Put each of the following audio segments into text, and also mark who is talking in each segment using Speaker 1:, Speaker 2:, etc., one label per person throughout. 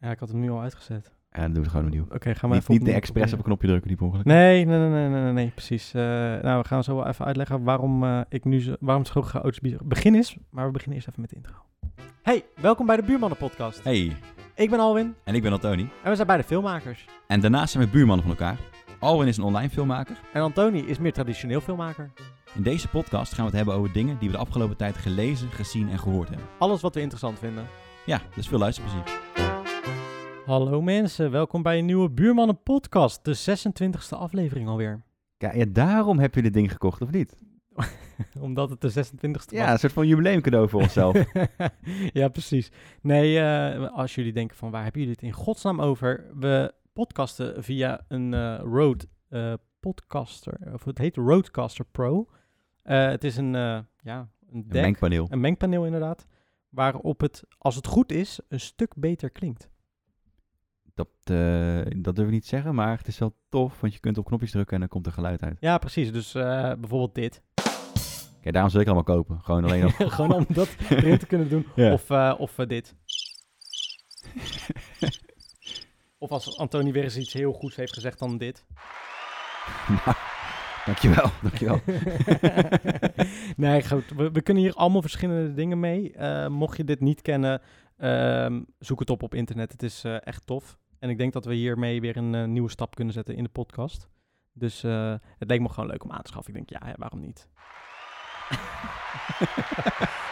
Speaker 1: Ja, ik had hem nu al uitgezet.
Speaker 2: Ja, dan doen we het gewoon opnieuw.
Speaker 1: Oké, gaan we even
Speaker 2: Niet, niet de
Speaker 1: opnieuw
Speaker 2: expres op een
Speaker 1: proberen.
Speaker 2: knopje drukken, die per ongeluk.
Speaker 1: Nee, nee, nee, nee, nee, nee, nee, precies. Eh, nou, we gaan zo wel even uitleggen waarom, eh, ik nu zo- waarom het zo chaotisch be- begin is. Maar we beginnen eerst even met de intro. Hey, welkom bij de Buurmannen Podcast.
Speaker 2: Hey,
Speaker 1: Ik ben Alwin
Speaker 2: en ik ben Antoni.
Speaker 1: en we zijn beide filmmakers.
Speaker 2: En daarnaast zijn we buurmannen van elkaar. Alwin is een online filmmaker.
Speaker 1: En Antoni is meer traditioneel filmmaker.
Speaker 2: In deze podcast gaan we het hebben over dingen die we de afgelopen tijd gelezen, gezien en gehoord hebben.
Speaker 1: Alles wat we interessant vinden.
Speaker 2: Ja, dus veel luisterplezier.
Speaker 1: Hallo mensen, welkom bij een nieuwe Buurmannen Podcast. De 26e aflevering alweer.
Speaker 2: Ja, ja, daarom heb je dit ding gekocht, of niet?
Speaker 1: Omdat het de 26e was.
Speaker 2: Ja, een soort van jubileumcadeau voor onszelf.
Speaker 1: ja, precies. Nee, eh, als jullie denken van waar hebben jullie het in godsnaam over? We podcasten via een eh Rode eh, podcaster, of het heet Rodecaster Pro. Eh, het is een, eh, ja, een
Speaker 2: een
Speaker 1: deck,
Speaker 2: mengpaneel.
Speaker 1: een mengpaneel inderdaad, waarop het, als het goed is, een stuk beter klinkt.
Speaker 2: Dat, eh, dat durf ik niet te zeggen, maar het is wel tof, want je kunt op knopjes drukken en dan komt er geluid uit.
Speaker 1: Ja, precies. Dus eh, bijvoorbeeld dit.
Speaker 2: Kijk, daarom zul ik het allemaal kopen. Gewoon alleen op...
Speaker 1: Gewoon om dat erin te kunnen doen.
Speaker 2: Ja.
Speaker 1: Of, eh, of eh, dit. Of als Antonie weer eens iets heel goeds heeft gezegd, dan dit.
Speaker 2: Dankjewel, dankjewel.
Speaker 1: nee, goed. We, we kunnen hier allemaal verschillende dingen mee. Eh, mocht je dit niet kennen, ehm, zoek het op op internet. Het is eh, echt tof. En ik denk dat we hiermee weer een eh, nieuwe stap kunnen zetten in de podcast. Dus eh, het leek me gewoon leuk om aan te schaffen. Ik denk, ja, ja, waarom niet?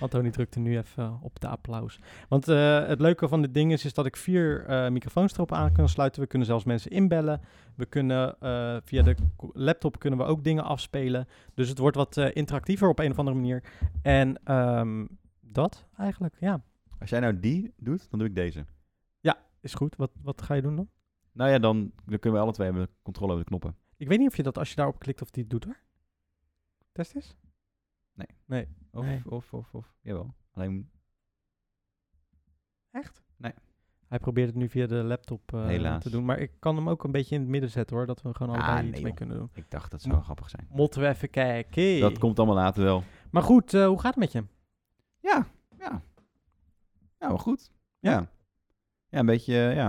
Speaker 1: Antonie drukte nu even eh, op de applaus. Want eh, het leuke van dit ding is, is dat ik vier eh, microfoons erop aan kan sluiten. We kunnen zelfs mensen inbellen. We kunnen eh, via de co- laptop kunnen we ook dingen afspelen. Dus het wordt wat eh, interactiever op een of andere manier. En ehm, dat eigenlijk, ja.
Speaker 2: Als jij nou die doet, dan doe ik deze.
Speaker 1: Is goed. Wat, wat ga je doen dan?
Speaker 2: Nou ja, dan, dan kunnen we alle twee hebben controle over de knoppen.
Speaker 1: Ik weet niet of je dat als je daarop klikt of die het doet hoor. Test is?
Speaker 2: Of,
Speaker 1: Nee.
Speaker 2: of, of, of. Jawel. Alleen,
Speaker 1: Echt?
Speaker 2: Nee.
Speaker 1: Hij probeert het nu via de laptop eh,
Speaker 2: Helaas.
Speaker 1: te doen. Maar ik kan hem ook een beetje in het midden zetten hoor. Dat we gewoon
Speaker 2: Ah,
Speaker 1: allebei iets
Speaker 2: nee,
Speaker 1: mee
Speaker 2: joh.
Speaker 1: kunnen doen.
Speaker 2: ik dacht dat
Speaker 1: zou
Speaker 2: zou grappig zijn.
Speaker 1: Motten we even kijken.
Speaker 2: Dat komt allemaal later wel.
Speaker 1: Maar goed, eh, hoe gaat het met je?
Speaker 2: Ja, ja. Ja, wel goed. Ja. Ja, een beetje, eh, ja.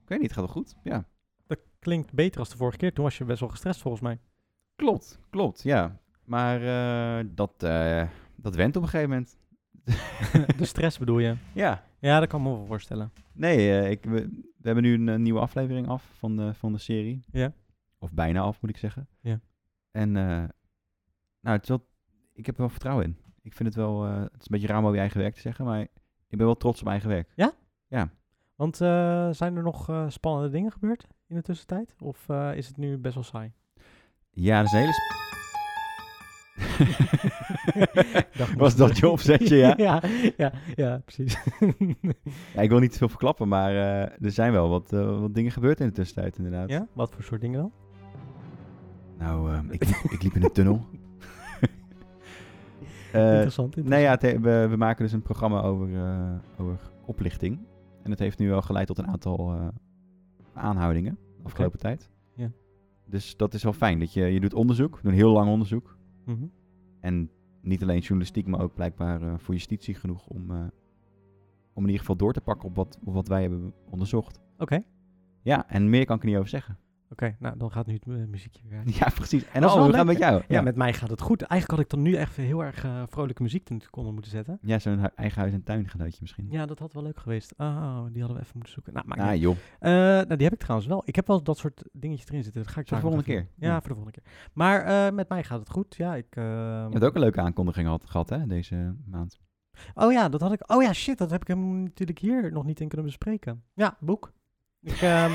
Speaker 2: Ik weet niet, het gaat wel goed. Ja.
Speaker 1: Dat klinkt beter als de vorige keer. Toen was je best wel gestrest volgens mij.
Speaker 2: Klopt, klopt, ja. Maar eh, dat, eh, dat went op een gegeven moment.
Speaker 1: de stress bedoel je?
Speaker 2: Ja.
Speaker 1: Ja, dat kan ik me wel voorstellen.
Speaker 2: Nee, eh, ik, we, we hebben nu een, eh, nieuwe aflevering af van de, van de serie.
Speaker 1: Ja.
Speaker 2: Of bijna af, moet ik zeggen.
Speaker 1: Ja.
Speaker 2: En, eh, nou, het is wel, ik heb er wel vertrouwen in. Ik vind het wel, eh, het is een beetje raar om over je eigen werk te zeggen, maar ik ben wel trots op mijn eigen werk.
Speaker 1: Want eh, zijn er nog eh, spannende dingen gebeurd in de tussentijd? Of eh, is het nu best wel saai?
Speaker 2: Ja, dat is een hele... sp-
Speaker 1: Dag,
Speaker 2: Was dat je opzetje, ja?
Speaker 1: ja, ja, ja, precies.
Speaker 2: Ja, ik wil niet te veel verklappen, maar eh, er zijn wel wat, eh, wat dingen gebeurd in de tussentijd, inderdaad.
Speaker 1: ja? Wat voor soort dingen dan?
Speaker 2: Nou, ehm, ik, liep, ik liep in een tunnel. Eh
Speaker 1: interessant, interessant.
Speaker 2: nou ja, het he- we, we maken dus een programma over, eh, over oplichting. En het heeft nu wel geleid tot een aantal eh, aanhoudingen de afgelopen tijd.
Speaker 1: Ja.
Speaker 2: Dus dat is wel fijn. Dat je, je doet onderzoek, we doen heel lang onderzoek.
Speaker 1: Mhm.
Speaker 2: En niet alleen journalistiek, maar ook blijkbaar eh, voor justitie genoeg om, eh, om in ieder geval door te pakken op wat, op wat wij hebben onderzocht.
Speaker 1: Oké,
Speaker 2: Ja, en meer kan ik er niet over zeggen.
Speaker 1: oké, nou dan gaat nu het eh, muziekje weer. aan.
Speaker 2: Ja, precies. En
Speaker 1: Was
Speaker 2: oh,
Speaker 1: wel
Speaker 2: we gaan
Speaker 1: leuk,
Speaker 2: met jou.
Speaker 1: Ja, met mij gaat het goed. Eigenlijk had ik dan nu echt heel erg eh, vrolijke muziek ten- onder moeten zetten.
Speaker 2: Ja, zo'n hu- eigen huis- en tuingeluidje misschien.
Speaker 1: Ja, dat had wel leuk geweest. Oh, die hadden we even moeten zoeken. Nou, maakt niet
Speaker 2: ah, joh.
Speaker 1: Eh, nou, die heb ik trouwens wel. Ik heb wel dat soort dingetjes erin zitten. Dat ga ik
Speaker 2: Voor de
Speaker 1: daar nog
Speaker 2: volgende
Speaker 1: even-
Speaker 2: keer.
Speaker 1: Ja,
Speaker 2: Ja.
Speaker 1: voor de volgende keer. Maar eh, met mij gaat het goed. Ja, ik. eh,
Speaker 2: Je hebt ook een leuke aankondiging had, gehad, hè, deze maand.
Speaker 1: Oh ja, dat had ik. Oh ja, shit, dat heb ik hem natuurlijk hier nog niet in kunnen bespreken. Ja, boek. Ik, ehm,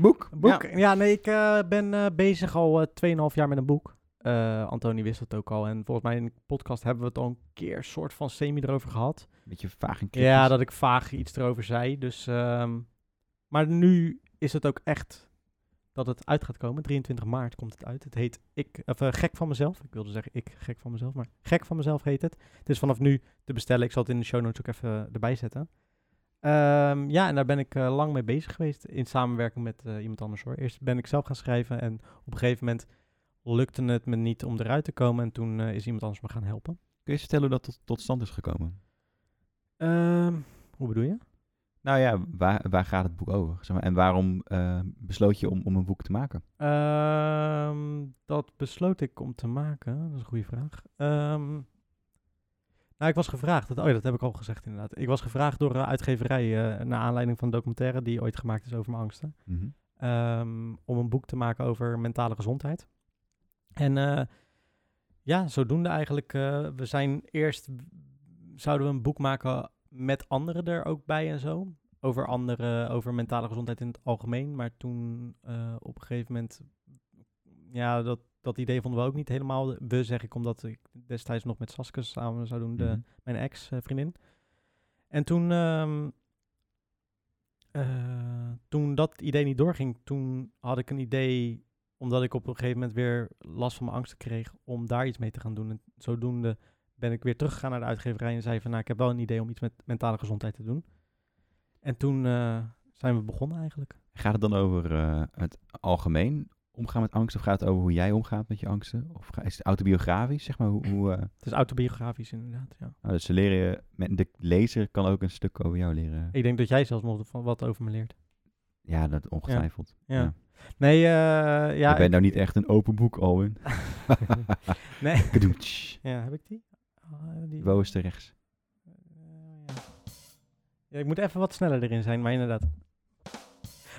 Speaker 2: boek.
Speaker 1: boek. Ja, nee, ik eh, ben eh, bezig al eh 2,5 jaar met een boek. Eh Antoni wist dat ook al. En volgens mij in de podcast hebben we het al een keer soort van semi erover gehad.
Speaker 2: Beetje vaag en cryptisch.
Speaker 1: Ja, dat ik vaag iets erover zei. Dus, ehm, maar nu is het ook echt dat het uit gaat komen. 23 maart komt het uit. Het heet ik, of, eh, Gek van mezelf. Ik wilde zeggen ik gek van mezelf, maar Gek van mezelf heet het. Het is vanaf nu te bestellen. Ik zal het in de show notes ook even eh, erbij zetten. Ehm, ja, en daar ben ik eh, lang mee bezig geweest in samenwerking met eh, iemand anders hoor. Eerst ben ik zelf gaan schrijven en op een gegeven moment lukte het me niet om eruit te komen. En toen eh, is iemand anders me gaan helpen.
Speaker 2: Kun je eens vertellen hoe dat tot, tot stand is gekomen?
Speaker 1: Ehm, hoe bedoel je?
Speaker 2: Nou ja, waar, waar gaat het boek over? Zeg maar, en waarom eh, besloot je om, om een boek te maken?
Speaker 1: Ehm, dat besloot ik om te maken. Dat is een goede vraag. Ehm, nou, ik was gevraagd. Dat, oh ja, dat heb ik al gezegd inderdaad. Ik was gevraagd door een uitgeverij eh, naar aanleiding van een documentaire die ooit gemaakt is over mijn angsten.
Speaker 2: Mhm.
Speaker 1: ehm, om een boek te maken over mentale gezondheid. En eh, ja, zodoende eigenlijk. eh, we zijn eerst, zouden we een boek maken met anderen er ook bij en zo. Over andere, over mentale gezondheid in het algemeen. Maar toen eh, op een gegeven moment, ja, dat, dat idee vonden we ook niet helemaal. We zeg ik, omdat ik destijds nog met Saske samen zou doen, de,
Speaker 2: Mhm.
Speaker 1: mijn ex-vriendin. En toen, ehm, eh, toen dat idee niet doorging, toen had ik een idee, omdat ik op een gegeven moment weer last van mijn angsten kreeg, om daar iets mee te gaan doen. En zodoende ben ik weer teruggegaan naar de uitgeverij en zei van, nou, ik heb wel een idee om iets met mentale gezondheid te doen. En toen eh, zijn we begonnen eigenlijk.
Speaker 2: Gaat het dan over eh, het algemeen omgaan met angst? Of gaat het over hoe jij omgaat met je angsten? Of ga- is het autobiografisch? Zeg maar, hoe, hoe, eh,
Speaker 1: Het is autobiografisch inderdaad, ja.
Speaker 2: nou, dus ze leren, je- men- de lezer kan ook een stuk over jou leren.
Speaker 1: Ik denk dat jij zelfs nog van wat over me leert.
Speaker 2: Ja, dat ongetwijfeld.
Speaker 1: Ja.
Speaker 2: Ja.
Speaker 1: Nee, eh, ja.
Speaker 2: ik ben nou niet echt een open boek, Alwin.
Speaker 1: Nee.
Speaker 2: Kadoetsch.
Speaker 1: Ja, heb ik die? Ah, die-
Speaker 2: Wo is te rechts.
Speaker 1: Eh, ja. Ja, ik moet even wat sneller erin zijn, maar inderdaad.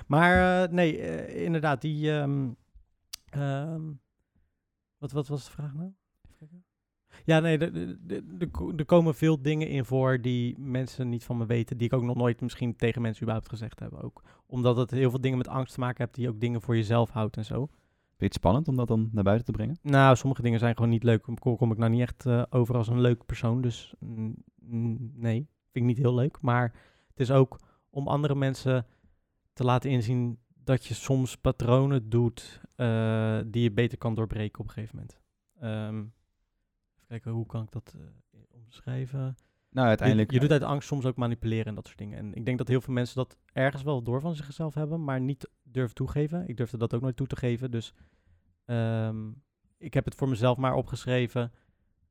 Speaker 1: Maar eh, nee, eh, inderdaad, die. ehm, ehm, wat, wat was de vraag nou? Even kijken. Ja, nee, de- de- de- de ko- er komen veel dingen in voor die mensen niet van me weten, die ik ook nog nooit misschien tegen mensen überhaupt gezegd heb. Ook. Omdat het heel veel dingen met angst te maken hebt, die je ook dingen voor jezelf houdt en zo.
Speaker 2: Vind je het spannend om dat dan naar buiten te brengen?
Speaker 1: Nou, sommige dingen zijn gewoon niet leuk. Kom, kom ik nou niet echt eh, over als een leuk persoon. Dus mm, mm, nee, vind ik niet heel leuk. Maar het is ook om andere mensen te laten inzien dat je soms patronen doet eh, die je beter kan doorbreken op een gegeven moment. Ehm, even kijken, hoe kan ik dat eh, omschrijven?
Speaker 2: Nou, uiteindelijk...
Speaker 1: Je, je doet uit angst soms ook manipuleren en dat soort dingen. En ik denk dat heel veel mensen dat ergens wel door van zichzelf hebben, maar niet durven toegeven. Ik durfde dat ook nooit toe te geven. Dus ehm, ik heb het voor mezelf maar opgeschreven.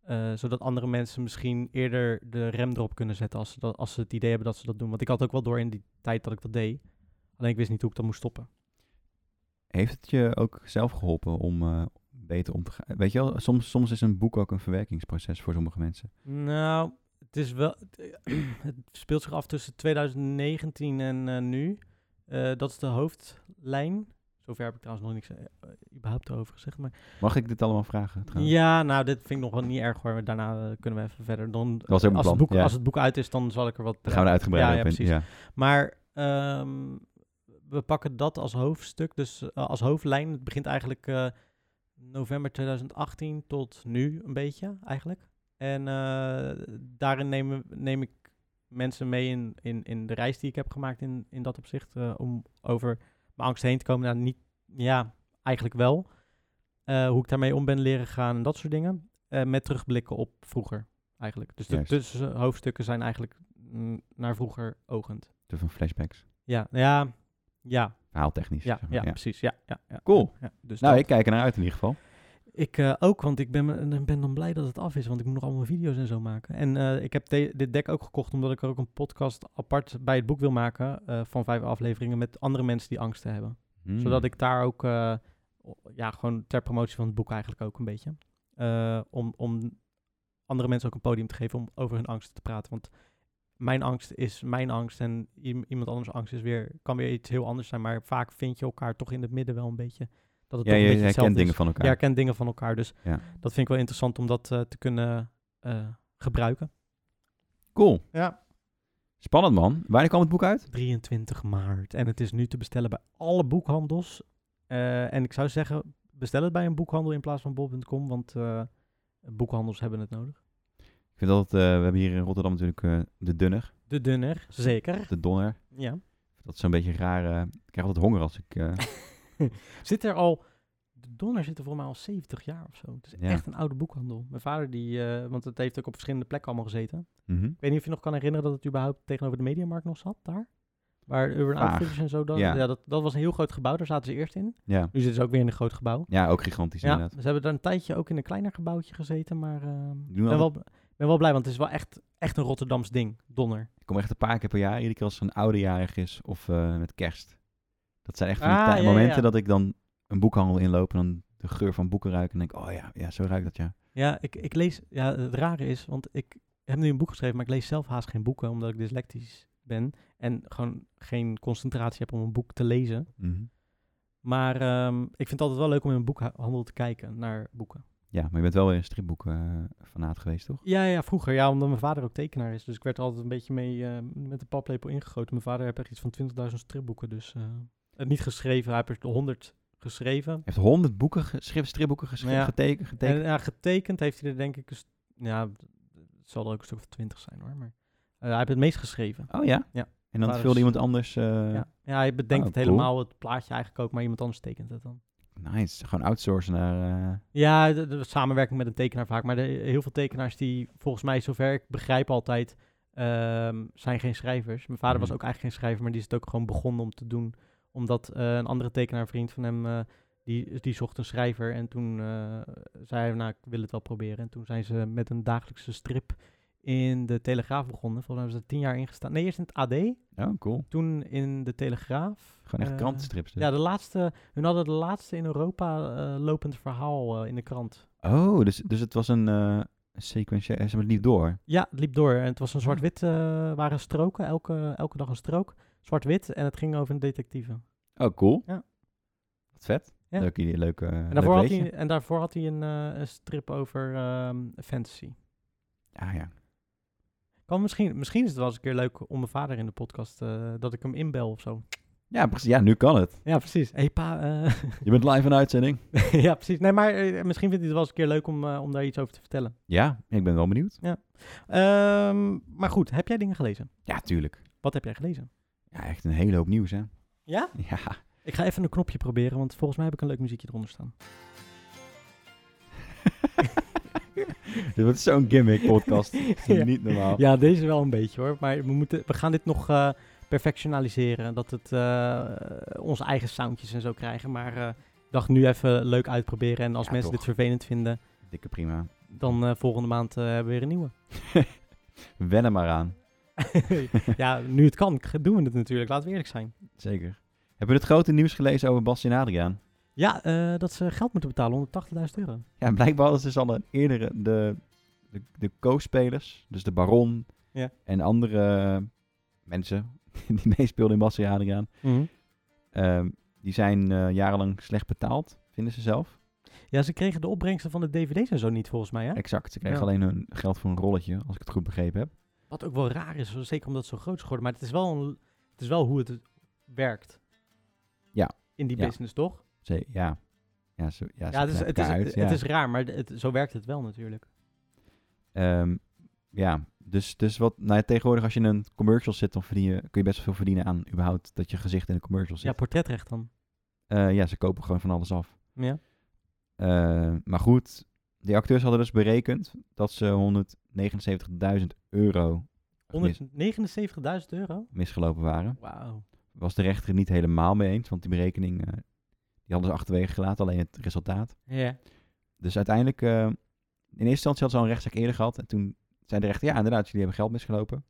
Speaker 1: eh, zodat andere mensen misschien eerder de rem erop kunnen zetten als ze, dat, als ze het idee hebben dat ze dat doen. Want ik had ook wel door in die tijd dat ik dat deed. Alleen ik wist niet hoe ik dat moest stoppen.
Speaker 2: Heeft het je ook zelf geholpen om eh, beter om te gaan? Weet je wel, soms, soms is een boek ook een verwerkingsproces voor sommige mensen.
Speaker 1: Nou, het is wel. Het, eh, het speelt zich af tussen 2019 en eh, nu. Eh, dat is de hoofdlijn. Zover heb ik trouwens nog niks eh, eh, überhaupt over gezegd. Maar
Speaker 2: Mag ik dit allemaal vragen? trouwens?
Speaker 1: ja, nou, dit vind ik nog wel niet erg hoor. maar Daarna eh, kunnen we even verder. Dan,
Speaker 2: was ook
Speaker 1: als,
Speaker 2: mijn
Speaker 1: het
Speaker 2: plan,
Speaker 1: boek,
Speaker 2: ja.
Speaker 1: als het boek uit is, dan zal ik er wat.
Speaker 2: Daar gaan we uitgebreid
Speaker 1: Ja,
Speaker 2: op
Speaker 1: ja,
Speaker 2: in.
Speaker 1: precies.
Speaker 2: Ja.
Speaker 1: Maar ehm, we pakken dat als hoofdstuk, dus eh, als hoofdlijn. Het begint eigenlijk eh, november 2018 tot nu een beetje eigenlijk. En eh, daarin neem, neem ik mensen mee in, in, in de reis die ik heb gemaakt in, in dat opzicht. eh, om over mijn angst heen te komen. Nou, niet, ja, eigenlijk wel. Eh, hoe ik daarmee om ben leren gaan en dat soort dingen. Eh, met terugblikken op vroeger eigenlijk. Dus de
Speaker 2: Juist.
Speaker 1: tussenhoofdstukken zijn eigenlijk mm, naar vroeger ogend.
Speaker 2: Dus van flashbacks.
Speaker 1: Ja, nou ja, ja,
Speaker 2: Verhaaltechnisch.
Speaker 1: ja,
Speaker 2: zeg maar,
Speaker 1: ja,
Speaker 2: ja.
Speaker 1: precies. Ja, ja, ja.
Speaker 2: Cool.
Speaker 1: Ja, dus
Speaker 2: Nou,
Speaker 1: dat.
Speaker 2: ik kijk ernaar uit in ieder geval.
Speaker 1: Ik eh, ook, want ik ben, me- ben dan blij dat het af is, want ik moet nog allemaal video's en zo maken. En eh, ik heb de- dit deck ook gekocht omdat ik er ook een podcast apart bij het boek wil maken eh, van vijf afleveringen met andere mensen die angsten hebben.
Speaker 2: Hmm.
Speaker 1: Zodat ik daar ook, eh, o- ja, gewoon ter promotie van het boek eigenlijk ook een beetje. Eh, om, om andere mensen ook een podium te geven om over hun angsten te praten. Want mijn angst is mijn angst en iem- iemand anders angst is weer, kan weer iets heel anders zijn. Maar vaak vind je elkaar toch in het midden wel een beetje. Dat het
Speaker 2: Ja,
Speaker 1: toch
Speaker 2: je
Speaker 1: een beetje hetzelfde
Speaker 2: herkent dingen
Speaker 1: is.
Speaker 2: van elkaar.
Speaker 1: Je herkent dingen van elkaar. Dus
Speaker 2: Ja.
Speaker 1: dat vind ik wel interessant om dat eh, te kunnen eh, gebruiken.
Speaker 2: Cool.
Speaker 1: Ja.
Speaker 2: Spannend man. Wanneer kwam het boek uit?
Speaker 1: 23 maart. En het is nu te bestellen bij alle boekhandels. Eh, en ik zou zeggen, bestel het bij een boekhandel in plaats van bol.com, want eh, boekhandels hebben het nodig.
Speaker 2: Ik vind dat, eh, we hebben hier in Rotterdam natuurlijk eh, de Dunner,
Speaker 1: De dunner, zeker.
Speaker 2: de Donner.
Speaker 1: Ja.
Speaker 2: Dat is zo'n beetje raar. eh, ik krijg altijd honger als ik... eh,
Speaker 1: Zit er al, de donner zit er voor mij al 70 jaar of zo. Het is
Speaker 2: Ja.
Speaker 1: echt een oude boekhandel. Mijn vader, die, eh, want het heeft ook op verschillende plekken allemaal gezeten.
Speaker 2: mhm.
Speaker 1: Ik weet niet of je nog kan herinneren dat het überhaupt tegenover de Mediamarkt nog zat, daar. Waar Urban
Speaker 2: Vaag.
Speaker 1: Outfitters en zo, dat,
Speaker 2: Ja.
Speaker 1: ja. dat, dat was een heel groot gebouw, daar zaten ze eerst in.
Speaker 2: Ja.
Speaker 1: Nu zitten ze ook weer in een groot gebouw.
Speaker 2: ja, ook gigantisch
Speaker 1: Ja,
Speaker 2: inderdaad.
Speaker 1: ze hebben daar een tijdje ook in een kleiner gebouwtje gezeten, maar ehm, ik
Speaker 2: Doen
Speaker 1: ben
Speaker 2: al-
Speaker 1: wel, ik ben ben wel blij, want het is wel echt, echt een Rotterdams ding, Donner.
Speaker 2: Ik kom echt een paar keer per jaar, iedere keer als er een oudejarig is of eh, met kerst. Dat zijn echt van die
Speaker 1: Ah,
Speaker 2: tij-
Speaker 1: ja, ja,
Speaker 2: momenten
Speaker 1: ja.
Speaker 2: dat ik dan een boekhandel inloop en dan de geur van boeken ruik en denk, oh ja, ja zo ruikt dat ja.
Speaker 1: Ja, ik, ik lees. Ja, het rare is, want ik heb nu een boek geschreven, maar ik lees zelf haast geen boeken, omdat ik dyslectisch ben en gewoon geen concentratie heb om een boek te lezen.
Speaker 2: Mhm.
Speaker 1: Maar ehm, ik vind het altijd wel leuk om in een boekhandel te kijken naar boeken.
Speaker 2: Ja, maar je bent wel weer een stripboek eh fanaat geweest, toch?
Speaker 1: Ja, ja, vroeger. Ja, omdat mijn vader ook tekenaar is. Dus ik werd er altijd een beetje mee eh, met de paplepel ingegoten. Mijn vader heeft echt iets van 20.000 stripboeken. Dus eh, het niet geschreven, hij heeft er 100 geschreven.
Speaker 2: Hij heeft honderd boeken, ge- schri- stripboeken geschreven,
Speaker 1: Ja.
Speaker 2: getekend. getekend.
Speaker 1: En ja, getekend heeft hij er denk ik... een st- Ja, het zal er ook een stuk of 20 zijn hoor. Maar eh, hij heeft het meest geschreven.
Speaker 2: oh ja?
Speaker 1: Ja.
Speaker 2: En dan
Speaker 1: Waar
Speaker 2: vulde
Speaker 1: is-
Speaker 2: iemand anders... eh,
Speaker 1: ja. ja, hij bedenkt
Speaker 2: oh,
Speaker 1: het
Speaker 2: cool.
Speaker 1: helemaal, het plaatje eigenlijk ook. Maar iemand anders tekent het dan.
Speaker 2: Nice, gewoon outsourcen naar... eh,
Speaker 1: Ja, de, de samenwerking met een tekenaar vaak. Maar de, heel veel tekenaars die, volgens mij, zover ik begrijp altijd, ehm, zijn geen schrijvers. Mijn vader was
Speaker 2: Mhm.
Speaker 1: ook eigenlijk geen schrijver, maar die is het ook gewoon begonnen om te doen. Omdat eh, een andere tekenaar, een vriend van hem, eh, die, die zocht een schrijver. En toen eh, zei hij, nou, ik wil het wel proberen. En toen zijn ze met een dagelijkse strip in de Telegraaf begonnen. Volgens mij hebben ze er tien jaar ingestaan. Nee, eerst in het AD,
Speaker 2: Oh, cool.
Speaker 1: toen in de Telegraaf.
Speaker 2: Gewoon echt
Speaker 1: Eh,
Speaker 2: krantenstrips. dus.
Speaker 1: Ja, de laatste, hun hadden de laatste in Europa eh, lopend verhaal eh, in de krant.
Speaker 2: Oh, dus, dus het was een eh sequentie. Ze hebben het niet door.
Speaker 1: Ja, het liep door. En het was een zwart-wit, eh, waren stroken, elke, elke dag een strook. Zwart-wit en het ging over een detectieve.
Speaker 2: Oh, cool.
Speaker 1: Ja.
Speaker 2: Wat vet.
Speaker 1: Ja.
Speaker 2: Leuk, idee, leuk, eh,
Speaker 1: En
Speaker 2: leuk
Speaker 1: daarvoor, had
Speaker 2: weetje.
Speaker 1: hij, en daarvoor had hij een, eh, een strip over ehm, fantasy.
Speaker 2: Ah ja.
Speaker 1: Kan misschien, misschien is het wel eens een keer leuk om mijn vader in de podcast, eh, dat ik hem inbel of zo.
Speaker 2: Ja, precies. Ja, nu kan het.
Speaker 1: Ja, precies. Hey pa, eh,
Speaker 2: Je bent live in uitzending.
Speaker 1: ja precies. Nee, maar eh, misschien vindt hij het wel eens een keer leuk om, eh, om daar iets over te vertellen.
Speaker 2: Ja, ik ben wel benieuwd.
Speaker 1: Ehm, maar goed, heb jij dingen gelezen?
Speaker 2: Ja, tuurlijk.
Speaker 1: Wat heb jij gelezen?
Speaker 2: Ja, echt een hele hoop nieuws, hè?
Speaker 1: Ja?
Speaker 2: Ja.
Speaker 1: Ik ga even een knopje proberen, want volgens mij heb ik een leuk muziekje eronder staan.
Speaker 2: Dit wordt zo'n gimmick podcast.
Speaker 1: Ja.
Speaker 2: Niet normaal.
Speaker 1: Ja, deze wel een beetje hoor. Maar we, moeten, we gaan dit nog eh, perfectionaliseren. Dat het eh, onze eigen soundjes en zo krijgen. Maar eh, ik dacht nu even leuk uitproberen. En als
Speaker 2: Ja,
Speaker 1: mensen
Speaker 2: toch.
Speaker 1: dit vervelend vinden,
Speaker 2: Dikke prima.
Speaker 1: dan eh, volgende maand eh, hebben we weer een nieuwe.
Speaker 2: Wen er maar aan.
Speaker 1: ja, nu het kan, k- doen we het natuurlijk. Laten we eerlijk zijn.
Speaker 2: Zeker. Hebben we het grote nieuws gelezen over Bas en Adriaan?
Speaker 1: Ja, eh, dat ze geld moeten betalen, 180.000 euro.
Speaker 2: Ja, blijkbaar hadden ze dus al een eerdere de, de, de co-spelers, dus de Baron
Speaker 1: Ja.
Speaker 2: en andere eh, mensen die meespeelden in Bassi Adriaan, ehm, die zijn eh, jarenlang slecht betaald, vinden ze zelf.
Speaker 1: Ja, ze kregen de opbrengsten van de dvd's en zo niet volgens mij. Hè?
Speaker 2: Exact, ze kregen
Speaker 1: Ja.
Speaker 2: alleen hun geld voor een rolletje, als ik het goed begrepen heb.
Speaker 1: Wat ook wel raar is, zeker omdat het zo groot is geworden. Maar het is wel, een- het is wel hoe het werkt.
Speaker 2: Ja.
Speaker 1: In die
Speaker 2: Ja.
Speaker 1: business, toch?
Speaker 2: Ze, ja. Ja, ze, ja, ze
Speaker 1: Ja, het is,
Speaker 2: krijgen
Speaker 1: het, is,
Speaker 2: elkaar uit,
Speaker 1: het
Speaker 2: ja.
Speaker 1: is raar, maar het, zo werkt het wel natuurlijk.
Speaker 2: Ehm, ja, dus, dus wat, nou ja, tegenwoordig als je in een commercial zit, dan verdien je, kun je best wel veel verdienen aan überhaupt dat je gezicht in een commercial
Speaker 1: Ja,
Speaker 2: zit.
Speaker 1: portretrecht dan.
Speaker 2: Eh, ja, ze kopen gewoon van alles af.
Speaker 1: Ja.
Speaker 2: Eh, maar goed, die acteurs hadden dus berekend dat ze 179.000 euro
Speaker 1: 179.000 euro?
Speaker 2: misgelopen waren.
Speaker 1: Wauw.
Speaker 2: Was de rechter het niet helemaal mee eens, want die berekening eh, die hadden ze achterwege gelaten, alleen het resultaat.
Speaker 1: Ja.
Speaker 2: Dus uiteindelijk, eh, in eerste instantie hadden ze al een rechtszaak eerder gehad. En toen zei de rechter, ja inderdaad, jullie hebben geld misgelopen,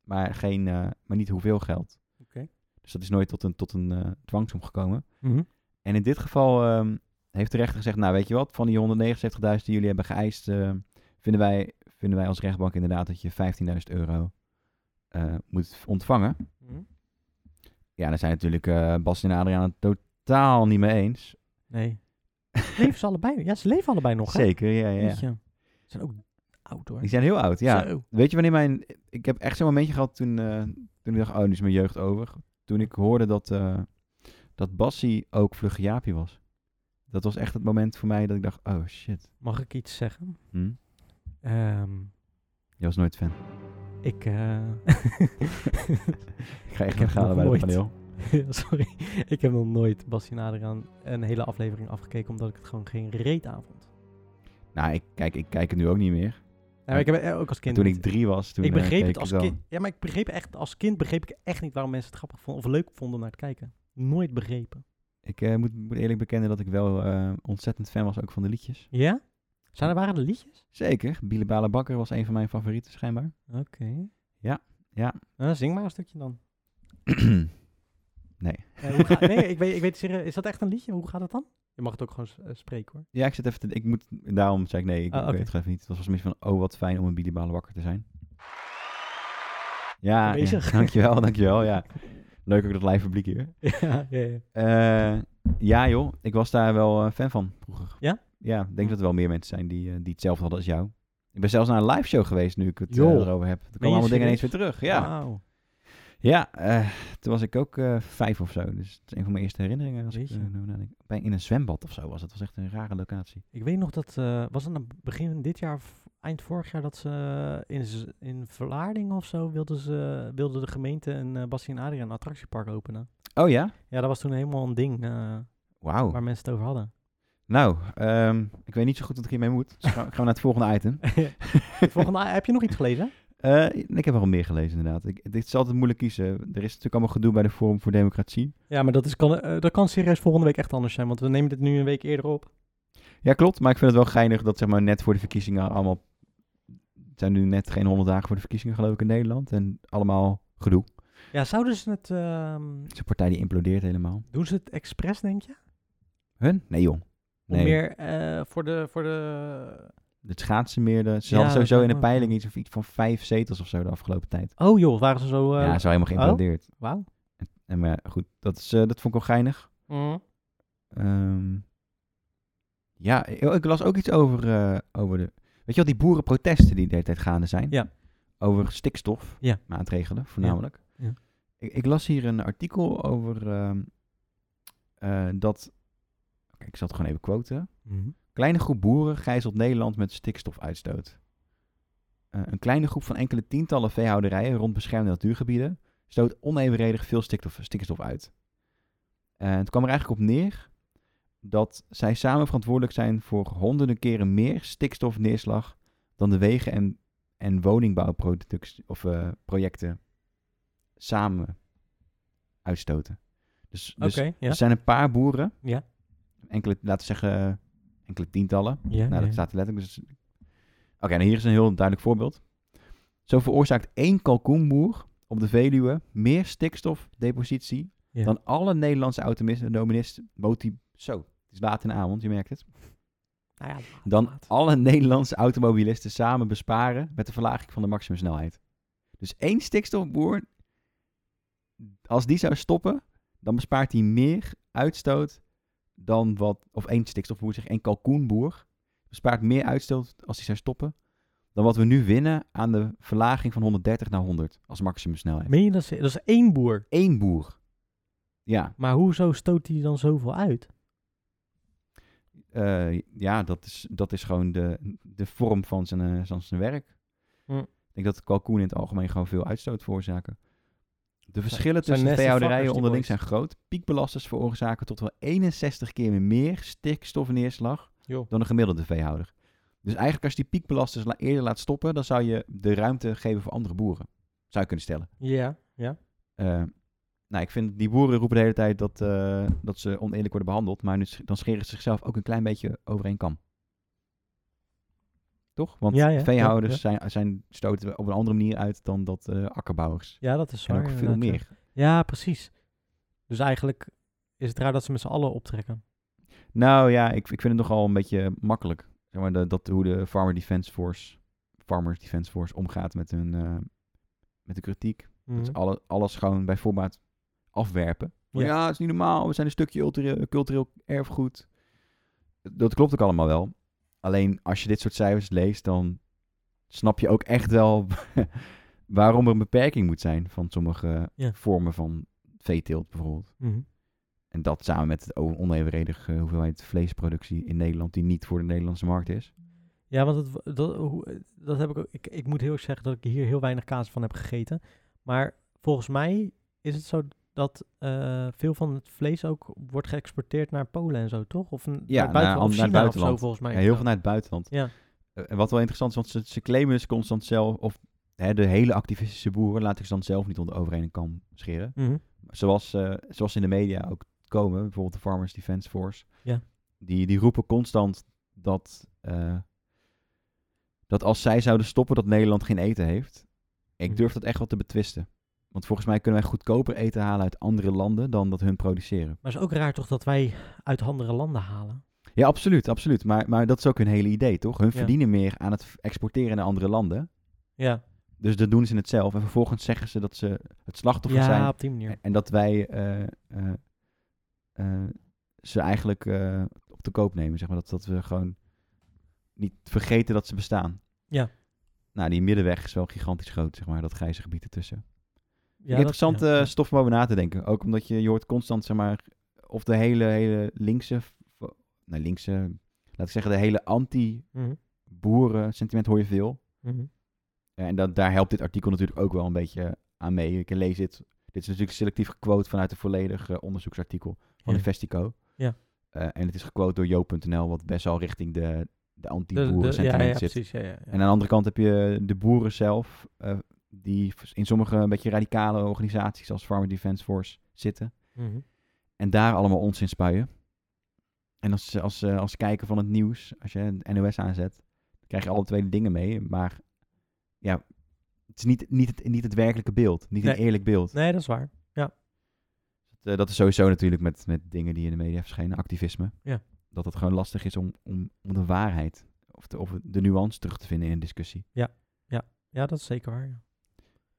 Speaker 2: maar, geen, eh, maar niet hoeveel geld.
Speaker 1: Oké.
Speaker 2: Dus dat is nooit tot een, tot een eh, dwangsom gekomen.
Speaker 1: Mhm.
Speaker 2: En in dit geval ehm, heeft de rechter gezegd, nou weet je wat, van die 179.000 die jullie hebben geëist, eh, vinden, wij, vinden wij als rechtbank inderdaad dat je 15.000 euro eh, moet ontvangen. Ja, daar zijn natuurlijk eh, Bas en Adriaan het totaal niet mee eens.
Speaker 1: Nee. leven ze allebei? Ja, ze leven allebei nog, hè?
Speaker 2: Zeker, ja, ja, ja.
Speaker 1: Jeetje. Ze zijn ook oud, hoor.
Speaker 2: Die zijn heel oud, ja.
Speaker 1: Zo.
Speaker 2: Weet je wanneer mijn... Ik heb echt zo'n momentje gehad toen, eh, toen ik dacht, oh, nu is mijn jeugd over. Toen ik hoorde dat, eh dat Bassie ook Vlugge Jaapie was. Dat was echt het moment voor mij dat ik dacht, oh shit.
Speaker 1: Mag ik iets zeggen?
Speaker 2: Hm?
Speaker 1: Ehm,
Speaker 2: Je was nooit fan.
Speaker 1: ik, eh,
Speaker 2: Ik ga echt
Speaker 1: heb
Speaker 2: nog halen
Speaker 1: nog
Speaker 2: bij
Speaker 1: nooit-
Speaker 2: het paneel.
Speaker 1: Sorry. Ik heb nog nooit Bastien Adriaan een hele aflevering afgekeken, omdat ik het gewoon geen reet aan vond.
Speaker 2: Nou, ik kijk, ik kijk het nu ook niet meer.
Speaker 1: Nou, ik heb eh, ook als kind...
Speaker 2: Toen
Speaker 1: niet-
Speaker 2: ik drie was, toen
Speaker 1: ik
Speaker 2: eh,
Speaker 1: begreep
Speaker 2: keek
Speaker 1: het als
Speaker 2: wel.
Speaker 1: kind. Ja, maar ik begreep echt als kind begreep ik echt niet waarom mensen het grappig vonden of leuk vonden om naar te kijken. Nooit begrepen.
Speaker 2: Ik eh, moet, moet eerlijk bekennen dat ik wel eh, ontzettend fan was ook van de liedjes.
Speaker 1: Ja? Zijn er, waren er liedjes?
Speaker 2: Zeker. Bielebale Bakker was een van mijn favorieten, schijnbaar.
Speaker 1: Oké.
Speaker 2: Ja, ja.
Speaker 1: Nou, zing maar een stukje dan.
Speaker 2: nee.
Speaker 1: Eh, hoe ga- nee, ik weet, ik weet serieus- is dat echt een liedje? Hoe gaat dat dan? Je mag het ook gewoon s- eh, spreken hoor.
Speaker 2: Ja, ik zit even te, ik moet, daarom zei ik nee, ik
Speaker 1: Ah, oké.
Speaker 2: weet het gewoon even niet. Het was misschien van, oh wat fijn om een Bielebale Bakker te zijn. Ja, ja,
Speaker 1: Aanwezig.
Speaker 2: dankjewel, dankjewel, ja. Leuk ook dat live publiek hier.
Speaker 1: ja, ja, ja.
Speaker 2: Eh, ja, joh. Ik was daar wel eh, fan van vroeger.
Speaker 1: Ja?
Speaker 2: Ja, ik denk dat er wel meer mensen zijn die, eh, die hetzelfde hadden als jou. Ik ben zelfs naar een live show geweest nu ik het eh,
Speaker 1: Joh.
Speaker 2: erover heb. Er
Speaker 1: je
Speaker 2: komen allemaal dingen ineens weer
Speaker 1: serieus?
Speaker 2: terug. Ja,
Speaker 1: Wauw.
Speaker 2: ja eh, toen was ik ook eh, vijf of zo. Dus het is een van mijn eerste herinneringen. Als ik,
Speaker 1: Jeetje.
Speaker 2: eh, nu nadenk. Bij, in een zwembad of zo was het. Het was echt een rare locatie.
Speaker 1: Ik weet nog dat, eh, was het aan het begin dit jaar of eind vorig jaar, dat ze eh, in, Z- in Vlaardingen of zo wilden ze, wilde de gemeente en eh Bassie en Adriaan een attractiepark openen.
Speaker 2: Oh ja?
Speaker 1: Ja, dat was toen helemaal een ding eh,
Speaker 2: Wauw.
Speaker 1: waar mensen het over hadden.
Speaker 2: Nou, ehm, ik weet niet zo goed wat ik hiermee moet. Dus gaan we gaan we naar het volgende item.
Speaker 1: Het volgende, ah, heb je nog iets gelezen?
Speaker 2: Eh, ik heb wel meer gelezen inderdaad. Ik, het is altijd moeilijk kiezen. Er is natuurlijk allemaal gedoe bij de Forum voor Democratie.
Speaker 1: Ja, maar dat, is, kan, eh, dat kan serieus volgende week echt anders zijn, want we nemen dit nu een week eerder op.
Speaker 2: Ja, klopt. Maar ik vind het wel geinig dat zeg maar, net voor de verkiezingen allemaal... Het zijn nu net geen honderd dagen voor de verkiezingen, geloof ik, in Nederland. En allemaal gedoe.
Speaker 1: Ja, zouden ze het, ehm,
Speaker 2: Het is een partij die implodeert helemaal.
Speaker 1: doen ze het expres, denk je?
Speaker 2: Hun? Nee, jong.
Speaker 1: Om
Speaker 2: Nee.
Speaker 1: meer eh, voor de, voor de...
Speaker 2: Het schaatsen meer. De, ze
Speaker 1: Ja,
Speaker 2: hadden
Speaker 1: dat
Speaker 2: sowieso in
Speaker 1: lijkt
Speaker 2: de
Speaker 1: me ook,
Speaker 2: peiling
Speaker 1: ja.
Speaker 2: iets, of iets van vijf zetels of zo de afgelopen tijd.
Speaker 1: Oh joh, waren ze zo... eh,
Speaker 2: ja, zo helemaal geïmplodeerd.
Speaker 1: Wauw.
Speaker 2: En, maar goed, dat, is, eh, dat vond ik wel geinig.
Speaker 1: Mhm.
Speaker 2: Ehm, ja, ik, ik las ook iets over, eh, over de... Weet je wel, die boerenprotesten die de hele tijd gaande zijn?
Speaker 1: Ja.
Speaker 2: Over stikstof.
Speaker 1: Ja.
Speaker 2: Maatregelen, voornamelijk.
Speaker 1: Ja.
Speaker 2: Ik, ik las hier een artikel over ehm, eh, dat... Kijk, ik zal het gewoon even quoten. Kleine groep boeren gijzelt Nederland met stikstofuitstoot. Eh, een kleine groep van enkele tientallen veehouderijen rond beschermde natuurgebieden stoot onevenredig veel stikstof, stikstof uit. En het kwam er eigenlijk op neer dat zij samen verantwoordelijk zijn voor honderden keren meer stikstofneerslag dan de wegen en, en woningbouwproduct- of, eh, projecten samen uitstoten. Dus,
Speaker 1: Oké,
Speaker 2: dus
Speaker 1: ja.
Speaker 2: er zijn een paar boeren,
Speaker 1: Ja.
Speaker 2: enkele, laten we zeggen enkele tientallen,
Speaker 1: ja,
Speaker 2: nou,
Speaker 1: ja.
Speaker 2: dat staat er letterlijk. Dus... Oké, nou, hier is een heel duidelijk voorbeeld. Zo veroorzaakt één kalkoenboer op de Veluwe meer stikstofdepositie
Speaker 1: Ja.
Speaker 2: dan alle Nederlandse autonomisten, moti- zo, het is laat in de avond, je merkt het,
Speaker 1: Nou ja, laat,
Speaker 2: dan
Speaker 1: laat.
Speaker 2: alle Nederlandse automobilisten samen besparen met de verlaging van de maximumsnelheid. Dus één stikstofboer, als die zou stoppen, dan bespaart hij meer uitstoot dan wat, of één stikstofboer, zeg één kalkoenboer, bespaart meer uitstoot als die zou stoppen, dan wat we nu winnen aan de verlaging van 130 naar 100 als maximumsnelheid.
Speaker 1: Meen je dat ze... Dat is één boer.
Speaker 2: Eén boer. Ja,
Speaker 1: Maar hoezo stoot hij dan zoveel uit?
Speaker 2: eh, ja dat, is, dat is gewoon de, de vorm van zijn, eh, van zijn werk.
Speaker 1: Hm.
Speaker 2: Ik denk dat de kalkoenen in het algemeen gewoon veel uitstoot veroorzaken. De verschillen
Speaker 1: zijn
Speaker 2: tussen
Speaker 1: nasty fuckers,
Speaker 2: veehouderijen
Speaker 1: die
Speaker 2: onderling zijn
Speaker 1: boys.
Speaker 2: groot. Piekbelasters veroorzaken tot wel 61 keer meer stikstofneerslag
Speaker 1: Joh.
Speaker 2: dan een gemiddelde veehouder. Dus eigenlijk als je die piekbelasters la- eerder laat stoppen, dan zou je de ruimte geven voor andere boeren. Zou je kunnen stellen.
Speaker 1: Ja, ja.
Speaker 2: Eh, nou, ik vind die boeren roepen de hele tijd dat, eh, dat ze oneerlijk worden behandeld. Maar nu, sch- dan scheren ze zichzelf ook een klein beetje over één kam. Toch? Want
Speaker 1: Ja, ja,
Speaker 2: veehouders
Speaker 1: ja,
Speaker 2: Zijn, zijn, stoten op een andere manier uit dan dat eh, akkerbouwers.
Speaker 1: Ja, dat is
Speaker 2: En
Speaker 1: waar.
Speaker 2: ook veel
Speaker 1: inderdaad, ja.
Speaker 2: meer.
Speaker 1: Ja, precies. Dus eigenlijk is het raar dat ze met z'n allen optrekken.
Speaker 2: Nou ja, ik, ik vind het nogal een beetje makkelijk. Zeg maar, de- dat, hoe de Farmer Defense Force, Farmers Defense Force omgaat met hun eh, met de kritiek. Dat is
Speaker 1: Mhm.
Speaker 2: alle, alles gewoon bij voorbaat afwerpen. Van,
Speaker 1: Ja.
Speaker 2: Ja. het is niet normaal. We zijn een stukje cultureel, cultureel erfgoed. Dat klopt ook allemaal wel. Alleen als je dit soort cijfers leest, dan snap je ook echt wel waarom er een beperking moet zijn van sommige
Speaker 1: Ja.
Speaker 2: vormen van veeteelt bijvoorbeeld.
Speaker 1: Mhm.
Speaker 2: En dat samen met de o- onevenredige eh, hoeveelheid vleesproductie in Nederland die niet voor de Nederlandse markt is.
Speaker 1: Ja, want het, dat, hoe- dat heb ik ook. Ik, ik moet heel erg zeggen dat ik hier heel weinig kaas van heb gegeten. Maar volgens mij is het zo dat eh, veel van het vlees ook wordt geëxporteerd naar Polen en zo, toch? Of een,
Speaker 2: Ja,
Speaker 1: naar,
Speaker 2: naar-
Speaker 1: buiten, of
Speaker 2: naar
Speaker 1: China
Speaker 2: buitenland.
Speaker 1: of zo, volgens mij.
Speaker 2: Ja, heel veel naar het buitenland.
Speaker 1: Oh, Ja.
Speaker 2: Eh, En wat wel interessant is, want ze, ze claimen dus constant zelf, of hè, de hele activistische boeren laten ze dan zelf niet onder overheen een kam scheren.
Speaker 1: Mhm.
Speaker 2: Zoals, eh, zoals in de media ook komen, bijvoorbeeld de Farmers Defense Force.
Speaker 1: Ja.
Speaker 2: Die, die roepen constant dat eh, dat als zij zouden stoppen dat Nederland geen eten heeft. Ik
Speaker 1: Hm.
Speaker 2: durf dat echt wel te betwisten. Want volgens mij kunnen wij goedkoper eten halen uit andere landen dan dat hun produceren.
Speaker 1: Maar het is ook raar toch dat wij uit andere landen halen.
Speaker 2: Ja, absoluut, absoluut. Maar, maar dat is ook hun hele idee, toch? Hun
Speaker 1: Ja.
Speaker 2: verdienen meer aan het exporteren naar andere landen.
Speaker 1: Ja,
Speaker 2: Dus dat doen ze het zelf. En vervolgens zeggen ze dat ze het slachtoffer zijn.
Speaker 1: ja op die manier.
Speaker 2: En- En dat wij eh, eh, eh, ze eigenlijk eh, op de koop nemen, zeg maar. Dat, dat we gewoon niet vergeten dat ze bestaan.
Speaker 1: Ja.
Speaker 2: Nou, die middenweg is wel gigantisch groot, zeg maar. Dat grijze gebied ertussen.
Speaker 1: Ja, dat-
Speaker 2: Interessante
Speaker 1: ja, ja.
Speaker 2: stof om over na te denken. Ook omdat je, je hoort constant, zeg maar, of de hele, hele linkse... v- Nou, linkse... Laat ik zeggen, de hele
Speaker 1: Mhm,
Speaker 2: anti-boeren sentiment hoor je veel.
Speaker 1: mhm.
Speaker 2: Ja, en dat, daar helpt dit artikel natuurlijk ook wel een beetje aan mee. Ik lees dit. Dit is natuurlijk selectief gequote vanuit een volledig eh, onderzoeksartikel van
Speaker 1: Ja.
Speaker 2: de Vestico.
Speaker 1: Ja.
Speaker 2: Eh, en het is gequote door Jo.nl, wat best wel richting de, de
Speaker 1: De- de-
Speaker 2: anti-boeren
Speaker 1: ja,
Speaker 2: sentiment
Speaker 1: ja,
Speaker 2: zit.
Speaker 1: precies. Ja, ja, ja.
Speaker 2: En aan de andere kant heb je de boeren zelf, eh, die in sommige een beetje radicale organisaties als Farmer Defense Force zitten.
Speaker 1: Mhm.
Speaker 2: En daar allemaal onzin spuien. En als, als, eh, als kijker van het nieuws, als je een NOS aanzet, dan krijg je alle twee de dingen mee. Maar ja, het is niet, niet, het, niet het werkelijke beeld. Niet
Speaker 1: Nee.
Speaker 2: een eerlijk beeld.
Speaker 1: Nee, dat is waar.
Speaker 2: Eh, dat is sowieso natuurlijk met, met dingen die in de media verschijnen, activisme.
Speaker 1: Ja.
Speaker 2: Dat het gewoon lastig is om, om, om de waarheid of de, of de nuance terug te vinden in een discussie.
Speaker 1: Ja, dat is zeker waar. Ja.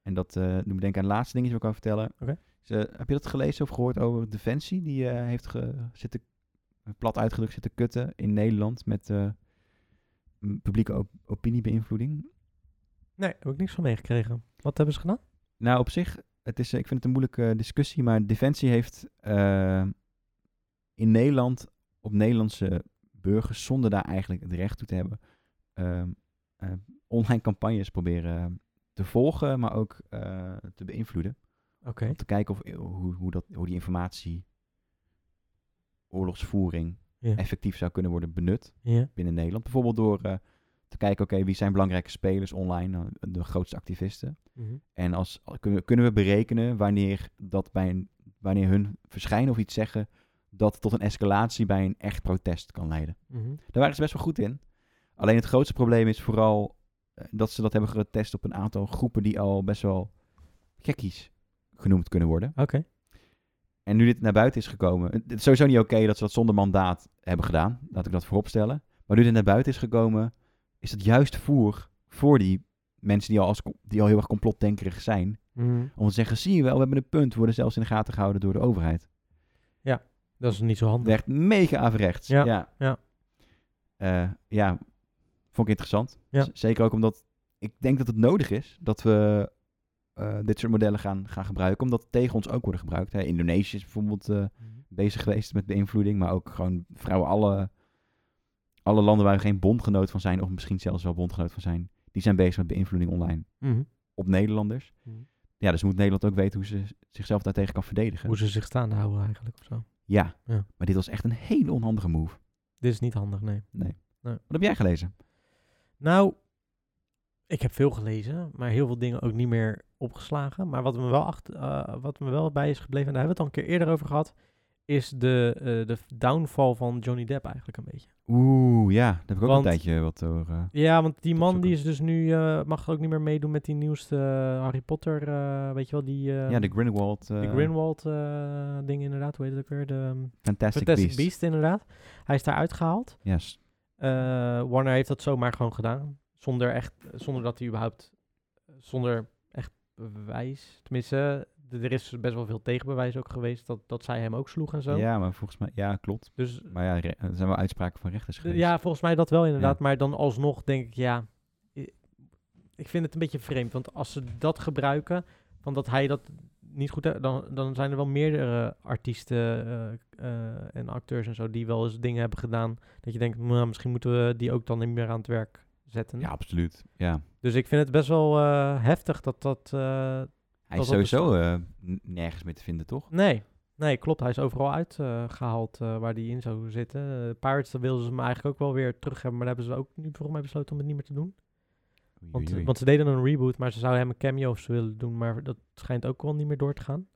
Speaker 2: En dat eh doet me denken aan het laatste dingetje wat ik kan vertellen.
Speaker 1: Oké.
Speaker 2: Dus, eh, heb je dat gelezen of gehoord over Defensie? Die eh, heeft ge- zitten, plat uitgedrukt zitten kutten in Nederland met eh, m- publieke op- opiniebeïnvloeding.
Speaker 1: Nee, heb ik niks van meegekregen. Wat hebben ze gedaan?
Speaker 2: Nou, op zich, het is, eh, ik vind het een moeilijke discussie, maar Defensie heeft eh, in Nederland op Nederlandse burgers, zonder daar eigenlijk het recht toe te hebben, ehm, eh, online campagnes proberen eh, te volgen, maar ook eh, te beïnvloeden.
Speaker 1: Oké.
Speaker 2: Om te kijken of, eh, hoe, hoe, dat, hoe die informatie, oorlogsvoering,
Speaker 1: Ja.
Speaker 2: effectief zou kunnen worden benut
Speaker 1: Ja.
Speaker 2: binnen Nederland. Bijvoorbeeld door eh, te kijken, oké, wie zijn belangrijke spelers online, nou, de grootste activisten.
Speaker 1: Mhm.
Speaker 2: En als, al- kunnen, we, kunnen we berekenen wanneer, dat bij een, wanneer hun verschijnen of iets zeggen, dat tot een escalatie bij een echt protest kan leiden.
Speaker 1: Mhm.
Speaker 2: Daar waren ze best wel goed in. Alleen het grootste probleem is vooral eh, dat ze dat hebben getest op een aantal groepen die al best wel gekkies genoemd kunnen worden.
Speaker 1: Oké.
Speaker 2: En nu dit naar buiten is gekomen, het is sowieso niet oké dat ze dat zonder mandaat hebben gedaan. Laat ik dat vooropstellen. Maar nu dit naar buiten is gekomen, is dat juist voer voor die mensen die al, als, die al heel erg complotdenkerig zijn.
Speaker 1: Mhm.
Speaker 2: Om te zeggen, zie je wel, we hebben een punt. We worden zelfs in de gaten gehouden door de overheid.
Speaker 1: Dat is niet zo
Speaker 2: Het
Speaker 1: handig.
Speaker 2: werd mega averechts.
Speaker 1: Ja,
Speaker 2: ja.
Speaker 1: ja.
Speaker 2: Eh, ja, vond ik interessant.
Speaker 1: Ja.
Speaker 2: Z- Zeker ook omdat ik denk dat het nodig is dat we eh, dit soort modellen gaan, gaan gebruiken. Omdat het tegen ons ook worden gebruikt. Hè, Indonesië is bijvoorbeeld... eh,
Speaker 1: Mhm.
Speaker 2: bezig geweest met beïnvloeding. Maar ook gewoon vrouwen alle, alle landen waar we geen bondgenoot van zijn, of misschien zelfs wel bondgenoot van zijn, die zijn bezig met beïnvloeding online
Speaker 1: Mhm.
Speaker 2: op Nederlanders.
Speaker 1: Mhm.
Speaker 2: Ja, dus moet Nederland ook weten hoe ze zichzelf daartegen kan verdedigen.
Speaker 1: Hoe ze zich staande houden eigenlijk of zo.
Speaker 2: Ja.
Speaker 1: Ja.
Speaker 2: maar dit was echt een hele onhandige move.
Speaker 1: Dit is niet handig, nee.
Speaker 2: Wat heb jij gelezen?
Speaker 1: Nou, ik heb veel gelezen, maar heel veel dingen ook niet meer opgeslagen. Maar wat me wel, achter, eh, wat me wel bij is gebleven, en daar hebben we het al een keer eerder over gehad, is de, eh, de downfall van Johnny Depp eigenlijk een beetje.
Speaker 2: Oeh, ja, daar heb ik ook
Speaker 1: Want-
Speaker 2: een tijdje wat over. eh,
Speaker 1: Ja, want die man
Speaker 2: Opzoeken.
Speaker 1: die is dus nu, eh, mag ook niet meer meedoen met die nieuwste eh, Harry Potter, eh, weet je wel, die, eh,
Speaker 2: ja, de Grindelwald, eh
Speaker 1: die Grinwald eh, ding inderdaad, hoe heet het ook weer? De ehm,
Speaker 2: Fantastic,
Speaker 1: Fantastic Beast.
Speaker 2: Beast.
Speaker 1: inderdaad. Hij is daar uitgehaald.
Speaker 2: Ja, s-
Speaker 1: Eh, Warner heeft dat zomaar gewoon gedaan, zonder, echt, zonder dat hij überhaupt, zonder echt bewijs, tenminste, eh, d- er is best wel veel tegenbewijs ook geweest dat, dat zij hem ook sloeg en zo.
Speaker 2: ja, maar volgens mij, ja, klopt.
Speaker 1: Dus
Speaker 2: Maar ja, re- er zijn wel uitspraken van rechters geweest.
Speaker 1: Ja, volgens mij dat wel inderdaad. Maar dan alsnog denk ik, ja... i- Ik vind het een beetje vreemd. Want als ze dat gebruiken, van dat hij dat niet goed... he- Dan, dan zijn er wel meerdere artiesten eh, eh, en acteurs en zo... die wel eens dingen hebben gedaan... dat je denkt, nou, misschien moeten we die ook dan niet meer aan het werk zetten.
Speaker 2: ja absoluut. Ja.
Speaker 1: Dus ik vind het best wel eh, heftig dat dat... eh,
Speaker 2: Hij
Speaker 1: Dat
Speaker 2: is
Speaker 1: dat
Speaker 2: sowieso eh, n- nergens meer te vinden, toch?
Speaker 1: nee, nee, klopt. Hij is overal uitgehaald eh, waar die in zou zitten. Eh, Pirates, daar wilden ze hem eigenlijk ook wel weer terug hebben... maar daar hebben ze ook nu volgens mij besloten om het niet meer te doen.
Speaker 2: Oei,
Speaker 1: Want,
Speaker 2: oei, oei.
Speaker 1: want ze deden een reboot, maar ze zouden hem een cameo of zo willen doen, maar dat schijnt ook wel niet meer door te gaan.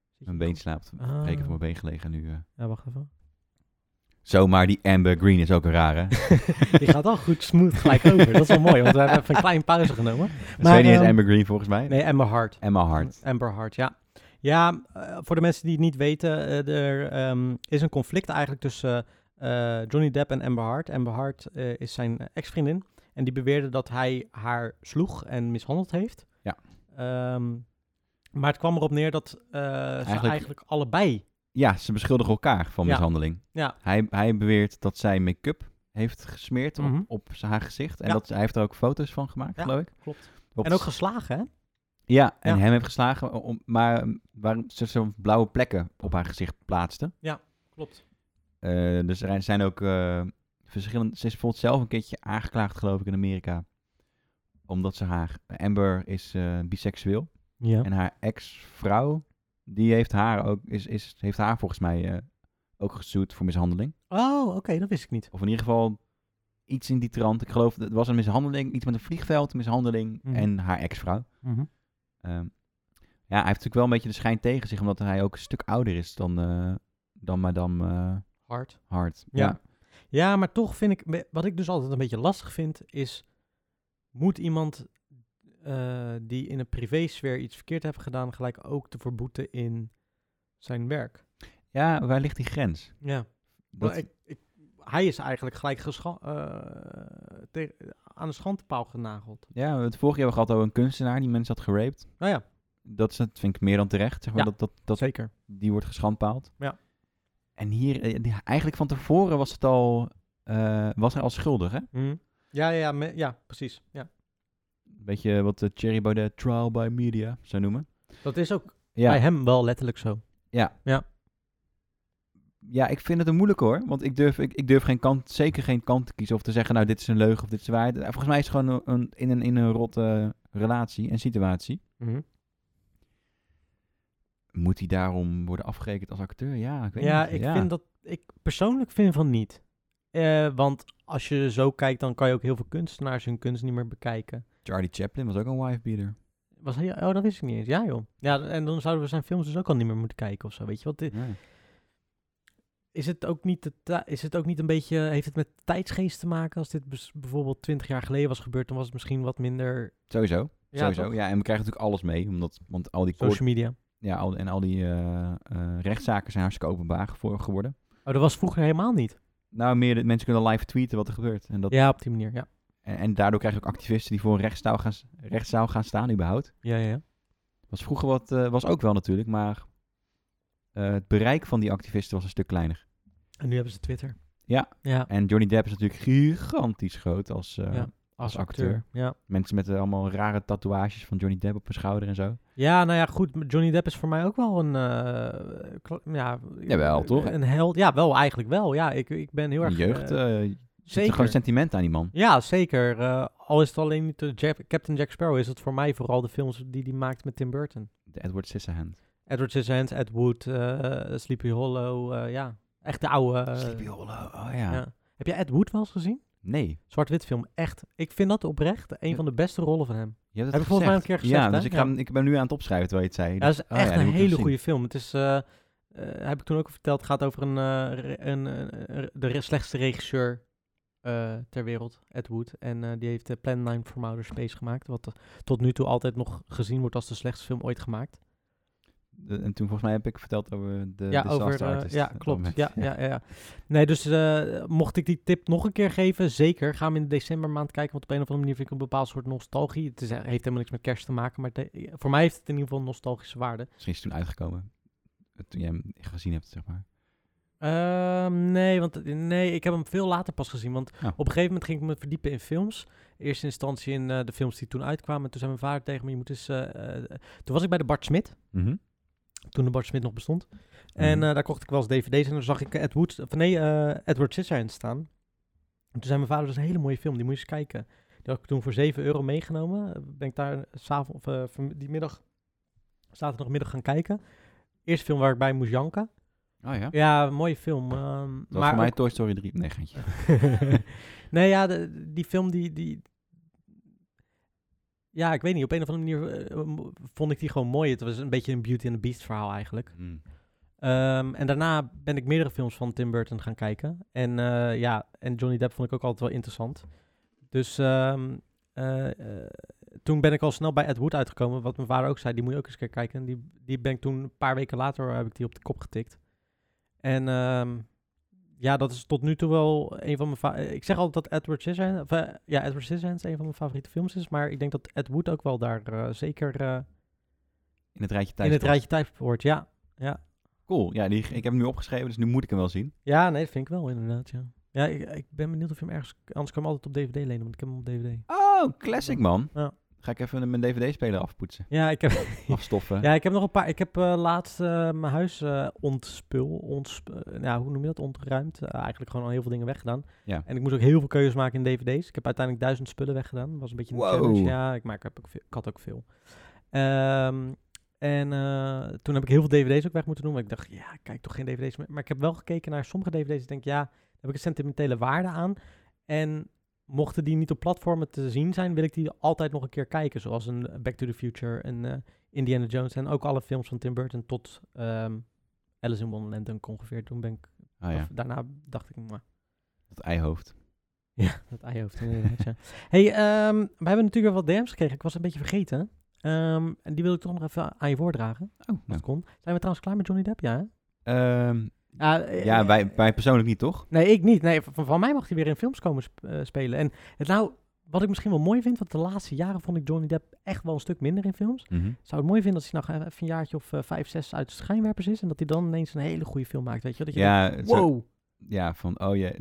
Speaker 1: Zit je-
Speaker 2: Mijn been slaapt.
Speaker 1: Ah.
Speaker 2: Reken voor mijn been gelegen nu. eh.
Speaker 1: Ja, wacht even.
Speaker 2: Zomaar die Amber Green is ook een rare.
Speaker 1: Die gaat al goed smooth gelijk over. Dat is wel mooi, want we hebben even een kleine pauze genomen.
Speaker 2: Zijn Tweede is
Speaker 1: ehm,
Speaker 2: Amber Green volgens mij.
Speaker 1: Nee, Amber Hart.
Speaker 2: Emma Hart.
Speaker 1: Amber Hart, ja. Ja, eh, voor de mensen die het niet weten, eh, er ehm, is een conflict eigenlijk tussen eh, eh, Johnny Depp en Amber Hart. Amber Hart eh, is zijn eh, ex-vriendin en die beweerde dat hij haar sloeg en mishandeld heeft.
Speaker 2: Ja.
Speaker 1: Ehm, maar het kwam erop neer dat eh, ze
Speaker 2: Eigenlijk-
Speaker 1: eigenlijk allebei...
Speaker 2: Ja, ze beschuldigen elkaar van
Speaker 1: Ja.
Speaker 2: mishandeling.
Speaker 1: Ja.
Speaker 2: Hij, hij beweert dat zij make-up heeft gesmeerd op,
Speaker 1: Mhm.
Speaker 2: op z- haar gezicht. En
Speaker 1: Ja.
Speaker 2: dat, hij heeft er ook foto's van gemaakt,
Speaker 1: Ja,
Speaker 2: geloof ik.
Speaker 1: klopt.
Speaker 2: Wat-
Speaker 1: En ook geslagen, hè?
Speaker 2: ja, en
Speaker 1: Ja.
Speaker 2: hem heeft geslagen, om, maar mm, waarom ze zo'n blauwe plekken op haar gezicht plaatste.
Speaker 1: Klopt.
Speaker 2: Eh, dus er zijn ook eh, verschillende... Ze is bijvoorbeeld zelf een keertje aangeklaagd, geloof ik, in Amerika. Omdat ze haar... Amber is eh, biseksueel.
Speaker 1: Ja.
Speaker 2: En haar ex-vrouw, die heeft haar, ook, is, is, heeft haar volgens mij eh, ook gesuurd voor mishandeling.
Speaker 1: Oh, oké, dat wist ik niet.
Speaker 2: Of in ieder geval iets in die trant. Ik geloof, dat het was een mishandeling, iets met een vliegveld, een mishandeling
Speaker 1: Mhm.
Speaker 2: en haar ex-vrouw. Ehm, ja, hij heeft natuurlijk wel een beetje de schijn tegen zich, omdat hij ook een stuk ouder is dan, eh, dan madame eh,
Speaker 1: Hart.
Speaker 2: Hart.
Speaker 1: Ja. Ja, maar toch vind ik, wat ik dus altijd een beetje lastig vind, is moet iemand eh, die in een privésfeer iets verkeerd heeft gedaan, gelijk ook te verboeten in zijn werk?
Speaker 2: Ja, waar ligt die grens?
Speaker 1: Ja.
Speaker 2: Dat,
Speaker 1: ik, ik, hij is eigenlijk gelijk gescha- eh, tegen- aan de schandpaal genageld.
Speaker 2: ja, het vorige jaar hadden we gehad over een kunstenaar die mensen had geraped.
Speaker 1: Nou ja,
Speaker 2: Dat, is, dat vind ik meer dan terecht, zeg maar.
Speaker 1: Ja.
Speaker 2: Dat, dat, dat,
Speaker 1: zeker.
Speaker 2: die wordt geschandpaald.
Speaker 1: Ja.
Speaker 2: En hier, eh, die- eigenlijk van tevoren was het al, eh, was hij al schuldig, hè?
Speaker 1: Mhm. Ja, ja, ja, me- ja, precies. Ja.
Speaker 2: Beetje wat de Thierry Baudet trial by media zou noemen.
Speaker 1: Dat is ook bij
Speaker 2: Ja,
Speaker 1: hem wel letterlijk zo.
Speaker 2: ja, ik vind het een moeilijk hoor. Want ik durf, ik, ik durf geen kant, zeker geen kant te kiezen of te zeggen, nou dit is een leugen of dit is waarheid. Eh, Volgens mij is het gewoon een, een- in, een, in een rotte relatie en situatie.
Speaker 1: Mhm.
Speaker 2: Moet hij daarom worden afgerekend als acteur? Ja, ik weet
Speaker 1: Ja,
Speaker 2: niet.
Speaker 1: ik vind dat. Ik persoonlijk vind van niet. Eh, want als je zo kijkt, dan kan je ook heel veel kunstenaars hun kunst niet meer bekijken.
Speaker 2: Charlie Chaplin was ook een wife-beater.
Speaker 1: Was hij, oh, dat wist ik niet eens. Ja, joh. Ja, d- en dan zouden we zijn films dus ook al niet meer moeten kijken of zo. Weet je wat?
Speaker 2: Ja.
Speaker 1: Is het ook niet, de ta- is het ook niet een beetje. Heeft het met tijdsgeest te maken? Als dit bes- bijvoorbeeld twintig jaar geleden was gebeurd, dan was het misschien wat minder.
Speaker 2: Sowieso, sowieso.
Speaker 1: toch?
Speaker 2: Ja, en we krijgen natuurlijk alles mee, omdat, want al die koor-
Speaker 1: Social media.
Speaker 2: Ja, al, en al die eh, eh, rechtszaken zijn hartstikke openbaar voor, geworden.
Speaker 1: Oh, dat was vroeger helemaal niet.
Speaker 2: Nou, meer de, mensen kunnen live tweeten wat er gebeurt. En, dat,
Speaker 1: Ja, op die manier. Ja,
Speaker 2: en, en daardoor krijg je ook activisten die voor een rechtszaal gaan, s- rechtszaal gaan staan, überhaupt.
Speaker 1: ja, ja. ja.
Speaker 2: Was vroeger wat, eh, was ook wel natuurlijk, maar eh, het bereik van die activisten was een stuk kleiner.
Speaker 1: En nu hebben ze Twitter.
Speaker 2: Ja.
Speaker 1: Ja,
Speaker 2: En Johnny Depp is natuurlijk gigantisch groot als eh,
Speaker 1: Ja.
Speaker 2: als acteur.
Speaker 1: Ja.
Speaker 2: mensen met eh, allemaal rare tatoeages van Johnny Depp op hun schouder en zo.
Speaker 1: Ja, nou ja, goed. m- Johnny Depp is voor mij ook wel een. eh, kla- ja, eh,
Speaker 2: Jawel, toch?
Speaker 1: Een held. Ja, wel, eigenlijk wel. Ja, ik, ik ben heel
Speaker 2: Een
Speaker 1: erg.
Speaker 2: jeugd,
Speaker 1: eh,
Speaker 2: eh, zit er
Speaker 1: zeker.
Speaker 2: gewoon sentiment aan die man.
Speaker 1: Ja, zeker. Eh, al is het alleen niet de Jack- Captain Jack Sparrow, is het voor mij vooral de films die hij maakt met Tim Burton.
Speaker 2: De Edward Scissorhands.
Speaker 1: Edward Scissorhands, Ed Wood, eh, Sleepy Hollow. eh, ja, echt de oude. eh,
Speaker 2: Sleepy Hollow, oh
Speaker 1: ja.
Speaker 2: ja.
Speaker 1: Heb jij Ed Wood wel eens gezien?
Speaker 2: Nee.
Speaker 1: Zwart-wit film, echt. Ik vind dat oprecht een van de beste rollen van hem.
Speaker 2: Je
Speaker 1: Heb
Speaker 2: hebt het
Speaker 1: ik volgens mij een keer gezegd,
Speaker 2: Ja, dus
Speaker 1: hè?
Speaker 2: ik, ga,
Speaker 1: Ja.
Speaker 2: hem- ik ben nu aan het opschrijven terwijl je het zei.
Speaker 1: Ja, dat is echt
Speaker 2: Oh ja, die
Speaker 1: een
Speaker 2: moet ik nog
Speaker 1: hele
Speaker 2: zien.
Speaker 1: goede film. Het is, eh, eh, heb ik toen ook al verteld, het gaat over een, eh, re- een, eh, re- de re- slechtste regisseur eh, ter wereld, Ed Wood. En eh, die heeft eh, Plan 9 from Outer Space gemaakt, wat eh, tot nu toe altijd nog gezien wordt als de slechtste film ooit gemaakt.
Speaker 2: De- eh, en toen volgens mij heb ik verteld over de
Speaker 1: ja,
Speaker 2: Disaster
Speaker 1: over, eh,
Speaker 2: Artist.
Speaker 1: ja,
Speaker 2: Op dat
Speaker 1: klopt.
Speaker 2: moment.
Speaker 1: Ja, ja, ja, ja. Nee, dus eh, mocht ik die tip nog een keer geven, zeker. Ga hem in de decembermaand kijken, want op een of andere manier vind ik een bepaald soort nostalgie. Het is, eh, heeft helemaal niks met kerst te maken, maar het- eh, voor mij heeft het in ieder geval een nostalgische waarde.
Speaker 2: Misschien is het toen uitgekomen. eh, Toen jij hem gezien hebt, zeg maar.
Speaker 1: Ehm, nee, want eh, nee, ik heb hem veel later pas gezien. Want
Speaker 2: Ja.
Speaker 1: op een gegeven moment ging ik me verdiepen in films. In eerste instantie in eh, de films die toen uitkwamen. En toen zei mijn vader tegen me, je moet eens... eh, eh, toen was ik bij de Bart Smit, toen de Bart Smit nog bestond. En
Speaker 2: Mhm.
Speaker 1: eh, daar kocht ik wel eens dvd's en dan zag ik Ed Wood, of nee, eh, Edward Scissorhands staan. En toen zei mijn vader, dat is een hele mooie film, die moet je eens kijken. Die had ik toen voor 7 euro meegenomen. Eh, Ben ik daar s'avonds, of eh, van- die middag, zaterdagmiddag gaan kijken. Eerste film waar ik bij moest janken.
Speaker 2: Oh ja.
Speaker 1: Ja, een mooie film. ehm,
Speaker 2: Dat was voor mij
Speaker 1: ook-
Speaker 2: Toy Story 3. Nee, geintje.
Speaker 1: nee, ja, de- die film die, die... Ja, ik weet niet. Op een of andere manier eh, m- vond ik die gewoon mooi. Het was een beetje een Beauty and the Beast verhaal eigenlijk.
Speaker 2: Mm.
Speaker 1: Eh, Ehm, en daarna ben ik meerdere films van Tim Burton gaan kijken. En eh, ja, en Johnny Depp vond ik ook altijd wel interessant. Dus ehm, eh, eh, toen ben ik al snel bij Ed Wood uitgekomen. Wat mijn vader ook zei, die moet je ook eens een keer kijken. En die, die ben ik toen een paar weken later eh, heb ik die op de kop getikt. En ehm, ja, dat is tot nu toe wel een van mijn... fa- eh, Ik zeg altijd dat Edward Scissorhands... of, eh, ja, Edward Scissorhands een van mijn favoriete films is. Maar ik denk dat Ed Wood ook wel daar eh, zeker eh,
Speaker 2: In het rijtje
Speaker 1: in
Speaker 2: thuis.
Speaker 1: het rijtje tijd hoort. Ja.
Speaker 2: Cool. Ja, die, ik heb hem nu opgeschreven, dus nu moet ik hem wel zien.
Speaker 1: Ja, nee, dat vind ik wel inderdaad, ja. Ja, ik, ik ben benieuwd of je hem ergens... Anders kan je hem altijd op DVD lenen, want ik heb hem op DVD.
Speaker 2: Oh, classic man.
Speaker 1: Ja.
Speaker 2: Ga ik even mijn DVD-speler afpoetsen.
Speaker 1: Ja, ik heb,
Speaker 2: Afstoffen.
Speaker 1: ja, ik heb nog een paar... Ik heb eh, laatst eh, mijn huis eh ontspul... Ontsp, eh, nou, hoe noem je dat? Ontruimd. Eh, eigenlijk gewoon al heel veel dingen weggedaan.
Speaker 2: Ja.
Speaker 1: En ik moest ook heel veel keuzes maken in DVD's. Ik heb uiteindelijk duizend spullen weggedaan. was een beetje een
Speaker 2: Wow.
Speaker 1: challenge. Ja, ik, maak, heb ook veel, ik had ook veel. Ehm, en eh, toen heb ik heel veel DVD's ook weg moeten doen. Want ik dacht, ja, ik kijk toch geen DVD's meer. Maar ik heb wel gekeken naar sommige DVD's. Ik denk, ja, daar heb ik een sentimentele waarde aan. En mochten die niet op platformen te zien zijn, wil ik die altijd nog een keer kijken. Zoals een Back to the Future, een eh, Indiana Jones en ook alle films van Tim Burton tot ehm, Alice in Wonderland en ongeveer. Toen ben ik,
Speaker 2: Oh ja,
Speaker 1: of daarna dacht ik, maar
Speaker 2: dat eihoofd.
Speaker 1: ja, dat eihoofd inderdaad, ja. hey, ehm, we hebben natuurlijk wel wat DM's gekregen. Ik was een beetje vergeten. Ehm, en die wil ik toch nog even aan je voordragen,
Speaker 2: Oh,
Speaker 1: als
Speaker 2: nou.
Speaker 1: het kon. Zijn we trouwens klaar met Johnny Depp? Ja, hè?
Speaker 2: Ehm,
Speaker 1: Ja, eh,
Speaker 2: ja, wij, wij persoonlijk niet, toch?
Speaker 1: Nee, ik niet. Nee, van, van mij mag hij weer in films komen sp- eh, spelen. En het nou, wat ik misschien wel mooi vind, want de laatste jaren vond ik Johnny Depp echt wel een stuk minder in films. Zou het mooi vinden als hij nou gewoon even een jaartje of eh, vijf, zes uit de schijnwerpers is en dat hij dan ineens een hele goede film maakt, weet je? wel? Dat je
Speaker 2: Ja,
Speaker 1: denkt,
Speaker 2: zo-
Speaker 1: wow.
Speaker 2: ja, van oh ja,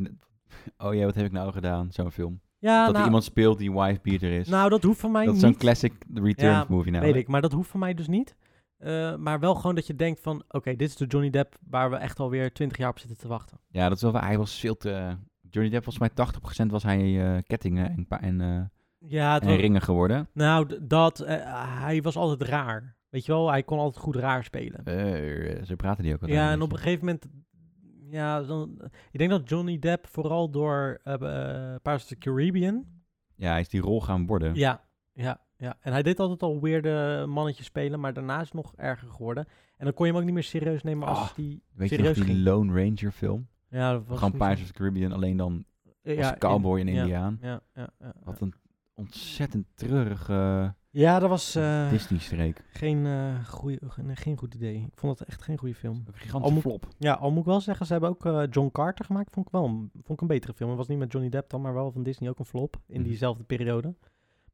Speaker 2: oh ja, wat heb ik nou gedaan? Zo'n film.
Speaker 1: Ja,
Speaker 2: dat
Speaker 1: nou,
Speaker 2: er iemand speelt die wife-beater is.
Speaker 1: nou, dat hoeft van mij
Speaker 2: dat is
Speaker 1: niet.
Speaker 2: zo'n classic return
Speaker 1: Ja,
Speaker 2: movie nou.
Speaker 1: Weet ik, maar dat hoeft van mij dus niet. Eh, maar wel gewoon dat je denkt van, oké, dit is de Johnny Depp waar we echt alweer twintig jaar op zitten te wachten.
Speaker 2: Ja, dat is wel waar. Hij was veel te... Johnny Depp, volgens mij 80% was hij eh, kettingen en, pa- en, eh,
Speaker 1: Ja, het
Speaker 2: en
Speaker 1: was-
Speaker 2: ringen geworden.
Speaker 1: nou, d- dat, eh, hij was altijd raar. Weet je wel, hij kon altijd goed raar spelen.
Speaker 2: Eh, zo praten die ook wel.
Speaker 1: Ja, en op een gegeven moment, ja, dan, ik denk dat Johnny Depp vooral door eh eh, Pirates of the Caribbean,
Speaker 2: Ja, hij is die rol gaan worden.
Speaker 1: Ja, ja, ja. En hij deed altijd al weerde mannetjes spelen, maar daarna is het nog erger geworden. En dan kon je hem ook niet meer serieus nemen als
Speaker 2: Ah,
Speaker 1: die
Speaker 2: Weet je nog
Speaker 1: serieus
Speaker 2: die
Speaker 1: ging.
Speaker 2: Lone Ranger film?
Speaker 1: Ja, dat was
Speaker 2: Gewoon
Speaker 1: niet
Speaker 2: Pirates of the Caribbean, alleen dan
Speaker 1: zo-
Speaker 2: als
Speaker 1: ja, in-
Speaker 2: cowboy en
Speaker 1: ja,
Speaker 2: indiaan.
Speaker 1: Ja, ja, ja, ja.
Speaker 2: Wat een ontzettend treurige
Speaker 1: Ja, dat was eh,
Speaker 2: Disney-streek.
Speaker 1: geen, eh goeie, geen, geen goed idee. Ik vond dat echt geen goede film.
Speaker 2: Een
Speaker 1: al
Speaker 2: gigantische
Speaker 1: moet-
Speaker 2: flop.
Speaker 1: Ja, al moet ik wel zeggen, ze hebben ook eh, John Carter gemaakt. Vond ik wel een, vond ik een betere film. Het was niet met Johnny Depp dan, maar wel van Disney ook een flop in
Speaker 2: Mhm.
Speaker 1: diezelfde periode.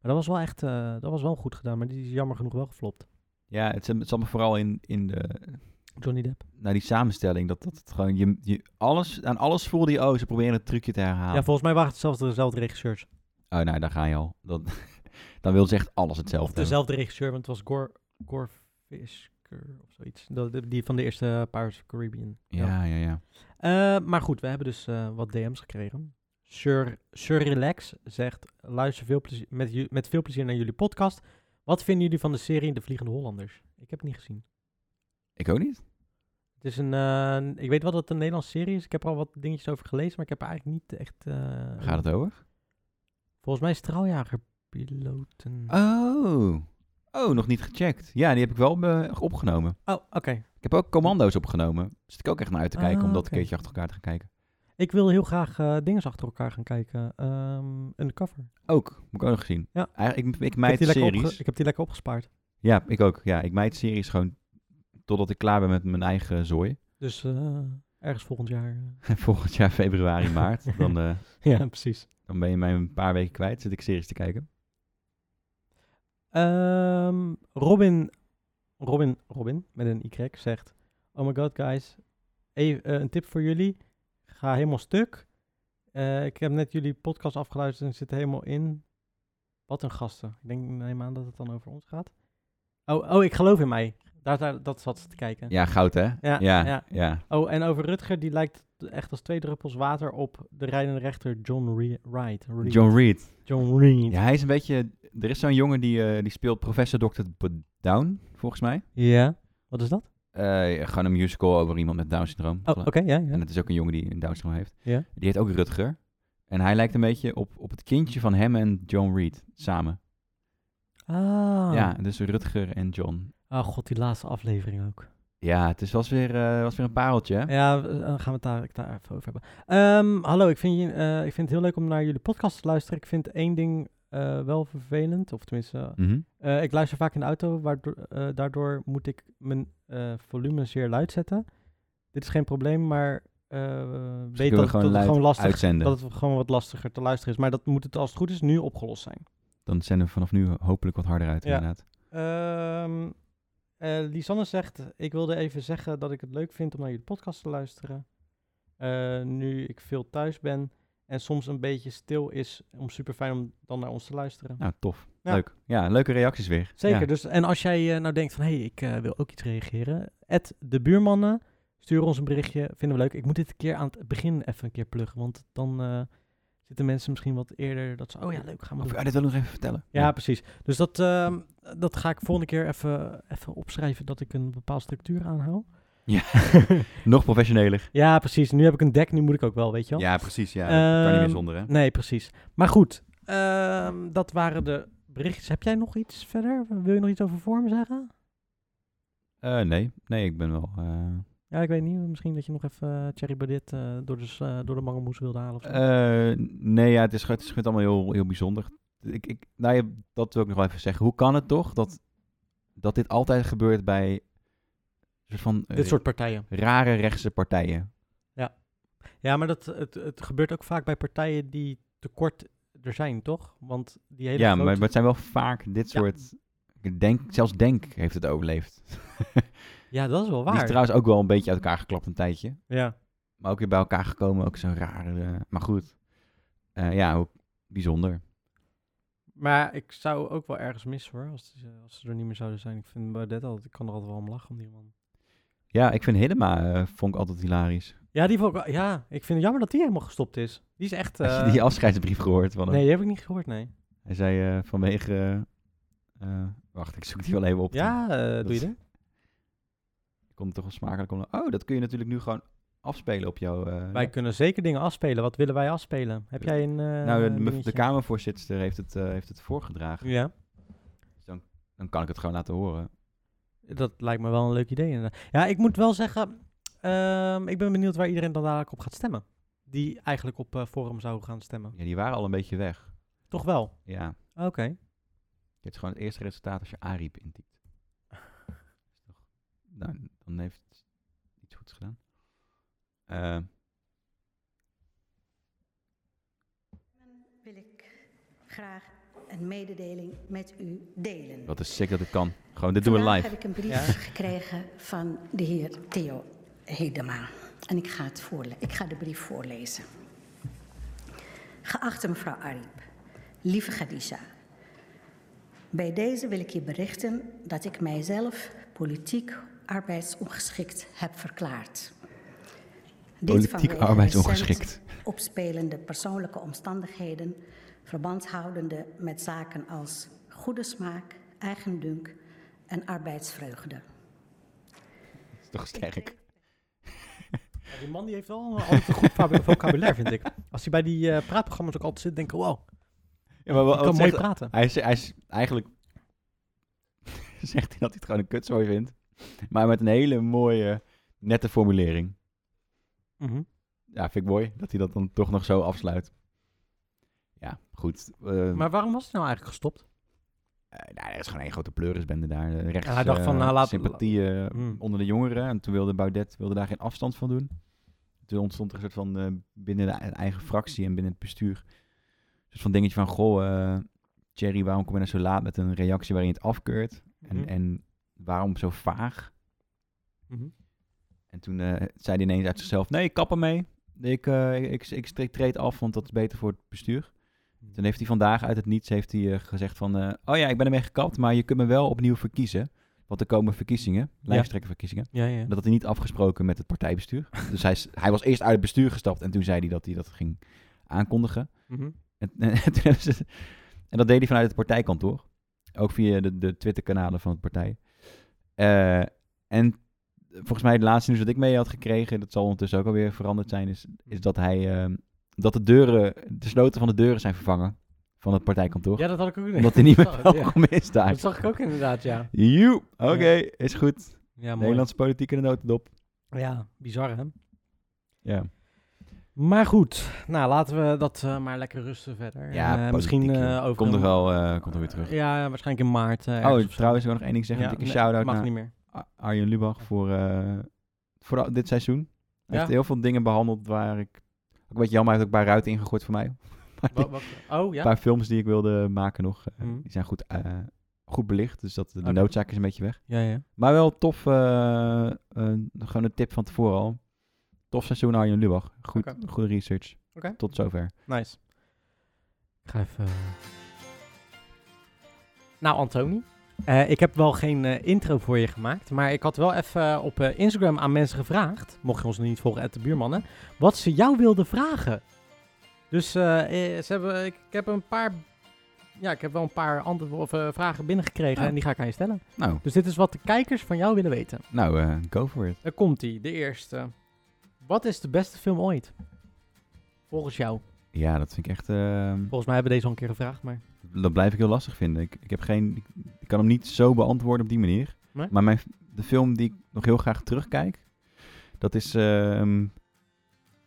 Speaker 1: Maar dat was wel echt, eh, dat was wel goed gedaan, maar die is jammer genoeg wel geflopt.
Speaker 2: Ja, het, zat- het zat me vooral in, in de,
Speaker 1: Johnny Depp.
Speaker 2: naar die samenstelling. Dat, dat het gewoon, je, je, alles, aan alles voelde je, oh, ze proberen het trucje te herhalen.
Speaker 1: Ja, volgens mij waren het dezelfde, dezelfde regisseurs.
Speaker 2: Oh, nou, daar ga je al. Dan, dan wil ze echt alles
Speaker 1: Of
Speaker 2: hetzelfde.
Speaker 1: dezelfde regisseur, want het was Gore, Gore Fisker of zoiets. Dat, de- die van de eerste Pirates of the Caribbean.
Speaker 2: hebben. Ja, ja, ja.
Speaker 1: Eh, maar goed, we hebben dus eh, wat DM's gekregen. Sir, Sir Relax zegt, luister veel plezier, met, ju- met veel plezier naar jullie podcast. Wat vinden jullie van de serie De Vliegende Hollanders? Ik heb het niet gezien.
Speaker 2: Ik ook niet.
Speaker 1: Het is een, eh, ik weet wel dat het een Nederlandse serie is. Ik heb er al wat dingetjes over gelezen, maar ik heb er eigenlijk niet echt... eh,
Speaker 2: Waar gaat het over?
Speaker 1: Volgens mij is straaljagerpiloten.
Speaker 2: Oh. Oh, nog niet gecheckt. Ja, die heb ik wel eh, opgenomen.
Speaker 1: Oh, oké.
Speaker 2: Ik heb ook commando's opgenomen. Dus Zit ik ook echt naar uit te kijken
Speaker 1: Ah,
Speaker 2: om dat
Speaker 1: oké.
Speaker 2: een keertje achter elkaar te gaan kijken.
Speaker 1: Ik wil heel graag eh dingen achter elkaar gaan kijken. Ehm undercover.
Speaker 2: Ook, moet ik ook nog gezien.
Speaker 1: Ja.
Speaker 2: Eigenlijk, ik, ik
Speaker 1: Ik heb,
Speaker 2: mijd
Speaker 1: die lekker
Speaker 2: series.
Speaker 1: opge- ik heb die lekker opgespaard.
Speaker 2: Ja, ik ook. Ja, ik mijd series gewoon totdat ik klaar ben met mijn eigen zooi.
Speaker 1: Dus eh, ergens volgend jaar. eh.
Speaker 2: Volgend jaar februari, maart. Dan, eh,
Speaker 1: ja, precies.
Speaker 2: dan ben je mij een paar weken kwijt. Zit ik series te kijken.
Speaker 1: Ehm, Robin, Robin, Robin met een Y zegt: Oh my god, guys. Even, eh, een tip voor jullie. Ga helemaal stuk. Eh, ik heb net jullie podcast afgeluisterd en ik zit er helemaal in. Wat een gasten. Ik denk, neem aan dat het dan over ons gaat. Oh, oh ik geloof in mij. Daar, daar, dat zat ze te kijken.
Speaker 2: Ja, goud hè?
Speaker 1: Ja,
Speaker 2: ja.
Speaker 1: ja.
Speaker 2: ja.
Speaker 1: Oh, en over Rutger, die lijkt echt als twee druppels water op de rijdende rechter John Re- Wright. Reed.
Speaker 2: John Reed.
Speaker 1: John Reed.
Speaker 2: Ja, hij is een beetje... Er is zo'n jongen die, eh, die speelt professor Dr. B- Down, volgens mij.
Speaker 1: Ja. Wat is dat?
Speaker 2: Eh, gewoon een musical over iemand met Down-syndroom.
Speaker 1: Oh, oké, ja, ja.
Speaker 2: En het is ook een jongen die een Down-syndroom heeft.
Speaker 1: Ja.
Speaker 2: Die heet ook Rutger. En hij lijkt een beetje op, op het kindje van hem en John Reed samen.
Speaker 1: Ah.
Speaker 2: Ja, dus Rutger en John.
Speaker 1: Oh god, die laatste aflevering ook.
Speaker 2: Ja, het is, was, weer, eh, was weer een pareltje. hè?
Speaker 1: Ja, eh, dan gaan we het daar, daar even over hebben. Ehm, hallo, ik vind, je, eh, ik vind het heel leuk om naar jullie podcast te luisteren. Ik vind één ding eh, wel vervelend, of tenminste, eh,
Speaker 2: Mhm.
Speaker 1: eh, ik luister vaak in de auto, waardoor, eh, daardoor moet ik mijn eh, volume zeer luid zetten. Dit is geen probleem, maar eh weet
Speaker 2: kunnen
Speaker 1: dat,
Speaker 2: we gewoon
Speaker 1: dat het
Speaker 2: luid
Speaker 1: gewoon lastig
Speaker 2: uitzenden.
Speaker 1: Dat het gewoon wat lastiger te luisteren is. Maar dat moet het als het goed is nu opgelost zijn.
Speaker 2: Dan zenden we vanaf nu hopelijk wat harder uit,
Speaker 1: Ja.
Speaker 2: inderdaad.
Speaker 1: Ehm eh, Lisanne zegt, ik wilde even zeggen dat ik het leuk vind om naar jullie podcast te luisteren. Eh, nu ik veel thuis ben en soms een beetje stil is, om super fijn om dan naar ons te luisteren.
Speaker 2: Nou, tof.
Speaker 1: Ja.
Speaker 2: Leuk. Ja, leuke reacties weer.
Speaker 1: Zeker,
Speaker 2: Ja.
Speaker 1: dus en als jij eh, nou denkt van, hé, hey, ik eh, wil ook iets reageren. At de buurmannen, stuur ons een berichtje, vinden we leuk. Ik moet dit een keer aan het begin even een keer pluggen, want dan eh, zitten mensen misschien wat eerder dat ze, oh ja, leuk, gaan we
Speaker 2: Of
Speaker 1: doen.
Speaker 2: wil je dat wil nog even vertellen.
Speaker 1: Ja, precies. Dus dat, ehm, dat ga ik volgende keer even, even opschrijven dat ik een bepaalde structuur aanhoud.
Speaker 2: Nog professioneler.
Speaker 1: Ja, precies. Nu heb ik een deck, nu moet ik ook wel, weet je wel?
Speaker 2: Ja, precies. Ja,
Speaker 1: dat kan niet meer Ehm,
Speaker 2: zonder, hè?
Speaker 1: Nee, precies. Maar goed, ehm, dat waren de berichtjes. Heb jij nog iets verder? Wil je nog iets over vorm zeggen?
Speaker 2: Eh, nee. Nee, ik ben wel... eh,
Speaker 1: Ja, ik weet niet. Misschien dat je nog even eh, Thierry Baudet eh, door, de, s- eh, door de mangelmoes wilde halen of zo.
Speaker 2: Eh, nee, ja, het is, het is gewoon allemaal heel, heel bijzonder. Ik, ik, nou, ja, dat wil ik nog wel even zeggen. Hoe kan het toch dat, dat dit altijd gebeurt bij een soort van eh,
Speaker 1: Dit soort partijen.
Speaker 2: rare rechtse partijen?
Speaker 1: Ja, maar dat, het, het gebeurt ook vaak bij partijen die tekort er zijn, toch? Want die hele
Speaker 2: ja,
Speaker 1: grote...
Speaker 2: maar, maar het zijn wel vaak dit
Speaker 1: Ja.
Speaker 2: soort... ik Denk, zelfs Denk heeft het overleefd.
Speaker 1: Ja, dat is wel
Speaker 2: Die
Speaker 1: waar.
Speaker 2: is trouwens ook wel een beetje uit elkaar geklapt een tijdje.
Speaker 1: ja.
Speaker 2: Maar ook weer bij elkaar gekomen. Ook zo'n rare... eh, maar goed. Eh, ja, hoe bijzonder.
Speaker 1: Maar ik zou ook wel ergens missen hoor, als, die, eh, als ze er niet meer zouden zijn. Ik vind Baudet altijd, ik kan er altijd wel om lachen om die man.
Speaker 2: Ja, ik vind Helema eh, vond ik altijd hilarisch.
Speaker 1: Ja, die vond ik wel- ja, ik vind het jammer dat die helemaal gestopt is. Die is echt...
Speaker 2: Heb
Speaker 1: eh,
Speaker 2: je die afscheidsbrief gehoord van hem?
Speaker 1: nee, die heb ik niet gehoord, nee.
Speaker 2: Hij zei eh, vanwege. eh, eh, wacht, ik zoek die wel even op.
Speaker 1: Ja, eh, doe je
Speaker 2: is-
Speaker 1: dat?
Speaker 2: Ik kon het toch wel smakelijk om. Oh, dat kun je natuurlijk nu gewoon afspelen op jouw. eh,
Speaker 1: Wij kunnen zeker dingen afspelen. Wat willen wij afspelen? Heb jij een... eh,
Speaker 2: nou, de, de,
Speaker 1: dingetje?
Speaker 2: Kamervoorzitter heeft het, eh, heeft het voorgedragen.
Speaker 1: Ja,
Speaker 2: Dan kan ik het gewoon laten horen.
Speaker 1: dat lijkt me wel een leuk idee. inderdaad. Ja, ik moet wel zeggen, ehm, ik ben benieuwd waar iedereen dan dadelijk op gaat stemmen. Die eigenlijk op eh, Forum zou gaan stemmen.
Speaker 2: Ja, die waren al een beetje weg.
Speaker 1: Toch wel?
Speaker 2: Ja.
Speaker 1: Oké.
Speaker 2: Dit is gewoon het eerste resultaat als je Ariep intypt. Is toch- Nou, dan heeft het iets goeds gedaan. Eh,
Speaker 3: wil ik graag een mededeling met u delen.
Speaker 2: wat is sick dat ik kan. Gewoon, dit doen we
Speaker 3: Vandaag
Speaker 2: live.
Speaker 3: heb ik een brief
Speaker 1: Ja.
Speaker 3: gekregen van de heer Theo Hedema. En ik ga, het voorle- ik ga de brief voorlezen. Geachte mevrouw Ariep, lieve Khadija. Bij deze wil ik je berichten dat ik mijzelf politiek arbeidsongeschikt heb verklaard. Dit
Speaker 2: Politiek
Speaker 3: vanwege
Speaker 2: arbeidsongeschikt.
Speaker 3: recent Opspelende persoonlijke omstandigheden, verband houdende met zaken als goede smaak, eigendunk en arbeidsvreugde.
Speaker 2: Dat is toch sterk.
Speaker 1: Ja, die man die heeft wel een- altijd een goed vocabu- vocabulaire, vind ik. Als hij bij die eh, praatprogramma's ook altijd zit, denk ik, wow,
Speaker 2: Ja, maar wat,
Speaker 1: ik kan mooi
Speaker 2: zegt-
Speaker 1: praten.
Speaker 2: Hij is, hij is eigenlijk... zegt hij dat hij het gewoon een kutzooi vindt. Maar met een hele mooie, nette formulering.
Speaker 1: Mhm.
Speaker 2: Ja, vind ik mooi dat hij dat dan toch nog zo afsluit. Ja, goed. Eh,
Speaker 1: Maar waarom was het nou eigenlijk gestopt?
Speaker 2: eh, nou, er is gewoon één grote pleurisbende daar. De Rechts,
Speaker 1: Ja, hij dacht van,
Speaker 2: eh,
Speaker 1: nou, laat-
Speaker 2: sympathieën eh,
Speaker 1: Hmm.
Speaker 2: onder de jongeren. En toen wilde Baudet wilde daar geen afstand van doen. Toen ontstond er een soort van eh, binnen de ei- eigen fractie en binnen het bestuur... een soort van dingetje van, goh, eh Thierry, waarom kom je nou zo laat met een reactie waarin je het afkeurt? En,
Speaker 1: Mhm.
Speaker 2: en waarom zo vaag?
Speaker 1: Mhm.
Speaker 2: En toen eh, zei hij ineens uit zichzelf: Nee, ik kap ermee. Ik, eh, ik, ik, ik treed af, want dat is beter voor het bestuur. Toen heeft hij vandaag uit het niets heeft hij, eh, gezegd: van, eh, Oh ja, ik ben ermee gekapt, maar je kunt me wel opnieuw verkiezen. Want er komen verkiezingen, lijsttrekkerverkiezingen.
Speaker 1: Ja, ja.
Speaker 2: Dat had hij niet afgesproken met het partijbestuur. dus hij, is- hij was eerst uit het bestuur gestapt en toen zei hij dat hij dat ging aankondigen.
Speaker 1: Mhm.
Speaker 2: En, en, toen hebben ze- en dat deed hij vanuit het partijkantoor. Ook via de, de Twitter-kanalen van de partij. Eh, en volgens mij het laatste nieuws dat ik mee had gekregen... dat zal ondertussen ook alweer veranderd zijn... is, is dat, hij, eh, dat de deuren, de sloten van de deuren zijn vervangen van het partijkantoor.
Speaker 1: Ja, dat had ik ook
Speaker 2: omdat hij niet meer
Speaker 1: Dat zag ik, ja.
Speaker 2: welkom is daar.
Speaker 1: Dat zag ik ook inderdaad, ja.
Speaker 2: Joe, oké, is goed.
Speaker 1: Ja, mooi.
Speaker 2: Nederlandse politiek in de notendop.
Speaker 1: Ja, bizar hè?
Speaker 2: Ja.
Speaker 1: Maar goed, nou laten we dat eh, maar lekker rusten verder.
Speaker 2: Ja,
Speaker 1: En, eh,
Speaker 2: politiek,
Speaker 1: misschien eh,
Speaker 2: joh.
Speaker 1: over...
Speaker 2: Komt er
Speaker 1: een-
Speaker 2: wel eh, komt er weer terug.
Speaker 1: Ja, waarschijnlijk in maart. eh, ergens
Speaker 2: oh,
Speaker 1: of zo.
Speaker 2: trouwens, ik wil nog één ding zeggen.
Speaker 1: Ja,
Speaker 2: een dikke
Speaker 1: nee,
Speaker 2: shout-out
Speaker 1: Mag
Speaker 2: naar
Speaker 1: niet meer.
Speaker 2: Ar- Arjen Lubach voor, eh, voor al- dit seizoen. Hij
Speaker 1: Ja.
Speaker 2: heeft heel veel dingen behandeld waar ik... Ook een beetje jammer, hij heeft ook een paar ruiten ingegooid voor mij. Een paar dingen-
Speaker 1: Wa- wat- oh ja?
Speaker 2: Een paar films die ik wilde maken nog. eh,
Speaker 1: Mhm.
Speaker 2: Die zijn goed, eh, goed belicht, dus dat, de
Speaker 1: Oké.
Speaker 2: noodzaak is een beetje weg.
Speaker 1: Ja, ja.
Speaker 2: Maar wel tof, eh, eh, gewoon een tip van tevoren al. Tof seizoen Arjen Lubach. Goed,
Speaker 1: Oké.
Speaker 2: Goede research.
Speaker 1: Oké.
Speaker 2: Tot zover.
Speaker 1: Nice. Ik ga even... eh. Nou, Antoni. eh, ik heb wel geen eh, intro voor je gemaakt, maar ik had wel even eh, op eh, Instagram aan mensen gevraagd, mocht je ons nog niet volgen, at de buurmannen, wat ze jou wilden vragen. Dus eh, eh, ze hebben, ik, ik heb een paar, ja, ik heb wel een paar antwoorden of eh, vragen binnengekregen
Speaker 2: Ja.
Speaker 1: en die ga ik aan je stellen.
Speaker 2: Nou,
Speaker 1: Dus dit is wat de kijkers van jou willen weten.
Speaker 2: nou eh, go for it.
Speaker 1: Daar komt hij, de eerste. Wat is de beste film ooit? Volgens jou.
Speaker 2: Ja, dat vind ik echt... eh,
Speaker 1: Volgens mij hebben we deze al een keer gevraagd, maar...
Speaker 2: Dat blijf ik heel lastig vinden. Ik, ik, heb geen, ik, ik kan hem niet zo beantwoorden op die manier.
Speaker 1: Nee?
Speaker 2: Maar mijn, de film die ik nog heel graag terugkijk, dat is ehm,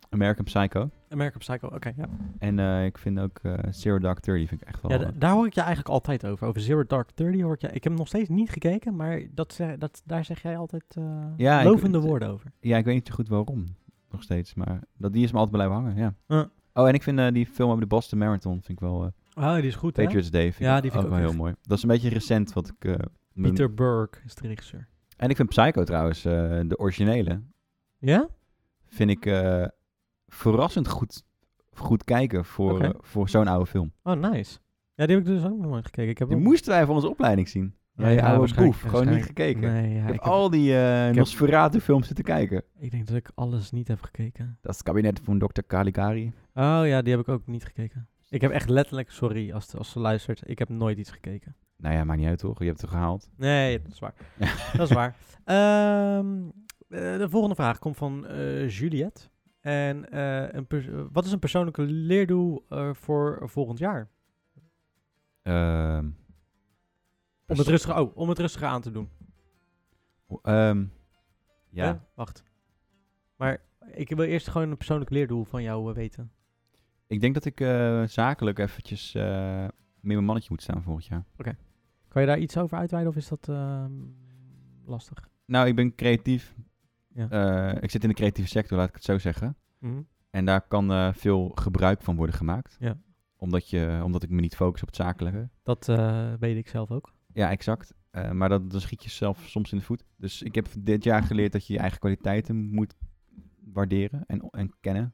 Speaker 2: American Psycho.
Speaker 1: American Psycho, oké, ja.
Speaker 2: En eh, ik vind ook eh Zero Dark Thirty vind ik echt wel...
Speaker 1: Ja, da- daar hoor ik je eigenlijk altijd over. Over Zero Dark Thirty hoor ik je... Ik heb hem nog steeds niet gekeken, maar dat zeg, dat, daar zeg jij altijd eh,
Speaker 2: Ja, ik-
Speaker 1: lovende
Speaker 2: het-
Speaker 1: woorden over.
Speaker 2: ja, ik weet niet zo goed waarom nog steeds, maar dat, die is me altijd blijven hangen, ja.
Speaker 1: Ja.
Speaker 2: Oh, en ik vind eh, die film over de Boston Marathon vind ik wel... eh,
Speaker 1: Oh, die is goed, hè?
Speaker 2: Patriots Day vind
Speaker 1: Ja, die
Speaker 2: ik die
Speaker 1: vind ik
Speaker 2: ook,
Speaker 1: ook
Speaker 2: wel heel
Speaker 1: echt-
Speaker 2: mooi. Dat is een beetje recent wat ik... eh, mijn-
Speaker 1: Peter Burke is de regisseur.
Speaker 2: En ik vind Psycho trouwens, eh, de originele,
Speaker 1: Ja?
Speaker 2: vind ik eh, verrassend goed, goed kijken voor,
Speaker 1: Oké.
Speaker 2: eh, voor zo'n oude film.
Speaker 1: Oh, nice. Ja, die heb ik dus ook nog nooit gekeken. Ik heb
Speaker 2: Die
Speaker 1: hem-
Speaker 2: moesten wij voor onze opleiding zien.
Speaker 1: Ja,
Speaker 2: Ja, ja,
Speaker 1: ja,
Speaker 2: oude
Speaker 1: waarschijnlijk-
Speaker 2: boef, gewoon niet
Speaker 1: waarschijnlijk.
Speaker 2: gekeken.
Speaker 1: Nee, ja,
Speaker 2: ik heb
Speaker 1: ik, heb-
Speaker 2: al die eh
Speaker 1: heb-
Speaker 2: Nosferatu-films zitten kijken.
Speaker 1: ik denk dat ik alles niet heb gekeken.
Speaker 2: Dat is het kabinet van Dr. Caligari.
Speaker 1: Oh ja, die heb ik ook niet gekeken. Ik heb echt letterlijk, sorry als, als ze luistert, ik heb nooit iets gekeken.
Speaker 2: Nou ja, maakt niet uit toch? Je hebt het gehaald.
Speaker 1: Nee, dat is waar. dat is waar. Ehm, eh, de volgende vraag komt van eh Juliette. En eh, een pers- eh, wat is een persoonlijke leerdoel eh, voor volgend jaar?
Speaker 2: Ehm, dus,
Speaker 1: Om het rustiger, oh, om het rustiger aan te doen.
Speaker 2: ehm, ja.
Speaker 1: Hè? Wacht. Maar ik wil eerst gewoon een persoonlijk leerdoel van jou eh, weten.
Speaker 2: Ik denk dat ik eh, zakelijk eventjes eh, meer mijn mannetje moet staan volgend jaar.
Speaker 1: Kan je daar iets over uitweiden of is dat ehm, lastig?
Speaker 2: Nou, ik ben creatief.
Speaker 1: Ja.
Speaker 2: Eh, ik zit in de creatieve sector, laat ik het zo zeggen.
Speaker 1: Mhm.
Speaker 2: En daar kan eh, veel gebruik van worden gemaakt.
Speaker 1: Ja.
Speaker 2: Omdat, je, omdat ik me niet focus op het zakelijke.
Speaker 1: Dat eh, weet ik zelf ook.
Speaker 2: Ja, exact. Eh, maar dat, dan schiet je zelf soms in de voet. Dus ik heb dit jaar geleerd dat je je eigen kwaliteiten moet waarderen en, en kennen.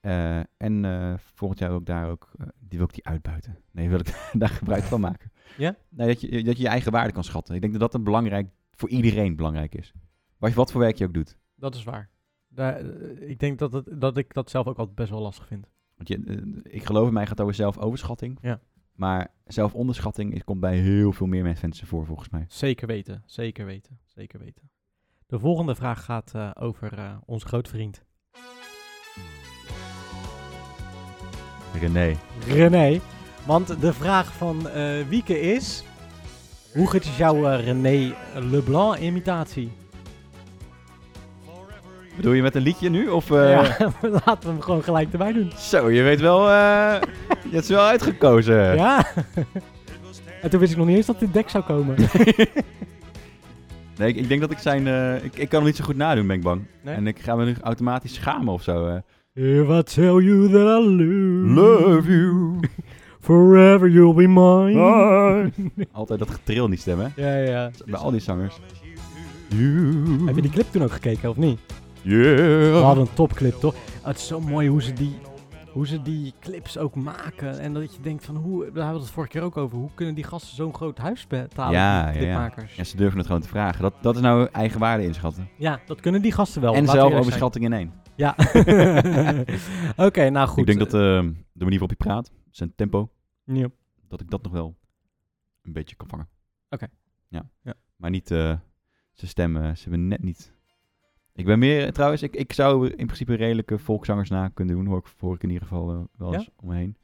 Speaker 2: Eh, en eh, volgend jaar ook daar ook, eh, die wil ik die uitbuiten. Nee, wil ik daar gebruik van maken.
Speaker 1: Ja?
Speaker 2: Nee, dat, je, dat je je eigen waarde kan schatten. Ik denk dat dat een belangrijk, voor iedereen belangrijk is. Wat, wat voor werk je ook doet.
Speaker 1: Dat is waar. Daar, eh, ik denk dat, het, dat ik dat zelf ook altijd best wel lastig vind.
Speaker 2: Want je, eh, ik geloof in mij gaat het over zelfoverschatting.
Speaker 1: Ja.
Speaker 2: Maar zelfonderschatting is, komt bij heel veel meer mensen voor, volgens mij.
Speaker 1: Zeker weten, zeker weten, zeker weten. De volgende vraag gaat eh, over eh ons grootvriend
Speaker 2: René.
Speaker 1: René. Want de vraag van eh, Wieke is... Hoe goed is jouw eh, René Leblanc-imitatie?
Speaker 2: Bedoel je met een liedje nu? Of, eh,
Speaker 1: Ja, laten we hem gewoon gelijk erbij doen.
Speaker 2: Zo, je weet wel, eh, je hebt ze wel uitgekozen.
Speaker 1: Ja. en toen wist ik nog niet eens dat dit dek zou komen.
Speaker 2: Nee, ik, ik denk dat ik zijn... eh, ik, ik kan hem niet zo goed nadoen, ben ik bang.
Speaker 1: Nee?
Speaker 2: En ik ga me nu automatisch schamen of zo. eh.
Speaker 1: If I tell you that I love,
Speaker 2: Love you. Ah.
Speaker 1: forever you'll be mine.
Speaker 2: Altijd dat getril niet stemmen.
Speaker 1: Ja, ja.
Speaker 2: Bij al die zangers. You.
Speaker 1: Heb je die clip toen ook gekeken, of niet?
Speaker 2: Yeah.
Speaker 1: We hadden een topclip, toch? Ah, het is zo mooi hoe ze die, hoe ze die clips ook maken. En dat je denkt van, hoe, daar hadden we het vorige keer ook over. Hoe kunnen die gasten zo'n groot huis betalen,
Speaker 2: Ja,
Speaker 1: die
Speaker 2: ja, ja.
Speaker 1: clipmakers? Ja,
Speaker 2: En ze durven het gewoon te vragen. Dat, dat is nou eigen waarde inschatten.
Speaker 1: dat kunnen Nou, die gasten wel.
Speaker 2: en
Speaker 1: laten we
Speaker 2: zelf
Speaker 1: eerlijk zijn.
Speaker 2: overschatting in één.
Speaker 1: Ja. Oké, nou goed.
Speaker 2: Ik denk dat eh, de manier waarop je praat, zijn tempo,
Speaker 1: Ja.
Speaker 2: dat ik dat nog wel een beetje kan vangen.
Speaker 1: Oké.
Speaker 2: Ja.
Speaker 1: Ja.
Speaker 2: Maar niet, eh ze stemmen, ze hebben net niet. Ik ben meer, trouwens, ik, ik zou in principe redelijke volkszangers na kunnen doen, hoor ik, hoor ik in ieder geval eh, wel
Speaker 1: Ja?
Speaker 2: eens omheen.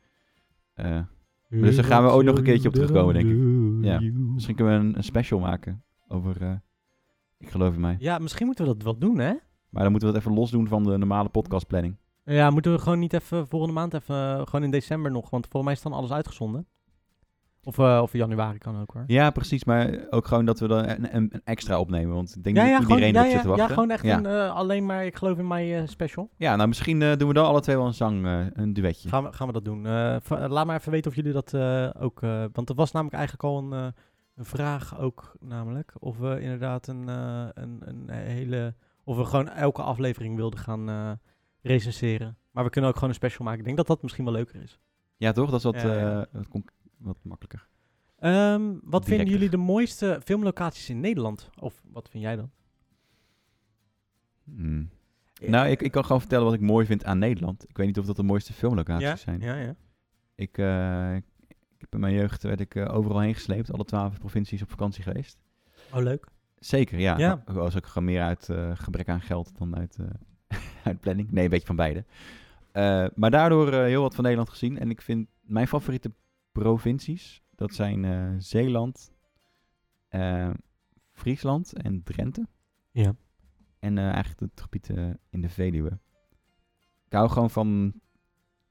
Speaker 2: Eh, Dus daar gaan we ook nog een keertje op terugkomen, denk ik. Ja. misschien kunnen we een, een special maken over eh, Ik geloof in mij.
Speaker 1: Ja, misschien moeten we dat wel doen, hè?
Speaker 2: Maar dan moeten we het even losdoen van de normale podcastplanning.
Speaker 1: Ja, moeten we gewoon niet even volgende maand even, eh, gewoon in december nog, want volgens mij is dan alles uitgezonden. Of, eh, of in januari kan ook hoor.
Speaker 2: Ja, precies. Maar ook gewoon dat we dan een, een- een extra opnemen. Want ik denk
Speaker 1: ja,
Speaker 2: dat
Speaker 1: ja,
Speaker 2: iedereen
Speaker 1: gewoon, ja, ja,
Speaker 2: erop zit te wachten.
Speaker 1: ja, gewoon echt
Speaker 2: ja.
Speaker 1: een eh, alleen maar ik geloof in mij eh, special.
Speaker 2: Ja, nou misschien eh, doen we dan alle twee wel een zang, eh, een duetje.
Speaker 1: Gaan we, gaan we dat doen. Eh, va- laat maar even weten of jullie dat eh, ook... eh, want er was namelijk eigenlijk al een, eh, een vraag ook namelijk. Of we inderdaad een, eh, een, een hele... Of we gewoon elke aflevering wilden gaan eh, recenseren. Maar we kunnen ook gewoon een special maken. Ik denk dat dat misschien wel leuker is.
Speaker 2: Ja, toch? Dat is wat,
Speaker 1: Ja, ja.
Speaker 2: eh, wat, conc- wat makkelijker.
Speaker 1: Ehm, wat vinden
Speaker 2: Directer.
Speaker 1: jullie de mooiste filmlocaties in Nederland? Of wat vind jij dan?
Speaker 2: Hmm. Nou, ik, ik kan gewoon vertellen wat ik mooi vind aan Nederland. Ik weet niet of dat de mooiste filmlocaties
Speaker 1: ja?
Speaker 2: zijn.
Speaker 1: Ja, ja.
Speaker 2: Ik, eh, ik heb in mijn jeugd werd ik eh, overal heen gesleept. Alle twaalf provincies op vakantie geweest.
Speaker 1: Oh, leuk.
Speaker 2: Zeker, ja.
Speaker 1: Ja.
Speaker 2: Maar was ook gewoon meer uit eh, gebrek aan geld dan uit, eh, uit planning. Nee, een beetje van beide. Eh, maar daardoor eh, heel wat van Nederland gezien. En ik vind mijn favoriete provincies, dat zijn eh, Zeeland, eh, Friesland en Drenthe.
Speaker 1: Ja.
Speaker 2: En eh, eigenlijk het gebied eh, in de Veluwe. Ik hou gewoon van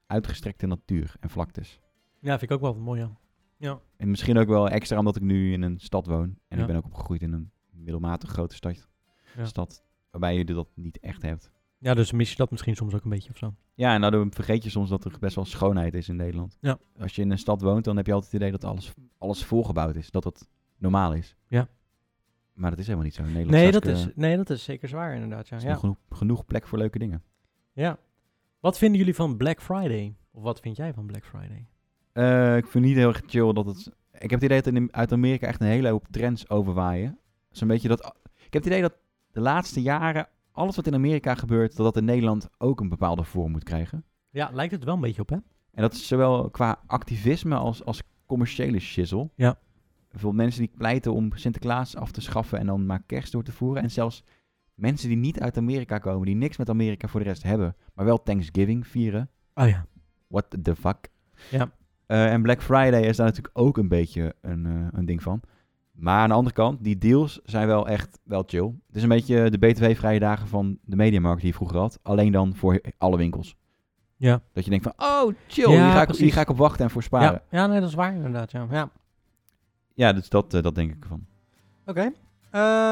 Speaker 2: uitgestrekte natuur en vlaktes.
Speaker 1: Ja, vind ik ook wel mooi, ja.
Speaker 2: En misschien ook wel extra omdat ik nu in een stad woon. En
Speaker 1: Ja.
Speaker 2: ik ben ook opgegroeid in een middelmatig grote stad.
Speaker 1: Ja.
Speaker 2: stad waarbij je dat niet echt hebt.
Speaker 1: Ja, dus mis je dat misschien soms ook een beetje of zo.
Speaker 2: Ja, en daardoor vergeet je soms dat er best wel schoonheid is in Nederland.
Speaker 1: Ja.
Speaker 2: Als je in een stad woont, dan heb je altijd het idee dat alles, alles volgebouwd is. Dat dat normaal is.
Speaker 1: Ja.
Speaker 2: Maar dat is helemaal niet zo. In Nederland
Speaker 1: Nee dat,
Speaker 2: hartstikke-
Speaker 1: is, nee, dat is zeker zwaar inderdaad, ja.
Speaker 2: is
Speaker 1: ja.
Speaker 2: nog genoeg, genoeg plek voor leuke dingen.
Speaker 1: Ja. Wat vinden jullie van Black Friday? Of wat vind jij van Black Friday?
Speaker 2: Eh, ik vind niet heel erg chill dat het... Ik heb het idee dat in, uit Amerika echt een hele hoop trends overwaaien. Zo'n beetje dat... Ik heb het idee dat de laatste jaren alles wat in Amerika gebeurt... dat dat in Nederland ook een bepaalde vorm moet krijgen.
Speaker 1: Ja, lijkt het wel een beetje op, hè?
Speaker 2: En dat is zowel qua activisme als, als commerciële shizzle.
Speaker 1: Ja.
Speaker 2: Bijvoorbeeld mensen die pleiten om Sinterklaas af te schaffen... en dan maar kerst door te voeren. En zelfs mensen die niet uit Amerika komen... die niks met Amerika voor de rest hebben... maar wel Thanksgiving vieren...
Speaker 1: Oh ja.
Speaker 2: What the fuck?
Speaker 1: Ja.
Speaker 2: Eh, en Black Friday is daar natuurlijk ook een beetje een, eh, een ding van. Maar aan de andere kant, die deals zijn wel echt wel chill. Het is een beetje de btw-vrije dagen van de mediamarkt die je vroeger had. Alleen dan voor alle winkels.
Speaker 1: Ja.
Speaker 2: Dat je denkt van, oh chill,
Speaker 1: Ja,
Speaker 2: hier, ga ik,
Speaker 1: precies.
Speaker 2: hier ga ik op wachten en voor sparen.
Speaker 1: Ja,
Speaker 2: Ja,
Speaker 1: ja, nee, dat is waar inderdaad, ja. ja.
Speaker 2: dus dat, eh, dat denk ik van.
Speaker 1: Oké.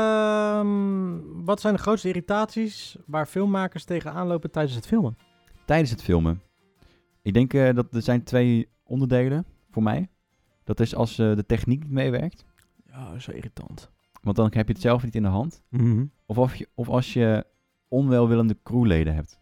Speaker 1: Ehm, wat zijn de grootste irritaties waar filmmakers tegenaan lopen tijdens het filmen?
Speaker 2: Tijdens het filmen. Ik denk eh, dat er zijn twee onderdelen voor mij. Dat is als eh, de techniek niet meewerkt.
Speaker 1: Ja, zo irritant.
Speaker 2: Want dan heb je het zelf niet in de hand.
Speaker 1: Mhm.
Speaker 2: Of, of, je, of als je onwelwillende crewleden hebt.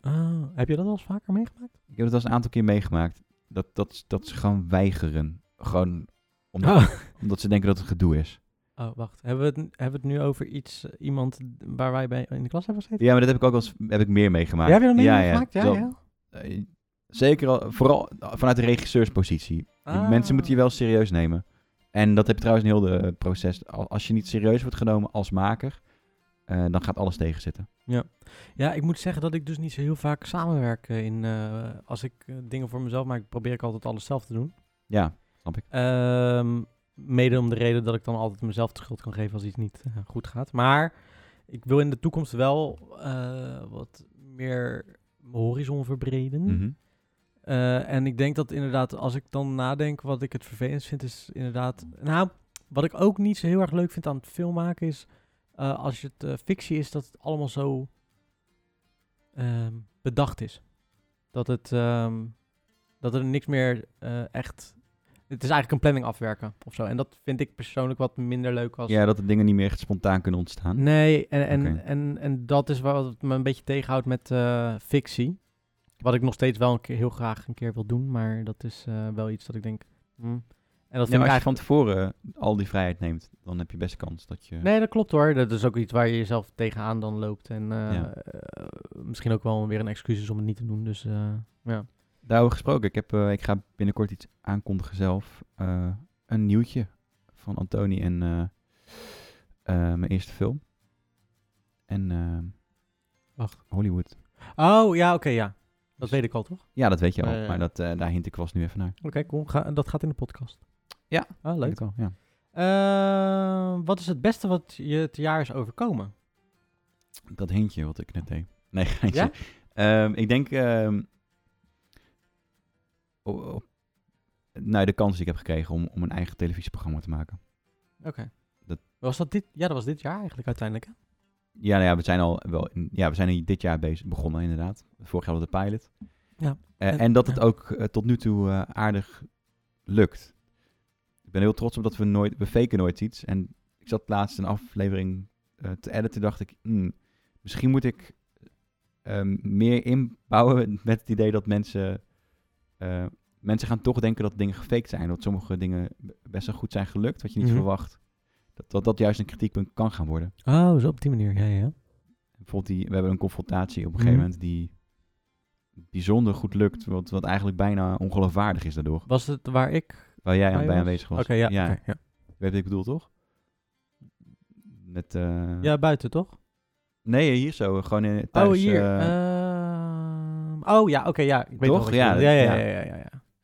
Speaker 1: Ah, heb je dat al eens vaker meegemaakt?
Speaker 2: Ik heb het al eens een aantal keer meegemaakt. Dat, dat, dat ze gewoon weigeren. Gewoon omdat,
Speaker 1: Ah.
Speaker 2: omdat ze denken dat het gedoe is.
Speaker 1: Oh, wacht. Hebben we, het, hebben we het nu over iets, eh, iemand waar wij bij in de klas hebben gezeten?
Speaker 2: Ja, maar dat heb ik ook wel eens heb ik meer meegemaakt.
Speaker 1: Ja, heb je dat meegemaakt? Ja, ja.
Speaker 2: terwijl- eh, zeker al, vooral vanuit de regisseurspositie.
Speaker 1: Ah.
Speaker 2: Mensen moeten je wel serieus nemen. En dat heb je trouwens in heel de eh, proces. Al- Als je niet serieus wordt genomen als maker, eh, dan gaat alles tegenzitten.
Speaker 1: Ja, ik moet zeggen dat ik dus niet zo heel vaak samenwerk eh, in... eh, als ik eh, dingen voor mezelf maak, probeer ik altijd alles zelf te doen.
Speaker 2: Ja, snap ik.
Speaker 1: Ehm, mede om de reden dat ik dan altijd mezelf de schuld kan geven als iets niet eh, goed gaat. Maar ik wil in de toekomst wel eh, wat meer mijn horizon verbreden.
Speaker 2: Mhm.
Speaker 1: Eh, en ik denk dat inderdaad, als ik dan nadenk wat ik het vervelend vind, is inderdaad... Nou, wat ik ook niet zo heel erg leuk vind aan het film maken is... eh, als het eh, fictie is, dat het allemaal zo ehm, bedacht is. Dat het... ehm, dat er niks meer eh, echt... Het is eigenlijk een planning afwerken of zo. En dat vind ik persoonlijk wat minder leuk als...
Speaker 2: Ja, dat de dingen niet meer echt spontaan kunnen ontstaan.
Speaker 1: Nee, en, en,
Speaker 2: Oké.
Speaker 1: en, en dat is wat me een beetje tegenhoudt met eh, fictie. Wat ik nog steeds wel een keer, heel graag een keer wil doen, maar dat is eh, wel iets dat ik denk. hmm. En dat
Speaker 2: Ja,
Speaker 1: vind
Speaker 2: maar
Speaker 1: ik
Speaker 2: als je van
Speaker 1: eigenlijk.
Speaker 2: tevoren al die vrijheid neemt, dan heb je best kans dat je...
Speaker 1: Nee, dat klopt hoor. Dat is ook iets waar je jezelf tegenaan dan loopt. En eh,
Speaker 2: Ja.
Speaker 1: eh, misschien ook wel weer een excuus is om het niet te doen. Dus eh, ja.
Speaker 2: Daarover gesproken, ik, heb, eh, ik ga binnenkort iets aankondigen zelf. Eh, een nieuwtje van Antoni en eh, eh, mijn eerste film. En eh,
Speaker 1: Wacht.
Speaker 2: Hollywood.
Speaker 1: Oh ja, oké, ja. Dat weet ik al toch?
Speaker 2: Ja, dat weet je al,
Speaker 1: Eh,
Speaker 2: maar dat, eh, daar hint ik was nu even naar.
Speaker 1: Oké, cool. Ga, dat gaat in de podcast.
Speaker 2: Ja,
Speaker 1: Ah, leuk.
Speaker 2: Weet ik al, ja.
Speaker 1: Eh, wat is het beste wat je het jaar is overkomen?
Speaker 2: Dat hintje wat ik net deed. Nee,
Speaker 1: Ja?
Speaker 2: geintje. Ehm, ik denk... ehm, op, op- nou, de kans die ik heb gekregen om, om een eigen televisieprogramma te maken.
Speaker 1: Oké.
Speaker 2: Dat-
Speaker 1: Was dat dit? Ja, dat was dit jaar eigenlijk uiteindelijk. Hè?
Speaker 2: Ja, nou ja, we zijn al wel... in- ja, we zijn hier dit jaar bezig, begonnen inderdaad. Vorig jaar hadden we de pilot.
Speaker 1: Ja.
Speaker 2: Eh,
Speaker 1: En-
Speaker 2: en dat het
Speaker 1: ja.
Speaker 2: ook eh, tot nu toe eh, aardig lukt. Ik ben heel trots op dat we nooit... We faken nooit iets. En ik zat laatst een aflevering eh, te editen. dacht ik, "Hmm, misschien moet ik ehm, meer inbouwen met het idee dat mensen... eh, mensen gaan toch denken dat dingen gefaked zijn. Dat sommige dingen best wel goed zijn gelukt. Wat je niet
Speaker 1: Mhm.
Speaker 2: verwacht. Dat, dat dat juist een kritiekpunt kan gaan worden.
Speaker 1: Oh, zo op die manier. Ja, ja.
Speaker 2: Bijvoorbeeld die, we hebben een confrontatie op een
Speaker 1: Mhm.
Speaker 2: gegeven moment die bijzonder goed lukt, wat, wat eigenlijk bijna ongeloofwaardig is daardoor.
Speaker 1: Was het waar ik?
Speaker 2: Waar jij
Speaker 1: Waar
Speaker 2: aan
Speaker 1: je
Speaker 2: bij
Speaker 1: was?
Speaker 2: aanwezig was.
Speaker 1: Ah, Oké, ja.
Speaker 2: ja.
Speaker 1: oké, ja.
Speaker 2: Weet je wat ik bedoel, toch? Met, eh,
Speaker 1: Ja, buiten toch?
Speaker 2: Nee, hier zo. Gewoon in, thuis.
Speaker 1: oh, hier.
Speaker 2: eh,
Speaker 1: Ehm, oh ja, oké, ja. Ik weet
Speaker 2: Toch?
Speaker 1: nog wat je
Speaker 2: Ja,
Speaker 1: bedoelt.
Speaker 2: dat-
Speaker 1: ja, ja,
Speaker 2: ja.
Speaker 1: ja, ja, ja,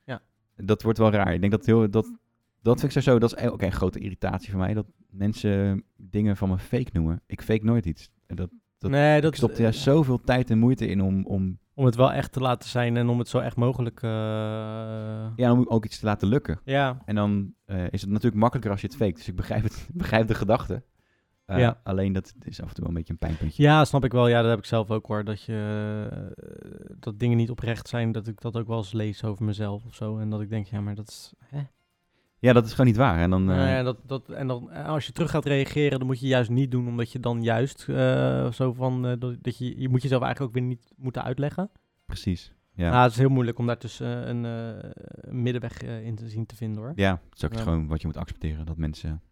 Speaker 1: ja.
Speaker 2: dat wordt wel raar. Ik denk dat heel... Dat, dat vind ik sowieso... Dat is ook een grote irritatie voor mij. Dat mensen dingen van me fake noemen. Ik fake nooit iets. En Dat, dat-
Speaker 1: nee, dat eh,
Speaker 2: ik stop er juist zoveel tijd en moeite in om, om,
Speaker 1: Om het wel echt te laten zijn en om het zo echt mogelijk. eh,
Speaker 2: ja, om ook iets te laten lukken.
Speaker 1: ja.
Speaker 2: En dan eh, is het natuurlijk makkelijker als je het fake. Dus ik begrijp, het, begrijp de gedachte. Eh,
Speaker 1: Ja.
Speaker 2: Alleen dat is af en toe wel een beetje een pijnpuntje.
Speaker 1: Ja, snap ik wel. Ja, dat heb ik zelf ook hoor. Dat, je, eh, dat dingen niet oprecht zijn. Dat ik dat ook wel eens lees over mezelf of zo. En dat ik denk, ja, maar dat is... Hè?
Speaker 2: Ja, dat is gewoon niet waar. En dan, eh,
Speaker 1: Nou ja, dat, dat, en dan, eh, als je terug gaat reageren, dan moet je juist niet doen. Omdat je dan juist eh, zo van... eh, dat, dat je, je moet jezelf eigenlijk ook weer niet moeten uitleggen.
Speaker 2: Precies. Ja.
Speaker 1: Ja. het is heel moeilijk om daartussen eh, een eh, een middenweg eh, in te zien te vinden hoor.
Speaker 2: ja, dat is ook
Speaker 1: Ja.
Speaker 2: gewoon wat je moet accepteren. Dat mensen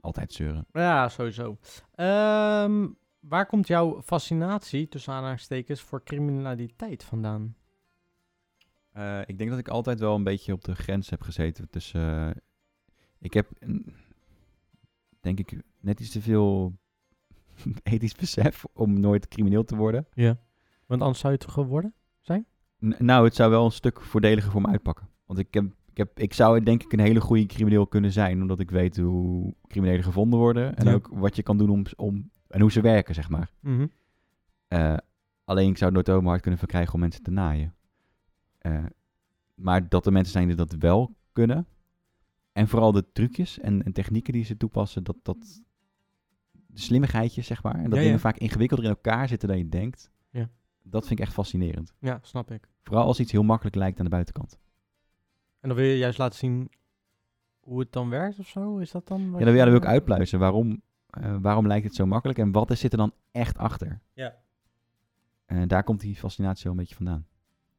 Speaker 2: altijd zeuren.
Speaker 1: Ja, sowieso. Ehm, waar komt jouw fascinatie, tussen aanhalingstekens, voor criminaliteit vandaan?
Speaker 2: Eh, ik denk dat ik altijd wel een beetje op de grens heb gezeten. Dus ik heb, een- denk ik, net iets te veel ethisch besef om nooit crimineel te worden.
Speaker 1: Ja. Want anders zou je het geworden?
Speaker 2: N- nou, het zou wel een stuk voordeliger voor me uitpakken. Want ik, heb, ik, heb, ik zou denk ik een hele goede crimineel kunnen zijn. Omdat ik weet hoe criminelen gevonden worden. En
Speaker 1: Ja.
Speaker 2: ook wat je kan doen om, om... En hoe ze werken, zeg maar.
Speaker 1: Mhm.
Speaker 2: Eh, alleen ik zou het nooit over mijn hart kunnen verkrijgen om mensen te naaien. Eh, maar dat er mensen zijn die dat wel kunnen. En vooral de trucjes en, en technieken die ze toepassen. Dat, dat de slimmigheidjes, zeg maar. En dat
Speaker 1: Ja, ja.
Speaker 2: dingen vaak ingewikkelder in elkaar zitten dan je denkt.
Speaker 1: Ja.
Speaker 2: Dat vind ik echt fascinerend.
Speaker 1: Ja, snap ik.
Speaker 2: Vooral als iets heel makkelijk lijkt aan de buitenkant.
Speaker 1: En dan wil je juist laten zien hoe het dan werkt of zo? Is dat dan? wat
Speaker 2: Ja, dan,
Speaker 1: je-
Speaker 2: ja, dan wil ik uitpluizen. Waarom, eh, waarom lijkt het zo makkelijk en wat is, zit er dan echt achter?
Speaker 1: Ja.
Speaker 2: En daar komt die fascinatie wel een beetje vandaan.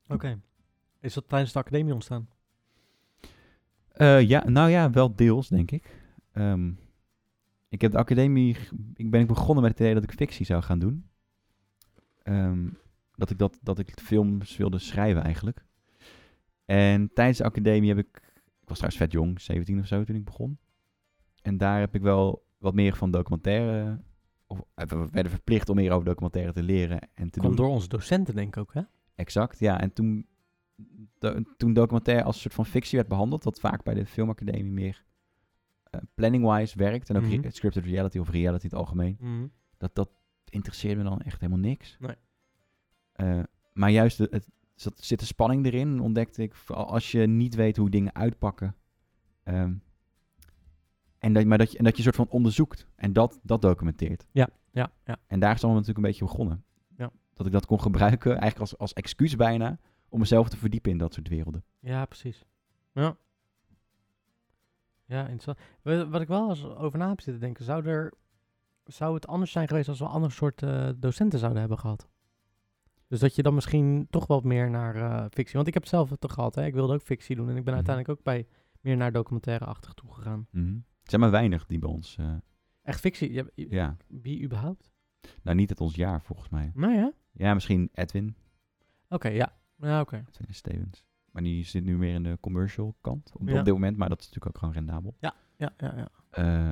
Speaker 1: Oké. Is dat tijdens de academie ontstaan?
Speaker 2: Eh, ja, nou ja, wel deels, denk ik. Ehm, ik heb de academie... g- Ik ben begonnen met het idee dat ik fictie zou gaan doen. Ehm, dat, ik dat, dat ik films wilde schrijven, eigenlijk. En tijdens de academie heb ik... Ik was trouwens vet jong, 17 of zo, toen ik begon. En daar heb ik wel wat meer van documentaire... Of, eh, we werden verplicht om meer over documentaire te leren en te
Speaker 1: Komt
Speaker 2: doen.
Speaker 1: door onze docenten, denk ik ook, hè?
Speaker 2: Exact, ja. En toen, do- toen documentaire als soort van fictie werd behandeld, wat vaak bij de filmacademie meer eh, planning-wise werkt, en ook re-
Speaker 1: Mhm.
Speaker 2: scripted reality of reality in het algemeen, dat, dat interesseerde me dan echt helemaal niks.
Speaker 1: Nee.
Speaker 2: Eh, maar juist, de, het, zat, zit de spanning erin, ontdekte ik, vooral als je niet weet hoe dingen uitpakken. ehm, en, dat, maar dat je, en dat je soort van onderzoekt en dat, dat documenteert.
Speaker 1: Ja, ja.
Speaker 2: En daar is het allemaal natuurlijk een beetje begonnen.
Speaker 1: Ja.
Speaker 2: Dat ik dat kon gebruiken, eigenlijk als, als excuus bijna, om mezelf te verdiepen in dat soort werelden.
Speaker 1: Ja, precies. Ja. Ja, interessant. Wa- Wat ik wel eens over na heb zitten denken, zou, er, zou het anders zijn geweest als we ander soort eh, docenten zouden hebben gehad? Dus dat je dan misschien toch wat meer naar eh, fictie... Want ik heb het zelf toch gehad, hè? ik wilde ook fictie doen en ik ben
Speaker 2: Mhm.
Speaker 1: uiteindelijk ook bij meer naar documentaire-achtig toegegaan.
Speaker 2: Er zijn maar weinig die bij ons, eh,
Speaker 1: Echt fictie? Ja, i-
Speaker 2: ja,
Speaker 1: Wie überhaupt?
Speaker 2: nou niet het ons jaar volgens mij.
Speaker 1: Nou ja. Oké,
Speaker 2: Ja, misschien Edwin,
Speaker 1: ja. Ja, oké.
Speaker 2: Edwin Stevens. Maar die zit nu meer in de commercial kant op,
Speaker 1: Ja.
Speaker 2: op dit moment, maar dat is natuurlijk ook gewoon rendabel.
Speaker 1: Ja, ja, ja.
Speaker 2: Eh,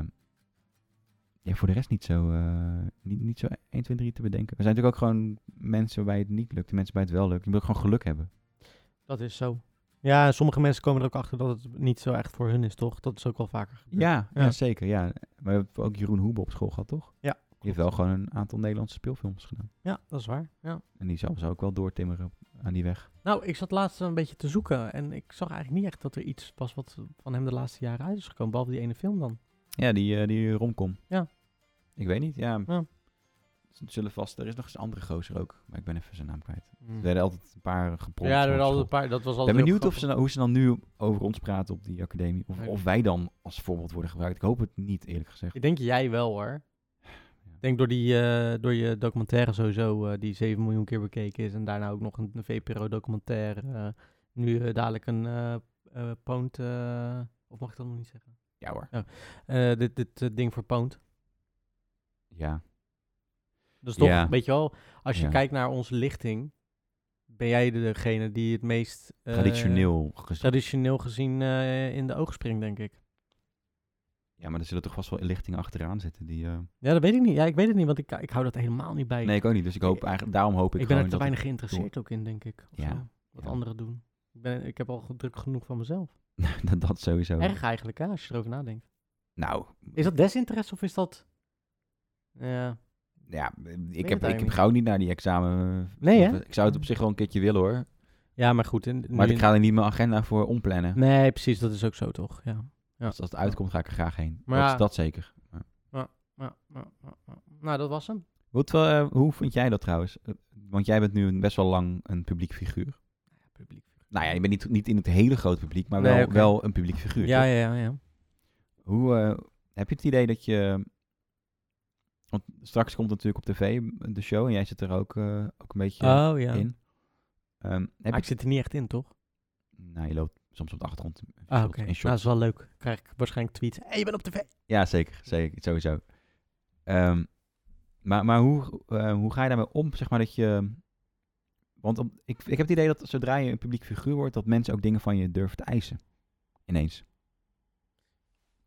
Speaker 2: ja, voor de rest niet zo, eh, niet, niet zo 1, 2, 3 te bedenken. We zijn natuurlijk ook gewoon mensen waarbij het niet lukt, en mensen bij het wel lukt. Je moet ook gewoon geluk hebben.
Speaker 1: Dat is zo. Ja, sommige mensen komen er ook achter dat het niet zo echt voor hun is, toch? Dat is ook wel vaker gebeurd.
Speaker 2: Ja, ja.
Speaker 1: Ja.
Speaker 2: zeker. Ja. Maar we hebben ook Jeroen Hoebe op school gehad, toch?
Speaker 1: Ja,
Speaker 2: Die heeft wel gewoon een aantal Nederlandse speelfilms gedaan.
Speaker 1: Ja, dat is waar. Ja.
Speaker 2: En die zou ze ook wel doortimmeren op- aan die weg.
Speaker 1: Nou, ik zat laatst een beetje te zoeken en ik zag eigenlijk niet echt dat er iets was wat van hem de laatste jaren uit is gekomen, behalve die ene film dan.
Speaker 2: Ja, die, eh, die romcom.
Speaker 1: Ja.
Speaker 2: Ik weet niet, ja.
Speaker 1: Ja.
Speaker 2: Z- Zullen vast... Er is nog eens een andere gozer ook, maar ik ben even zijn naam kwijt.
Speaker 1: Hmm.
Speaker 2: Er werden altijd een paar
Speaker 1: Hm. Ja, er
Speaker 2: gepropt. op
Speaker 1: werden altijd
Speaker 2: school.
Speaker 1: een paar. Dat was
Speaker 2: Ik
Speaker 1: altijd
Speaker 2: ben
Speaker 1: heel
Speaker 2: benieuwd
Speaker 1: grappig.
Speaker 2: of ze nou, hoe ze dan nu over ons praten op die academie. Of,
Speaker 1: Ja.
Speaker 2: of wij dan als voorbeeld worden gebruikt. Ik hoop het niet, eerlijk gezegd.
Speaker 1: Ik denk jij wel hoor. Ik denk door, die, eh, door je documentaire sowieso, eh, die 7 miljoen keer bekeken is. En daarna ook nog een, een VPRO-documentaire. eh, nu eh, dadelijk een eh eh, Poont. eh, of mag ik dat nog niet zeggen?
Speaker 2: Ja hoor.
Speaker 1: Eh, dit dit eh, ding voor Poont.
Speaker 2: Ja.
Speaker 1: Dus toch,
Speaker 2: Ja.
Speaker 1: weet je wel, als je
Speaker 2: Ja.
Speaker 1: kijkt naar onze lichting, ben jij degene die het meest eh,
Speaker 2: Traditioneel gezien.
Speaker 1: traditioneel gezien eh, in de oog springt, denk ik.
Speaker 2: Ja, maar er zullen toch vast wel lichtingen achteraan zitten die... eh,
Speaker 1: Ja, dat weet ik niet. Ja, ik weet het niet, want ik, ik hou dat helemaal niet bij.
Speaker 2: Nee, ik ook niet. Dus ik hoop eigenlijk... Daarom hoop ik,
Speaker 1: ik, ben er
Speaker 2: gewoon
Speaker 1: te
Speaker 2: dat...
Speaker 1: weinig geïnteresseerd ook in, denk ik. of
Speaker 2: Ja,
Speaker 1: zo, Wat
Speaker 2: ja.
Speaker 1: anderen doen. Ik, ben, ik heb al ge- druk genoeg van mezelf.
Speaker 2: dat, dat sowieso.
Speaker 1: Erg eigenlijk, hè, als je erover nadenkt.
Speaker 2: Nou,
Speaker 1: Is dat desinteresse of is dat... eh, Ja,
Speaker 2: ja, ik heb, ik
Speaker 1: eigenlijk
Speaker 2: heb
Speaker 1: niet.
Speaker 2: gauw niet naar die examen...
Speaker 1: Nee, hè?
Speaker 2: Ik zou het op zich wel een keertje willen, hoor.
Speaker 1: ja maar goed. in-
Speaker 2: Maar
Speaker 1: nu-
Speaker 2: ik ga er niet mijn agenda voor omplannen.
Speaker 1: Nee, precies, dat is ook zo, toch? Ja.
Speaker 2: Dus als het uitkomt, ga ik er graag heen.
Speaker 1: Maar
Speaker 2: dat,
Speaker 1: ja.
Speaker 2: is dat zeker.
Speaker 1: Ja, ja, ja, ja. Nou, dat was hem.
Speaker 2: Wat, wel, eh, hoe vond jij dat trouwens? Eh, Want jij bent nu een, best wel lang een publiek figuur.
Speaker 1: Ja, publiek.
Speaker 2: Nou ja, je bent niet, niet in het hele grote publiek, maar
Speaker 1: Nee,
Speaker 2: wel,
Speaker 1: oké.
Speaker 2: wel een publiek figuur.
Speaker 1: Ja,
Speaker 2: toch?
Speaker 1: ja, ja. ja.
Speaker 2: Hoe eh, heb je het idee dat je... Want straks komt natuurlijk op tv de show en jij zit er ook, eh, ook een beetje
Speaker 1: oh, ja.
Speaker 2: in. Ehm, heb
Speaker 1: Maar
Speaker 2: je
Speaker 1: ik zit er niet echt in, toch?
Speaker 2: Nou, je loopt soms op de achtergrond in
Speaker 1: Ah,
Speaker 2: shots-
Speaker 1: oké.
Speaker 2: in
Speaker 1: Nou,
Speaker 2: shots.
Speaker 1: dat is wel leuk. Krijg ik waarschijnlijk tweets. Hé, hey, je bent op tv!
Speaker 2: Ja, zeker. Zeker, sowieso. Ehm, maar maar hoe, eh, hoe ga je daarmee om, zeg maar, dat je... Want om- ik, ik heb het idee dat zodra je een publiek figuur wordt, dat mensen ook dingen van je durven te eisen. Ineens.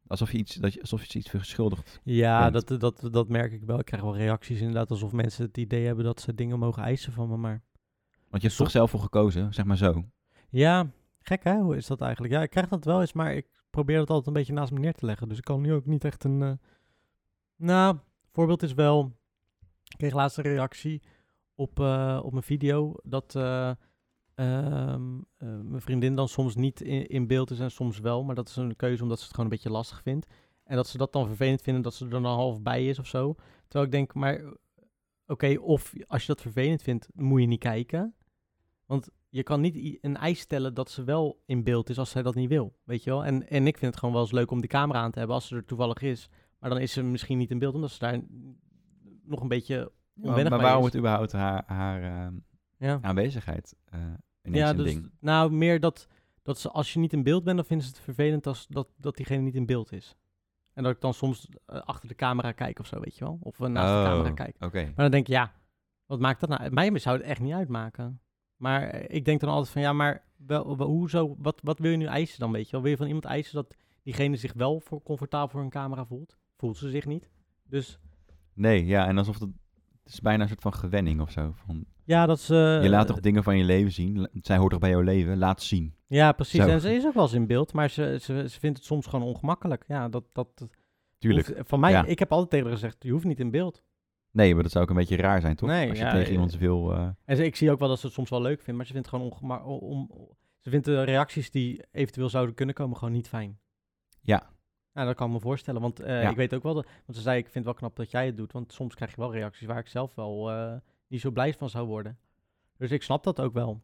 Speaker 2: Alsof je iets, dat je, alsof je iets verschuldigt.
Speaker 1: Ja,
Speaker 2: Ja.
Speaker 1: dat, dat, dat merk ik wel. Ik krijg wel reacties inderdaad, alsof mensen het idee hebben dat ze dingen mogen eisen van me. Maar
Speaker 2: Want je hebt er toch zelf voor gekozen, zeg maar zo.
Speaker 1: ja, gek hè? Hoe is dat eigenlijk? Ja, ik krijg dat wel eens, maar ik probeer dat altijd een beetje naast me neer te leggen. Dus ik kan nu ook niet echt een... eh, Nou, voorbeeld is wel... Ik kreeg laatst een reactie op, eh, op mijn video dat... eh, ehm, eh, mijn vriendin dan soms niet in, in beeld is en soms wel. Maar dat is een keuze omdat ze het gewoon een beetje lastig vindt. En dat ze dat dan vervelend vinden dat ze er dan half bij is of zo. Terwijl ik denk, maar oké, of als je dat vervelend vindt, moet je niet kijken. Want je kan niet i- een eis stellen dat ze wel in beeld is als zij dat niet wil. Weet je wel? En, en ik vind het gewoon wel eens leuk om die camera aan te hebben als ze er toevallig is. Maar dan is ze misschien niet in beeld omdat ze daar nog een beetje onwennig bij
Speaker 2: maar waarom
Speaker 1: is.
Speaker 2: wordt überhaupt haar, haar eh,
Speaker 1: Ja.
Speaker 2: aanwezigheid eh ineens een ding?
Speaker 1: Nou, meer dat, dat ze, als je niet in beeld bent, dan vinden ze het vervelend als, dat, dat diegene niet in beeld is. En dat ik dan soms eh, achter de camera kijk of zo, weet je wel. Of eh, naast de
Speaker 2: Oh,
Speaker 1: camera kijk.
Speaker 2: Oké.
Speaker 1: Maar dan denk ik, ja, wat maakt dat nou? Mij zou het echt niet uitmaken. Maar eh, ik denk dan altijd van, ja, maar wel, wel- hoezo, wat, wat wil je nu eisen dan, weet je wel? Wil je van iemand eisen dat diegene zich wel voor, comfortabel voor een camera voelt? Voelt ze zich niet? Dus
Speaker 2: Nee, ja, en alsof dat... Het is bijna een soort van gewenning of zo. Van,
Speaker 1: ja, dat is... eh,
Speaker 2: Je laat toch dingen van je leven zien? La- Zij hoort toch bij jouw leven? Laat zien.
Speaker 1: Ja, precies.
Speaker 2: Zo.
Speaker 1: En ze is ook wel eens in beeld, maar ze, ze, ze vindt het soms gewoon ongemakkelijk. Ja, dat, dat,
Speaker 2: Tuurlijk.
Speaker 1: Hoeft- van mij,
Speaker 2: Ja.
Speaker 1: ik heb altijd tegen haar gezegd, je hoeft niet in beeld.
Speaker 2: Nee, maar dat zou ook een beetje raar zijn, toch?
Speaker 1: Nee,
Speaker 2: Als je
Speaker 1: ja,
Speaker 2: tegen
Speaker 1: eh,
Speaker 2: iemand wil... eh,
Speaker 1: En ze- ik zie ook wel dat ze het soms wel leuk vindt, maar ze vindt gewoon ongema- o- om, o- ze vindt de reacties die eventueel zouden kunnen komen gewoon niet fijn.
Speaker 2: Ja.
Speaker 1: Nou, dat kan ik me voorstellen, want eh,
Speaker 2: Ja.
Speaker 1: ik weet ook wel, dat, want ze zei, ik vind het wel knap dat jij het doet, want soms krijg je wel reacties waar ik zelf wel eh, niet zo blij van zou worden. Dus ik snap dat ook wel.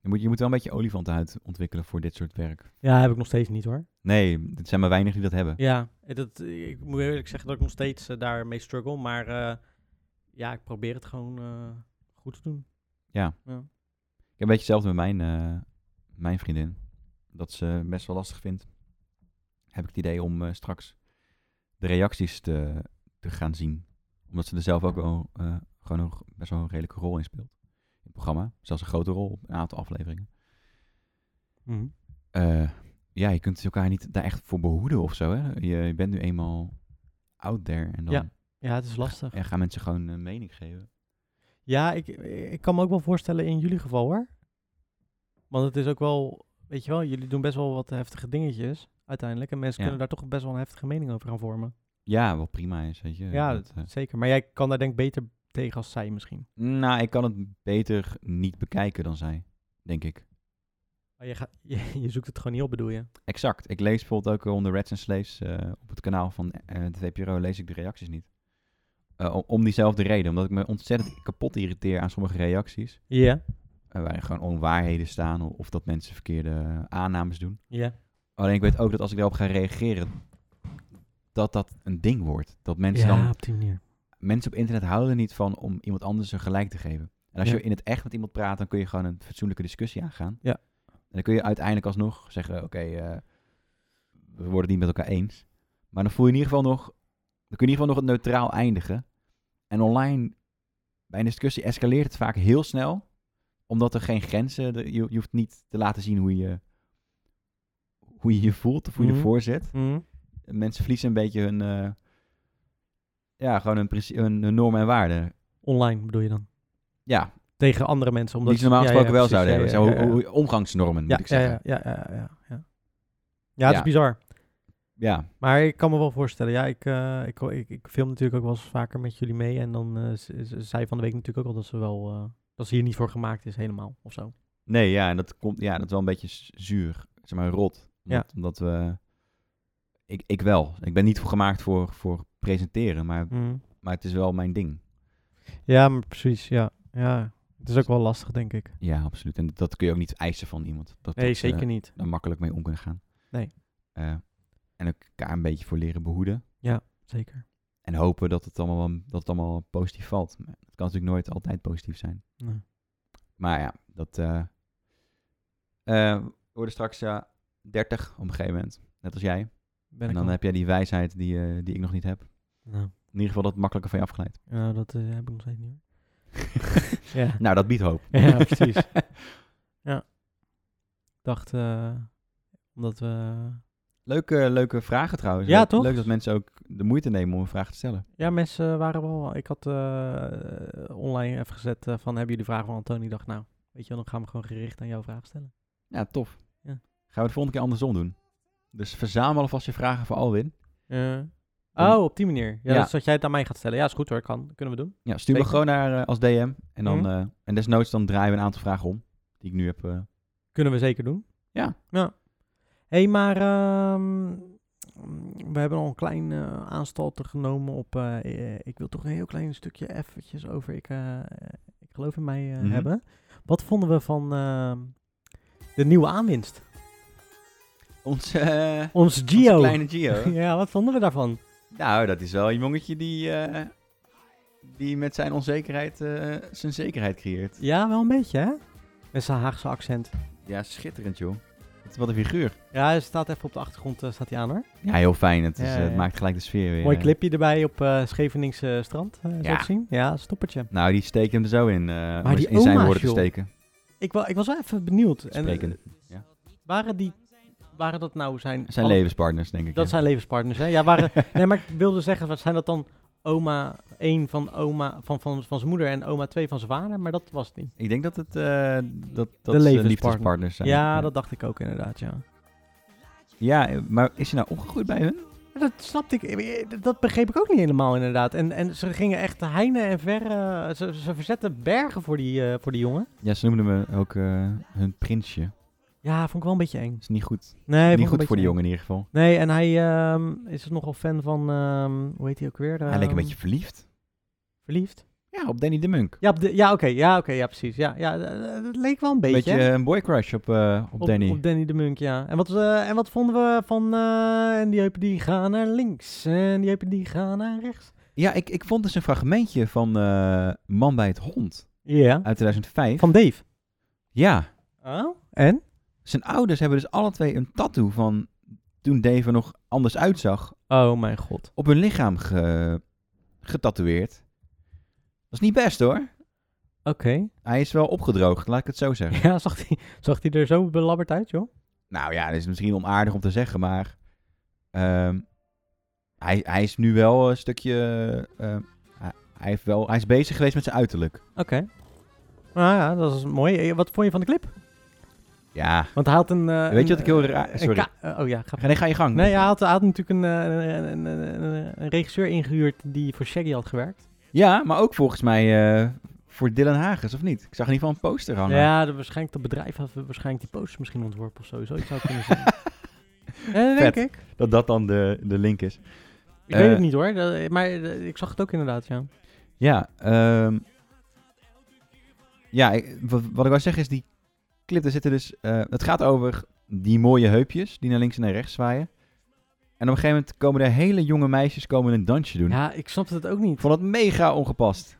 Speaker 2: je, moet, je moet wel een beetje olifantenhuid ontwikkelen voor dit soort werk.
Speaker 1: Ja, heb ik nog steeds niet hoor.
Speaker 2: Nee, het zijn maar weinig die dat hebben.
Speaker 1: Ja, dat, ik moet eerlijk zeggen dat ik nog steeds eh, daarmee struggle, maar eh, ja, ik probeer het gewoon eh, goed te doen.
Speaker 2: Ik heb een beetje hetzelfde met mijn, eh, mijn vriendin. Dat ze best wel lastig vindt. Heb ik het idee om eh, straks de reacties te, te gaan zien. Omdat ze er zelf ook wel, eh, gewoon nog best wel een redelijke rol in speelt. In het programma. Zelfs een grote rol op een aantal afleveringen.
Speaker 1: Mhm.
Speaker 2: eh, ja, je kunt elkaar niet daar echt voor behoeden of zo. Hè? Je, je bent nu eenmaal out there en dan
Speaker 1: Ja, het is lastig.
Speaker 2: ja, gaan mensen gewoon een mening geven.
Speaker 1: Ja, ik, ik kan me ook wel voorstellen in jullie geval hoor. Want het is ook wel, weet je wel, jullie doen best wel wat heftige dingetjes uiteindelijk. En mensen
Speaker 2: Ja.
Speaker 1: kunnen daar toch best wel een heftige mening over gaan vormen.
Speaker 2: Ja, wat prima is, weet je.
Speaker 1: Ja,
Speaker 2: Dat, eh,
Speaker 1: Zeker. Maar jij kan daar denk ik beter tegen als zij misschien.
Speaker 2: nou, ik kan het beter niet bekijken dan zij, denk ik.
Speaker 1: Maar je, gaat, je, je zoekt het gewoon niet op, bedoel je?
Speaker 2: Exact. Ik lees bijvoorbeeld ook eh, onder Reds and Slaves eh, op het kanaal van eh de VPRO lees ik de reacties niet. Eh, om- om diezelfde reden, omdat ik me ontzettend kapot irriteer aan sommige reacties.
Speaker 1: Ja.
Speaker 2: eh, waarin gewoon onwaarheden staan o- of dat mensen verkeerde eh, aannames doen.
Speaker 1: Ja.
Speaker 2: Alleen ik weet ook dat als ik daarop ga reageren, dat dat een ding wordt. Dat mensen
Speaker 1: ja,
Speaker 2: dan...
Speaker 1: op die manier.
Speaker 2: Mensen op internet houden er niet van om iemand anders een gelijk te geven. En als
Speaker 1: Ja.
Speaker 2: je in het echt met iemand praat, dan kun je gewoon een fatsoenlijke discussie aangaan.
Speaker 1: Ja.
Speaker 2: En dan kun je uiteindelijk alsnog zeggen, oké, eh, we worden het niet met elkaar eens. Maar dan voel je in ieder geval nog... Dan kun je in ieder geval nog het neutraal eindigen. En online, bij een discussie, escaleert het vaak heel snel. Omdat er geen grenzen... er- Je, je hoeft niet te laten zien hoe je... Hoe je je voelt of hoe je
Speaker 1: Mhm.
Speaker 2: ervoor zit
Speaker 1: Mhm.
Speaker 2: mensen verliezen een beetje hun, eh, ja, gewoon hun, princi- hun, hun normen en waarden.
Speaker 1: Online bedoel je dan?
Speaker 2: Ja,
Speaker 1: Tegen andere mensen. Omdat
Speaker 2: die ze normaal
Speaker 1: ja, ja,
Speaker 2: gesproken wel
Speaker 1: precies,
Speaker 2: zouden
Speaker 1: ja,
Speaker 2: hebben.
Speaker 1: ja,
Speaker 2: Zo,
Speaker 1: ja,
Speaker 2: hoe-
Speaker 1: ja.
Speaker 2: hoe- omgangsnormen,
Speaker 1: Ja,
Speaker 2: moet ik
Speaker 1: ja,
Speaker 2: zeggen. Ja,
Speaker 1: Ja, ja, ja, ja. ja. Ja, het
Speaker 2: Ja.
Speaker 1: is bizar. Maar ik kan me wel voorstellen. Ja, ik, eh, ik, ik, ik film natuurlijk ook wel eens vaker met jullie mee. En dan eh, z- z- zei van de week natuurlijk ook al dat ze wel... eh, dat ze hier niet voor gemaakt is helemaal, of zo.
Speaker 2: Nee, ja, en dat, komt, ja, dat is wel een beetje s- zuur. Zeg maar rot. Omdat, omdat we... Ik, ik wel. Ik ben niet voor gemaakt voor, voor presenteren, maar,
Speaker 1: Mm.
Speaker 2: maar het is wel mijn ding.
Speaker 1: Ja, maar precies, ja. ja. Het is ook wel lastig, denk ik.
Speaker 2: Ja, absoluut. En dat kun je ook niet eisen van iemand. Dat,
Speaker 1: Nee,
Speaker 2: dat, eh,
Speaker 1: zeker niet.
Speaker 2: daar makkelijk mee om kunnen gaan.
Speaker 1: Nee.
Speaker 2: Eh, en elkaar een beetje voor leren behoeden.
Speaker 1: Zeker.
Speaker 2: En hopen dat het allemaal, wel- dat het allemaal positief valt. Maar Het kan natuurlijk nooit altijd positief zijn.
Speaker 1: Nee.
Speaker 2: Maar ja, dat eh eh, worden straks eh, 30 op een gegeven moment. Net als jij.
Speaker 1: Ben
Speaker 2: en
Speaker 1: ik
Speaker 2: dan
Speaker 1: al.
Speaker 2: heb jij die wijsheid die, eh, die ik nog niet heb.
Speaker 1: Nou,
Speaker 2: In ieder geval dat makkelijker van je afgeleid.
Speaker 1: nou, dat eh, heb ik nog steeds niet. hoor. ja.
Speaker 2: Nou, dat biedt hoop.
Speaker 1: Ja, precies. ja. Ik dacht, eh, omdat we...
Speaker 2: Leuke, leuke vragen trouwens.
Speaker 1: Ja,
Speaker 2: leuk,
Speaker 1: toch?
Speaker 2: Leuk dat mensen ook de moeite nemen om een vraag te stellen.
Speaker 1: Ja, mensen waren wel... Ik had eh, online even gezet eh, van, hebben jullie vragen van Antonie? Ik dacht, nou, weet je wel, dan gaan we gewoon gericht aan jouw vraag stellen.
Speaker 2: Ja, tof.
Speaker 1: Ja.
Speaker 2: Gaan we de volgende keer andersom doen. Dus verzamel alvast je vragen voor Alwin. Dan-
Speaker 1: oh, op die manier. Ja,
Speaker 2: Ja.
Speaker 1: Dus dat jij het aan mij gaat stellen. Ja, is goed hoor, kan. Kunnen we doen.
Speaker 2: Ja, stuur me
Speaker 1: Zeker.
Speaker 2: gewoon naar eh, als DM. En, dan,
Speaker 1: Mhm.
Speaker 2: eh, en desnoods dan draaien we een aantal vragen om. Die ik nu heb. eh,
Speaker 1: Kunnen we zeker doen.
Speaker 2: Ja.
Speaker 1: ja. Hé, hey, maar ehm, we hebben al een klein eh, aanstalter genomen op... eh, eh, ik wil toch een heel klein stukje eventjes over ik, eh, ik geloof in mij eh,
Speaker 2: Mhm.
Speaker 1: hebben. Wat vonden we van ehm, de nieuwe aanwinst?
Speaker 2: Onze, eh,
Speaker 1: Ons
Speaker 2: onze
Speaker 1: Gio.
Speaker 2: kleine Gio.
Speaker 1: ja, wat vonden we daarvan?
Speaker 2: nou, dat is wel een jongetje die, eh, die met zijn onzekerheid eh, zijn zekerheid creëert.
Speaker 1: Ja, wel een beetje, hè? Met zijn Haagse accent.
Speaker 2: Ja, schitterend joh. Wat, wat een figuur.
Speaker 1: Ja, hij staat even op de achtergrond, eh, staat hij aan hoor.
Speaker 2: Ja, heel fijn. Het, is,
Speaker 1: Ja,
Speaker 2: eh,
Speaker 1: ja,
Speaker 2: het
Speaker 1: ja.
Speaker 2: maakt gelijk de sfeer weer.
Speaker 1: Mooi
Speaker 2: eh.
Speaker 1: clipje erbij op eh Scheveningse strand, eh, zo
Speaker 2: Ja.
Speaker 1: te zien. Ja, stoppertje.
Speaker 2: Nou, die steekt hem er zo in. eh, om
Speaker 1: Maar die
Speaker 2: eens in zijn
Speaker 1: oma's,
Speaker 2: woorden te
Speaker 1: joh.
Speaker 2: steken.
Speaker 1: Ik, wa ik was wel even benieuwd. En, eh,
Speaker 2: Spreken.
Speaker 1: Waren, die, waren dat nou zijn...
Speaker 2: Zijn
Speaker 1: alle-
Speaker 2: levenspartners, denk ik.
Speaker 1: Dat
Speaker 2: ja.
Speaker 1: zijn levenspartners, hè? Ja, waren, nee, maar ik wilde zeggen, wat zijn dat dan oma 1 van, oma, van, van, van zijn moeder en oma 2 van zijn vader? Maar dat was het niet.
Speaker 2: Ik denk dat het eh, dat, dat
Speaker 1: De
Speaker 2: ze
Speaker 1: levenspartner.
Speaker 2: liefdespartners zijn.
Speaker 1: ja, dat dacht ik ook inderdaad, ja.
Speaker 2: ja, eh, maar is hij nou opgegroeid bij hun?
Speaker 1: Maar dat snapte ik, eh, dat begreep ik ook niet helemaal inderdaad. En, en ze gingen echt heinen en ver, eh, ze, ze verzetten bergen voor die, eh, voor die jongen.
Speaker 2: Ja, ze noemden me ook eh, hun prinsje.
Speaker 1: Ja, vond ik wel een beetje eng.
Speaker 2: is niet goed.
Speaker 1: Nee, vond ik
Speaker 2: niet
Speaker 1: een
Speaker 2: goed
Speaker 1: beetje
Speaker 2: voor die
Speaker 1: eng.
Speaker 2: jongen in ieder geval.
Speaker 1: Nee, en hij ehm, is nogal fan van, ehm, hoe heet hij ook weer?
Speaker 2: hij leek een
Speaker 1: Ehm,
Speaker 2: beetje verliefd.
Speaker 1: Verliefd?
Speaker 2: Ja, op Danny de Munk.
Speaker 1: Ja, op de- ja oké, ja, oké, ja, precies. Ja, ja, eh, het leek wel een beetje.
Speaker 2: Beetje
Speaker 1: hè?
Speaker 2: een boy crush op, eh, op, Danny.
Speaker 1: Op Danny de Munk, ja. En wat, eh, en wat vonden we van, eh, en die heupen die gaan naar links, en die heupen die gaan naar rechts.
Speaker 2: Ja, ik, ik vond dus een fragmentje van eh, Man bij het Hond
Speaker 1: Ja.
Speaker 2: uit 2005.
Speaker 1: Van Dave.
Speaker 2: Ja,
Speaker 1: Oh, en?
Speaker 2: zijn ouders hebben dus alle twee een tattoo van toen Dave er nog anders uitzag
Speaker 1: Oh mijn god.
Speaker 2: op hun lichaam ge- getatoeëerd. Dat is niet best hoor.
Speaker 1: Oké.
Speaker 2: Hij is wel opgedroogd, laat ik het zo zeggen.
Speaker 1: Ja, zag hij zag die er zo belabberd uit, joh?
Speaker 2: Nou ja, dat is misschien onaardig om te zeggen, maar ehm, hij, hij is nu wel een stukje. ehm, hij, hij heeft wel, hij is bezig geweest met zijn uiterlijk.
Speaker 1: Oké. Nou ja, dat is mooi. Eh, Wat vond je van de clip?
Speaker 2: Ja.
Speaker 1: Want hij had een... eh,
Speaker 2: Weet je
Speaker 1: een-
Speaker 2: wat ik heel
Speaker 1: eh,
Speaker 2: raar-
Speaker 1: een
Speaker 2: sorry.
Speaker 1: ka- eh, oh ja, ga
Speaker 2: Ga, nee, ga je gang.
Speaker 1: Nee, hij had, hij had natuurlijk een, eh, een, een- een- een regisseur ingehuurd die voor Shaggy had gewerkt.
Speaker 2: Ja, maar ook volgens mij eh, voor Dylan Hagens, of niet? Ik zag in ieder geval een poster hangen.
Speaker 1: Ja, de, waarschijnlijk dat bedrijf had waarschijnlijk die posters misschien ontworpen of sowieso. Ik zou het kunnen zeggen. Eh,
Speaker 2: Vet.
Speaker 1: denk ik.
Speaker 2: Dat dat dan de, de link is.
Speaker 1: Ik
Speaker 2: Eh.
Speaker 1: weet het niet hoor, dat- maar eh, ik zag het ook inderdaad, ja.
Speaker 2: Ja, ehm, ja ik- wa- wat, ik wou zeggen is, die clip, daar zitten dus... eh, het gaat over die mooie heupjes die naar links en naar rechts zwaaien. En op een gegeven moment komen er hele jonge meisjes komen een dansje doen.
Speaker 1: Ja, ik snapte het ook niet.
Speaker 2: Ik vond het mega ongepast.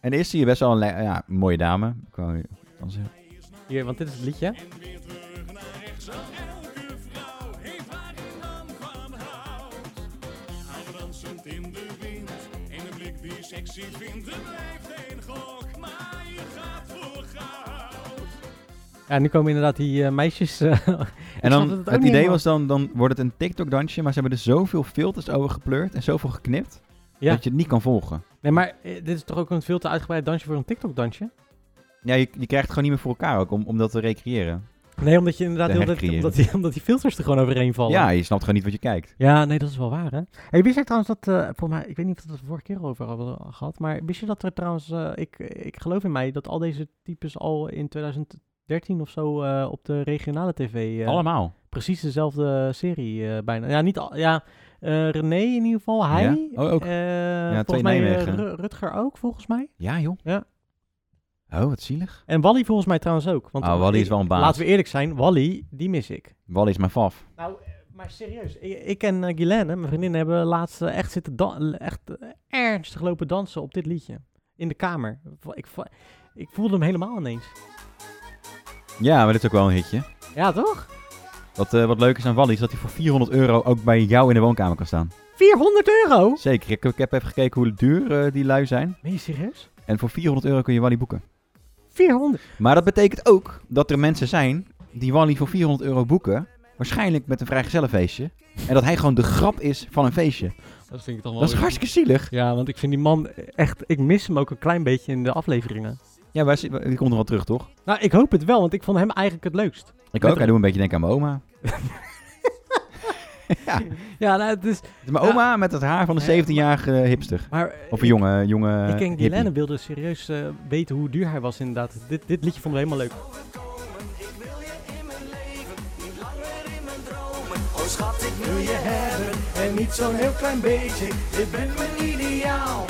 Speaker 2: En eerst zie je best wel een le- ja, mooie dame. Ik wou dansen.
Speaker 1: Hier, want dit is het liedje. Ja, nu komen inderdaad die eh, meisjes. eh,
Speaker 2: En
Speaker 1: snap
Speaker 2: dan,
Speaker 1: dat het
Speaker 2: het,
Speaker 1: ook niet
Speaker 2: idee
Speaker 1: helemaal-
Speaker 2: was dan, dan wordt het een TikTok-dansje, maar ze hebben er zoveel filters over gekleurd en zoveel geknipt,
Speaker 1: Ja.
Speaker 2: dat je het niet kan volgen.
Speaker 1: nee, maar eh, dit is toch ook een veel te uitgebreid dansje voor een TikTok-dansje?
Speaker 2: Ja, je, je krijgt het gewoon niet meer voor elkaar ook, om, om dat te recreëren.
Speaker 1: Nee, omdat je inderdaad
Speaker 2: Te
Speaker 1: heel dat,
Speaker 2: hercreëren.
Speaker 1: omdat, die, omdat die filters er gewoon overheen vallen.
Speaker 2: Ja, je snapt gewoon niet wat je kijkt.
Speaker 1: Ja, nee, dat is wel waar, hè? Hey, wist jij trouwens dat, eh voor mij, ik weet niet of we het er vorige keer over hebben gehad, maar wist je dat er trouwens, eh, ik, ik geloof in mij, dat al deze types al in 2013 of zo eh, op de regionale tv eh,
Speaker 2: Allemaal.
Speaker 1: precies dezelfde serie eh, bijna. Ja, niet al, ja, eh, René in ieder geval, hij.
Speaker 2: Ja, oh, ook.
Speaker 1: eh,
Speaker 2: Ja,
Speaker 1: volgens
Speaker 2: twee
Speaker 1: mij eh,
Speaker 2: Nijmegen.
Speaker 1: Ru- Rutger ook, volgens mij.
Speaker 2: Ja, joh.
Speaker 1: Ja.
Speaker 2: Oh, wat zielig.
Speaker 1: En Wally volgens mij trouwens ook. Want
Speaker 2: Ah, Wally is
Speaker 1: ik-
Speaker 2: wel een baas.
Speaker 1: Laten we eerlijk zijn, Wally, die mis ik.
Speaker 2: Wally is mijn faf.
Speaker 1: Nou, eh, maar serieus. Ik, ik en eh, Guylaine, mijn vriendin, hebben laatst eh, echt zitten dan echt eh, ernstig lopen dansen op dit liedje. In de kamer. Vo- Ik, vo- ik voelde hem helemaal ineens.
Speaker 2: Ja, maar dit is ook wel een hitje.
Speaker 1: Ja, toch?
Speaker 2: Wat, eh, wat leuk is aan Wally is dat hij voor 400 euro ook bij jou in de woonkamer kan staan.
Speaker 1: 400 euro?
Speaker 2: Zeker. Ik, ik heb even gekeken hoe duur eh, die lui zijn.
Speaker 1: Ben je serieus?
Speaker 2: En voor 400 euro kun je Wally boeken.
Speaker 1: 400?
Speaker 2: Maar dat betekent ook dat er mensen zijn die Wally voor 400 euro boeken. Waarschijnlijk met een vrijgezellenfeestje. En dat hij gewoon de grap is van een feestje.
Speaker 1: Dat vind ik dan wel...
Speaker 2: Dat is hartstikke zielig.
Speaker 1: Ja, want ik vind die man echt... Ik mis hem ook een klein beetje in de afleveringen.
Speaker 2: Ja, maar die komt nog wel terug, toch?
Speaker 1: Nou, ik hoop het wel, want ik vond hem eigenlijk het leukst.
Speaker 2: Ik ook. Hij doet een beetje denken aan mijn oma.
Speaker 1: Ja, nou, het is...
Speaker 2: Mijn oma met het haar van een 17-jarige hipster.
Speaker 1: Maar, eh,
Speaker 2: Of een jonge, jonge
Speaker 1: Ik en
Speaker 2: hippie.
Speaker 1: Guylaine wilden serieus eh, weten hoe duur hij was inderdaad. Dit, dit liedje vonden we helemaal leuk.
Speaker 4: Oh,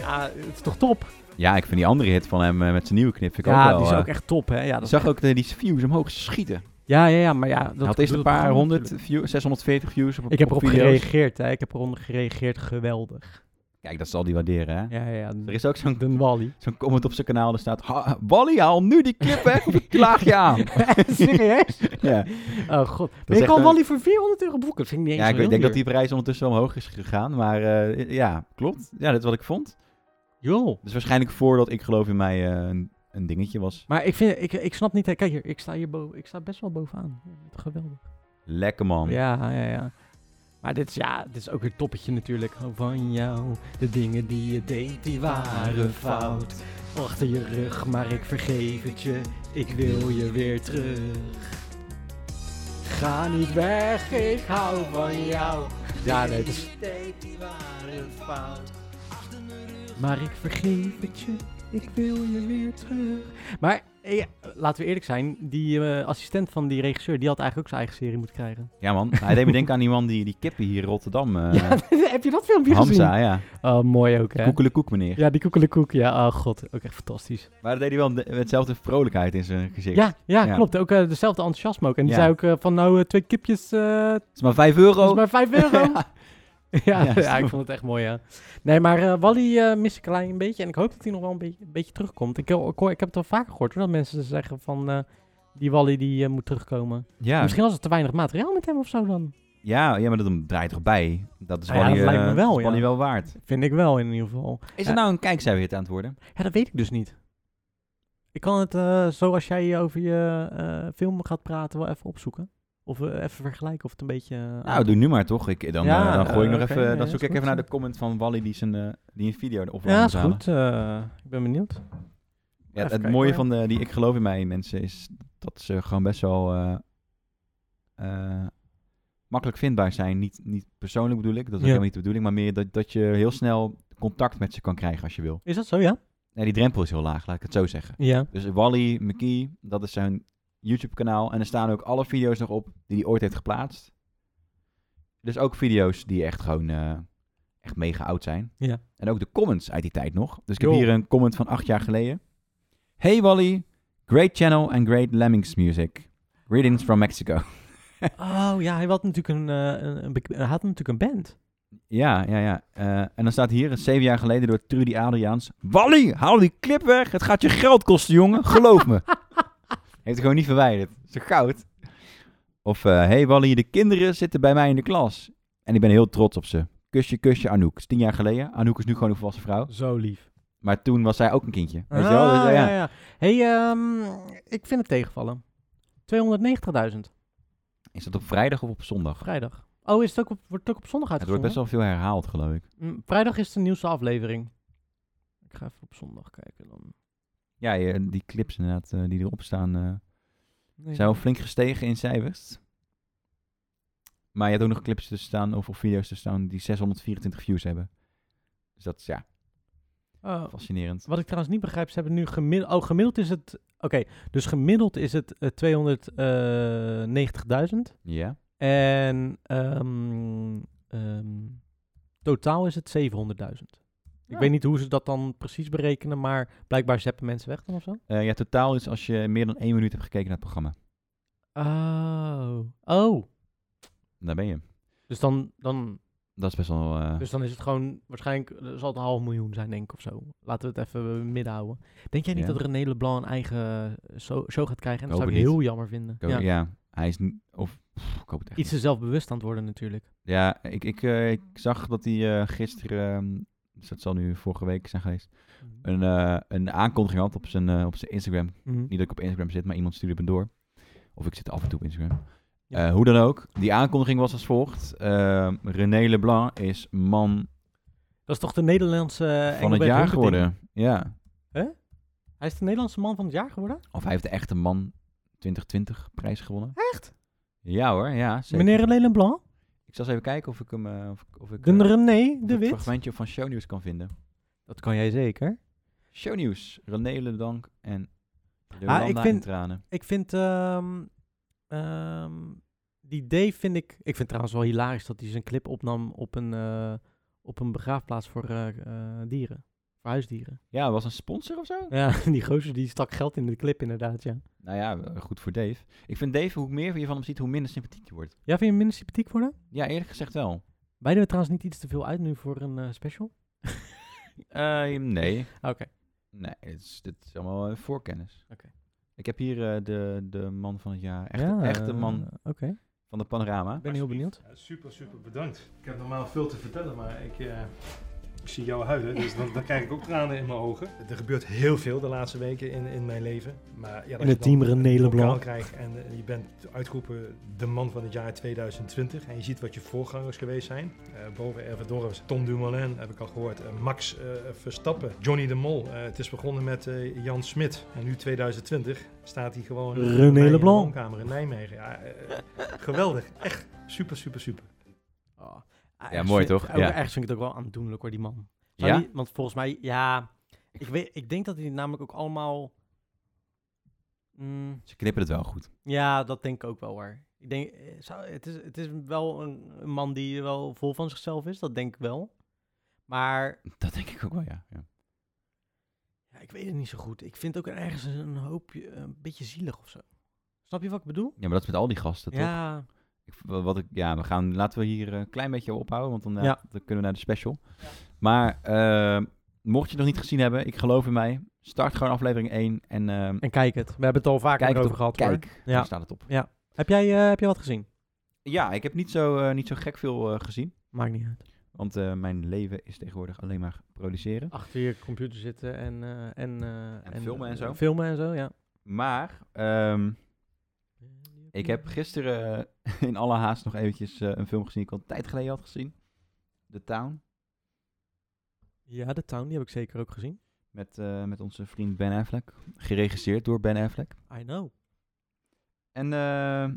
Speaker 1: Ja, het is toch top?
Speaker 2: Ja, ik vind die andere hit van hem eh, met zijn nieuwe knip vind ik
Speaker 1: ja,
Speaker 2: ook wel...
Speaker 1: die is
Speaker 2: eh,
Speaker 1: ook echt top, hè? Ja, dat
Speaker 2: ik
Speaker 1: is
Speaker 2: zag ook dat die views omhoog schieten.
Speaker 1: Ja, ja, ja, maar ja...
Speaker 2: Hij
Speaker 1: Dat
Speaker 2: had eerst
Speaker 1: doet
Speaker 2: een
Speaker 1: het
Speaker 2: paar
Speaker 1: programma
Speaker 2: honderd
Speaker 1: natuurlijk.
Speaker 2: views, 640 views op
Speaker 1: Ik heb
Speaker 2: op
Speaker 1: erop
Speaker 2: video's.
Speaker 1: gereageerd, hè? Ik heb eronder gereageerd. Geweldig.
Speaker 2: Kijk, dat zal die waarderen, hè?
Speaker 1: Ja, ja,
Speaker 2: Er
Speaker 1: ja.
Speaker 2: is ook zo'n
Speaker 1: Den Wally.
Speaker 2: zo'n comment op zijn kanaal, daar staat... "Ha, Wally, haal nu die clip weg of ik klaag je aan.
Speaker 1: Serieus?
Speaker 2: ja,
Speaker 1: Oh god.
Speaker 2: is
Speaker 1: Maar ik
Speaker 2: echt
Speaker 1: kan
Speaker 2: een-
Speaker 1: Wally voor 400 euro boeken. Dat vind ik niet eens
Speaker 2: ja
Speaker 1: zo
Speaker 2: ik
Speaker 1: heel
Speaker 2: denk dat
Speaker 1: duur.
Speaker 2: die prijs ondertussen wel omhoog is gegaan, maar eh, ja, klopt. Ja, dat is wat ik vond.
Speaker 1: Joh.
Speaker 2: Dus waarschijnlijk voordat ik geloof in mij eh, een, een dingetje was.
Speaker 1: Maar ik, vind, ik, ik snap niet... hè, Kijk hier, ik sta, hier bo ik sta best wel bovenaan. Geweldig.
Speaker 2: Lekker man.
Speaker 1: Ja, ja, ja. Maar dit is, ja, dit is ook weer toppetje natuurlijk. Oh, Van jou, de dingen die je deed, die waren fout. Achter je rug, maar ik vergeef het je. Ik wil je weer terug. Ga niet weg, ik hou van jou. Ja, nee, dat is... Die waren fout. Maar ik vergeef het je. Ik wil je weer terug. Maar eh, ja, laten we eerlijk zijn, die eh, assistent van die regisseur, die had eigenlijk ook zijn eigen serie moeten krijgen.
Speaker 2: Ja man, hij deed me denken aan die man die, die kippen hier in Rotterdam. eh
Speaker 1: Ja, heb je dat filmpje gezien?
Speaker 2: Hamza, ja.
Speaker 1: Oh, mooi ook, hè?
Speaker 2: Koekelekoek meneer.
Speaker 1: Ja, die koekelekoek. Ja, oh god, ook echt fantastisch.
Speaker 2: Maar dat deed hij wel met hetzelfde vrolijkheid in zijn gezicht.
Speaker 1: Ja, ja,
Speaker 2: Ja.
Speaker 1: klopt. Ook eh, dezelfde enthousiasme ook. En die
Speaker 2: Ja.
Speaker 1: zei ook eh, van, nou, eh, twee kipjes, eh
Speaker 2: Het is maar 5 euro.
Speaker 1: dat is maar vijf euro. ja, ja,
Speaker 2: Ja, stom.
Speaker 1: ik vond het echt mooi, ja. Nee, maar eh, Wally eh mis ik alleen een beetje. En ik hoop dat hij nog wel een beetje, een beetje terugkomt. Ik, hoor- ik, hoor- ik heb het wel vaker gehoord, hoor, dat mensen zeggen van... eh, die Wally die eh, moet terugkomen.
Speaker 2: Ja.
Speaker 1: Misschien was het te weinig materiaal met hem of zo dan.
Speaker 2: Ja, ja, maar dat draait toch bij? Dat is
Speaker 1: Ja,
Speaker 2: wel
Speaker 1: dat
Speaker 2: die,
Speaker 1: lijkt me
Speaker 2: eh,
Speaker 1: wel,
Speaker 2: dat is
Speaker 1: ja.
Speaker 2: die wel waard.
Speaker 1: Vind ik wel in ieder geval.
Speaker 2: Is
Speaker 1: Ja.
Speaker 2: er nou een kijkcijferhit aan het worden?
Speaker 1: Ja, dat weet ik dus niet. Ik kan het, eh, zo als jij over je eh, film gaat praten, wel even opzoeken. Of we even vergelijken of het een beetje... eh,
Speaker 2: Nou, doe nu maar toch. Ik, dan,
Speaker 1: Ja,
Speaker 2: eh, dan gooi ik
Speaker 1: eh,
Speaker 2: nog
Speaker 1: oké,
Speaker 2: even...
Speaker 1: ja,
Speaker 2: dan
Speaker 1: is
Speaker 2: zoek ik
Speaker 1: goed,
Speaker 2: even naar
Speaker 1: ja.
Speaker 2: de comment van Wally die, zijn, eh, die een video erop
Speaker 1: Ja, is goed. eh, ik ben benieuwd.
Speaker 2: Ja,
Speaker 1: Even
Speaker 2: het
Speaker 1: kijken,
Speaker 2: mooie
Speaker 1: hoor.
Speaker 2: van de, die ik geloof in mij mensen is dat ze gewoon best wel eh, eh, makkelijk vindbaar zijn. Niet, niet persoonlijk bedoel ik, dat is ook
Speaker 1: Ja.
Speaker 2: helemaal niet de bedoeling, maar meer dat, dat je heel snel contact met ze kan krijgen als je wil.
Speaker 1: Is dat zo, ja?
Speaker 2: Nee, die drempel is heel laag, laat ik het zo zeggen.
Speaker 1: Ja.
Speaker 2: Dus Wally, McKee, dat is zijn YouTube-kanaal. En er staan ook alle video's nog op die hij ooit heeft geplaatst. Dus ook video's die echt gewoon eh, echt mega oud zijn.
Speaker 1: Ja.
Speaker 2: En ook de comments uit die tijd nog. Dus ik heb
Speaker 1: Joh.
Speaker 2: hier een comment van acht jaar geleden. Hey Wally, great channel and great Lemmings music. Greetings from Mexico.
Speaker 1: Oh ja, hij had natuurlijk een, eh, een, een bek- hij had natuurlijk een band.
Speaker 2: ja, ja, ja. Eh, en dan staat hier, zeven jaar geleden door Trudy Adriaans. Wally, haal die clip weg. Het gaat je geld kosten, jongen. Geloof me. Heeft hij gewoon niet verwijderd. Zo goud. Of, eh, hey Wally, de kinderen zitten bij mij in de klas. En ik ben heel trots op ze. Kusje, kusje, Anouk. Dat is tien jaar geleden. Anouk is nu gewoon een volwassen vrouw.
Speaker 1: Zo lief.
Speaker 2: Maar toen was zij ook een kindje. Weet
Speaker 1: ah,
Speaker 2: je wel? Dus, eh,
Speaker 1: ja,
Speaker 2: ja.
Speaker 1: ja. hey, ehm, ik vind het tegenvallen. 290.000,
Speaker 2: Is dat op vrijdag of op zondag?
Speaker 1: vrijdag. Oh, is het ook op, wordt het ook op zondag
Speaker 2: Het wordt
Speaker 1: uitgezonden?
Speaker 2: best wel veel herhaald, geloof ik.
Speaker 1: Mm, Vrijdag is de nieuwste aflevering. Ik ga even op zondag kijken dan.
Speaker 2: Ja, je- die clips inderdaad eh, die erop staan... eh,
Speaker 1: Nee.
Speaker 2: Zijn wel flink gestegen in cijfers. Maar je hebt ook nog clips te staan of, of video's te staan die 624 views hebben. Dus dat is ja,
Speaker 1: Oh,
Speaker 2: fascinerend.
Speaker 1: wat ik trouwens niet begrijp, ze hebben nu gemiddeld... Oh, gemiddeld is het... Oké, dus gemiddeld is het eh, 290.000.
Speaker 2: Ja.
Speaker 1: En ehm, ehm, totaal is het 700.000. Ik
Speaker 2: Ja.
Speaker 1: weet niet hoe ze dat dan precies berekenen, maar blijkbaar zeppen mensen weg dan of zo.
Speaker 2: Eh, ja, totaal is als je meer dan één minuut hebt gekeken naar het programma.
Speaker 1: Oh. Oh.
Speaker 2: Daar ben je.
Speaker 1: Dus dan, dan,
Speaker 2: Dat is best wel... eh,
Speaker 1: dus dan is het gewoon, waarschijnlijk eh, zal het een half miljoen zijn, denk ik, of zo. Laten we het even eh, midden houden. Denk jij niet
Speaker 2: Ja.
Speaker 1: dat René Leblanc een eigen eh, so- show gaat krijgen? En dat zou
Speaker 2: Ik hoop
Speaker 1: ik
Speaker 2: het
Speaker 1: heel jammer vinden.
Speaker 2: ik hoop-
Speaker 1: Ja.
Speaker 2: ja. hij is... n- Of, pff, ik hoop het echt
Speaker 1: Iets
Speaker 2: niet.
Speaker 1: te zelfbewust aan het worden natuurlijk.
Speaker 2: Ja, ik, ik, eh, ik zag dat hij eh, gisteren... ehm, dus dat zal nu vorige week zijn geweest. Een, eh, een aankondiging had op zijn, eh, op zijn Instagram
Speaker 1: Mhm.
Speaker 2: Niet dat ik op Instagram zit, maar iemand stuurde me door. Of ik zit af en toe op Instagram.
Speaker 1: Ja.
Speaker 2: Eh, hoe dan ook. Die aankondiging was als volgt. Eh, René Leblanc is man
Speaker 1: Dat is toch de Nederlandse eh,
Speaker 2: van het
Speaker 1: Engelbert
Speaker 2: jaar
Speaker 1: Humperdinck?
Speaker 2: geworden. Ja.
Speaker 1: Hij is de Nederlandse man van het jaar geworden?
Speaker 2: Of hij heeft de echte man 2020 prijs gewonnen. Echt? Ja hoor, ja. Zeker.
Speaker 1: Meneer René Leblanc?
Speaker 2: Ik zal eens even kijken of ik hem... eh, of, ik- of ik,
Speaker 1: De
Speaker 2: eh,
Speaker 1: René
Speaker 2: of
Speaker 1: de
Speaker 2: ik een
Speaker 1: Wit?
Speaker 2: fragmentje van shownieuws kan vinden.
Speaker 1: Dat kan jij zeker.
Speaker 2: Shownieuws. René Leblanc en
Speaker 1: Ah,
Speaker 2: Jolanda
Speaker 1: ik
Speaker 2: ik
Speaker 1: vind-
Speaker 2: in tranen.
Speaker 1: Ik vind ehm, ehm, die D vind ik. Ik vind het trouwens wel hilarisch dat hij zijn clip opnam op een, eh, op een begraafplaats voor eh, eh, dieren. Voor huisdieren.
Speaker 2: Ja, was een sponsor of zo?
Speaker 1: Ja, die gozer die stak geld in de clip inderdaad, ja.
Speaker 2: Nou ja, eh, goed voor Dave. Ik vind Dave, hoe meer je van hem ziet, hoe minder sympathiek je wordt.
Speaker 1: Ja, vind je hem minder sympathiek worden?
Speaker 2: Ja, eerlijk gezegd wel.
Speaker 1: Wij doen trouwens niet iets te veel uit nu voor een eh, special.
Speaker 2: Eh, nee.
Speaker 1: Oké.
Speaker 2: Nee, het is, dit is allemaal eh, voorkennis.
Speaker 1: Oké.
Speaker 2: Ik heb hier eh, de, de man van het jaar. Echte,
Speaker 1: Ja,
Speaker 2: echte
Speaker 1: eh,
Speaker 2: man
Speaker 1: Oké,
Speaker 2: van de panorama.
Speaker 1: ik ben heel benieuwd.
Speaker 4: Ja, super, super bedankt. Ik heb normaal veel te vertellen, maar ik, eh, ik zie jou huilen, dus dan, dan krijg ik ook tranen in mijn ogen. Er gebeurt heel veel de laatste weken in, in mijn leven. Maar ja, dat je
Speaker 1: het
Speaker 4: dan
Speaker 1: team René
Speaker 4: een
Speaker 1: Leblanc.
Speaker 4: bokaal krijgt en eh, je bent uitgeroepen de man van het jaar 2020. En je ziet wat je voorgangers geweest zijn. Eh, boven Erwin Dorris, Tom Dumoulin heb ik al gehoord. eh, Max eh, Verstappen, Johnny de Mol. Eh, het is begonnen met eh, Jan Smit. En nu 2020 staat hij gewoon bij
Speaker 1: René
Speaker 4: mij in de
Speaker 1: Leblanc.
Speaker 4: woonkamer in Nijmegen. Ja, eh, geweldig. Echt super, super, super.
Speaker 1: Oh.
Speaker 2: Ja, mooi toch?
Speaker 1: Ja.
Speaker 2: Ja.
Speaker 1: Ergens vind ik het ook wel aandoenlijk hoor, die man. Zou
Speaker 2: Ja?
Speaker 1: die- want volgens mij, ja. Ik, weet, ik denk dat hij het namelijk ook allemaal. Mm,
Speaker 2: Ze knippen het wel goed.
Speaker 1: ja, dat denk ik ook wel hoor. Ik denk, eh, zou, het, is, het is wel een, een man die wel vol van zichzelf is, dat denk ik wel. Maar
Speaker 2: Dat denk ik ook wel, ja. ja.
Speaker 1: ja, ik weet het niet zo goed. Ik vind ook ergens een hoopje een beetje zielig of zo. Snap je wat ik bedoel?
Speaker 2: Ja, maar dat is met al die gasten, toch?
Speaker 1: ja,
Speaker 2: Ik, wa- wat ik, ja, we gaan, laten we hier eh, een klein beetje ophouden, want dan, ja,
Speaker 1: Ja.
Speaker 2: dan kunnen we naar de special. Maar eh, mocht je het nog niet gezien hebben, ik geloof in mij. Start gewoon aflevering 1 en eh,
Speaker 1: en kijk het. We hebben het al vaker
Speaker 2: kijk het
Speaker 1: over
Speaker 2: op.
Speaker 1: gehad.
Speaker 2: Kijk,
Speaker 1: hoor.
Speaker 2: daar
Speaker 1: Ja.
Speaker 2: staat het op.
Speaker 1: Heb, jij, eh, heb jij wat gezien?
Speaker 2: Ja, ik heb niet zo, eh, niet zo gek veel eh, gezien,
Speaker 1: Maakt niet uit.
Speaker 2: want eh, mijn leven is tegenwoordig alleen maar produceren.
Speaker 1: Achter je computer zitten en... eh, en, eh,
Speaker 2: filmen en
Speaker 1: eh,
Speaker 2: zo.
Speaker 1: Filmen en zo, ja.
Speaker 2: Maar ehm, Ik heb gisteren eh, in alle haast nog eventjes eh, een film gezien die ik al een tijd geleden had gezien. The Town.
Speaker 1: Ja, de Town, die heb ik zeker ook gezien.
Speaker 2: Met, eh, met onze vriend Ben Affleck. Geregisseerd door Ben Affleck.
Speaker 1: I know.
Speaker 2: En eh,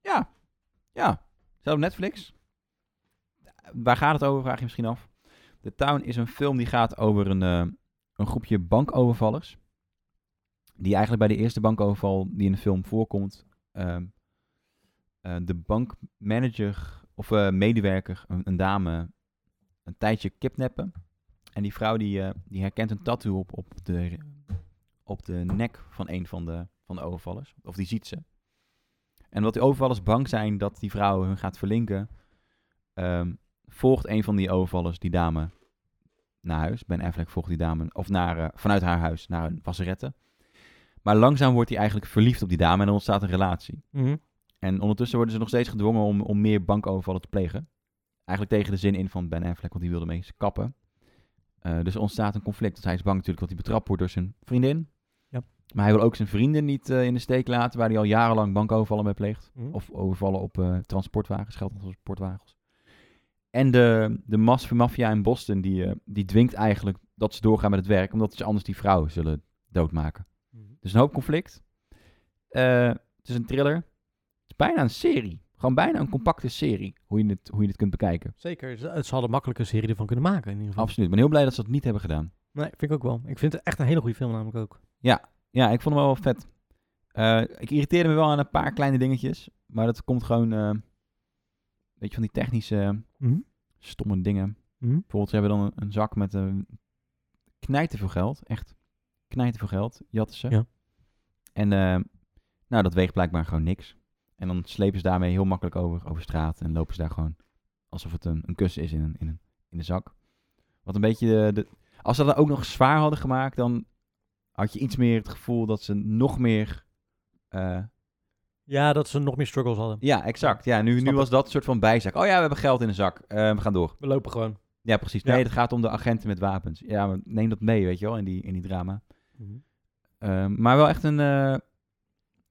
Speaker 2: ja, ja, staat op Netflix. Waar gaat het over, vraag je misschien af. The Town is een film die gaat over een, eh, een groepje bankovervallers. Die eigenlijk bij de eerste bankoverval die in de film voorkomt, ehm, eh, de bankmanager of eh, medewerker, een, een dame, een tijdje kidnappen. En die vrouw die, eh, die herkent een tattoo op, op, de, op de nek van een van de, van de overvallers. Of die ziet ze. En wat die overvallers bang zijn dat die vrouw hun gaat verlinken, ehm, volgt een van die overvallers die dame naar huis. Ben Affleck volgt die dame, of naar, eh, vanuit haar huis naar een wasserette. Maar langzaam wordt hij eigenlijk verliefd op die dame en er ontstaat een relatie.
Speaker 1: Mhm.
Speaker 2: En ondertussen worden ze nog steeds gedwongen om, om meer bankovervallen te plegen. Eigenlijk tegen de zin in van Ben Affleck, want die wilde mee kappen. Eh, dus er ontstaat een conflict. Want hij is bang natuurlijk dat hij betrapt wordt door zijn vriendin.
Speaker 1: Ja.
Speaker 2: Maar hij wil ook zijn vrienden niet eh, in de steek laten, waar hij al jarenlang bankovervallen mee pleegt.
Speaker 1: Mhm.
Speaker 2: Of overvallen op eh, transportwagens, geldtransportwagens. En de, de mas- maffia in Boston, die, eh, die dwingt eigenlijk dat ze doorgaan met het werk, omdat ze anders die vrouw zullen doodmaken.
Speaker 1: Mhm.
Speaker 2: Dus een hoop conflict. Eh, het is een thriller. Het is bijna een serie. Gewoon bijna een compacte serie, hoe je het, hoe je het kunt bekijken.
Speaker 1: Zeker, ze, ze hadden makkelijk een serie ervan kunnen maken in ieder geval.
Speaker 2: Absoluut. Ik ben heel blij dat ze dat niet hebben gedaan.
Speaker 1: Nee, vind ik ook wel. Ik vind het echt een hele goede film namelijk ook.
Speaker 2: Ja, ik vond hem wel vet. Eh, ik irriteerde me wel aan een paar kleine dingetjes. Maar dat komt gewoon, eh, weet je, van die technische eh, stomme dingen.
Speaker 1: Mhm.
Speaker 2: Bijvoorbeeld, ze hebben dan een, een zak met een knijten veel geld. Echt knijten veel geld, jatten ze.
Speaker 1: Ja.
Speaker 2: En eh, nou, dat weegt blijkbaar gewoon niks. En dan slepen ze daarmee heel makkelijk over, over straat en lopen ze daar gewoon alsof het een, een kussen is in, een, in, een, in de zak. Wat een beetje eh, de, de- Als ze dat ook nog zwaar hadden gemaakt, dan had je iets meer het gevoel dat ze nog meer... eh,
Speaker 1: Ja, dat ze nog meer struggles hadden.
Speaker 2: ja, exact. Ja, nu,
Speaker 1: Snap
Speaker 2: nu
Speaker 1: ik.
Speaker 2: was dat een soort van bijzaak. Oh ja, we hebben geld in de zak. Eh, we gaan door.
Speaker 1: We lopen gewoon.
Speaker 2: Ja, precies.
Speaker 1: Ja.
Speaker 2: Nee, het gaat om de agenten met wapens. Ja, maar neem dat mee, weet je wel, in die, in die drama.
Speaker 1: Mhm.
Speaker 2: Eh, maar wel echt een, eh, eh,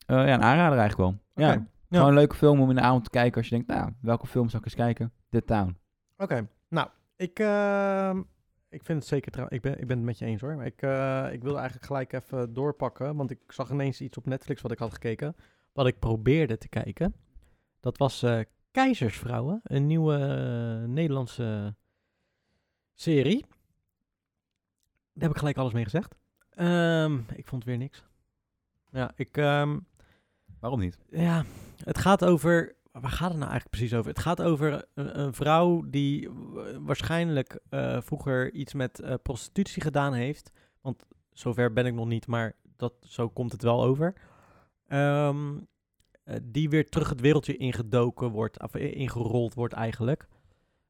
Speaker 2: ja, een aanrader eigenlijk wel. Ja,
Speaker 1: Oké, ja.
Speaker 2: gewoon een leuke film om in de avond te kijken als je denkt, nou, welke film zou ik eens kijken? The Town.
Speaker 1: Oké, nou, ik, ehm, ik vind het zeker trouw. Ik ben, ik ben het met je eens hoor. Maar ik, eh, ik wilde eigenlijk gelijk even doorpakken. Want ik zag ineens iets op Netflix wat ik had gekeken. Wat ik probeerde te kijken. Dat was eh, Keizersvrouwen. Een nieuwe eh, Nederlandse serie. Daar heb ik gelijk alles mee gezegd. Ehm, ik vond weer niks. Ja, ik, ehm,
Speaker 2: Waarom niet?
Speaker 1: ja, het gaat over. Waar gaat het nou eigenlijk precies over? Het gaat over een, een vrouw die wa- waarschijnlijk eh, vroeger iets met eh, prostitutie gedaan heeft. Want zover ben ik nog niet, maar dat, zo komt het wel over. Ehm, eh, die weer terug het wereldje ingedoken wordt, of i- ingerold wordt eigenlijk.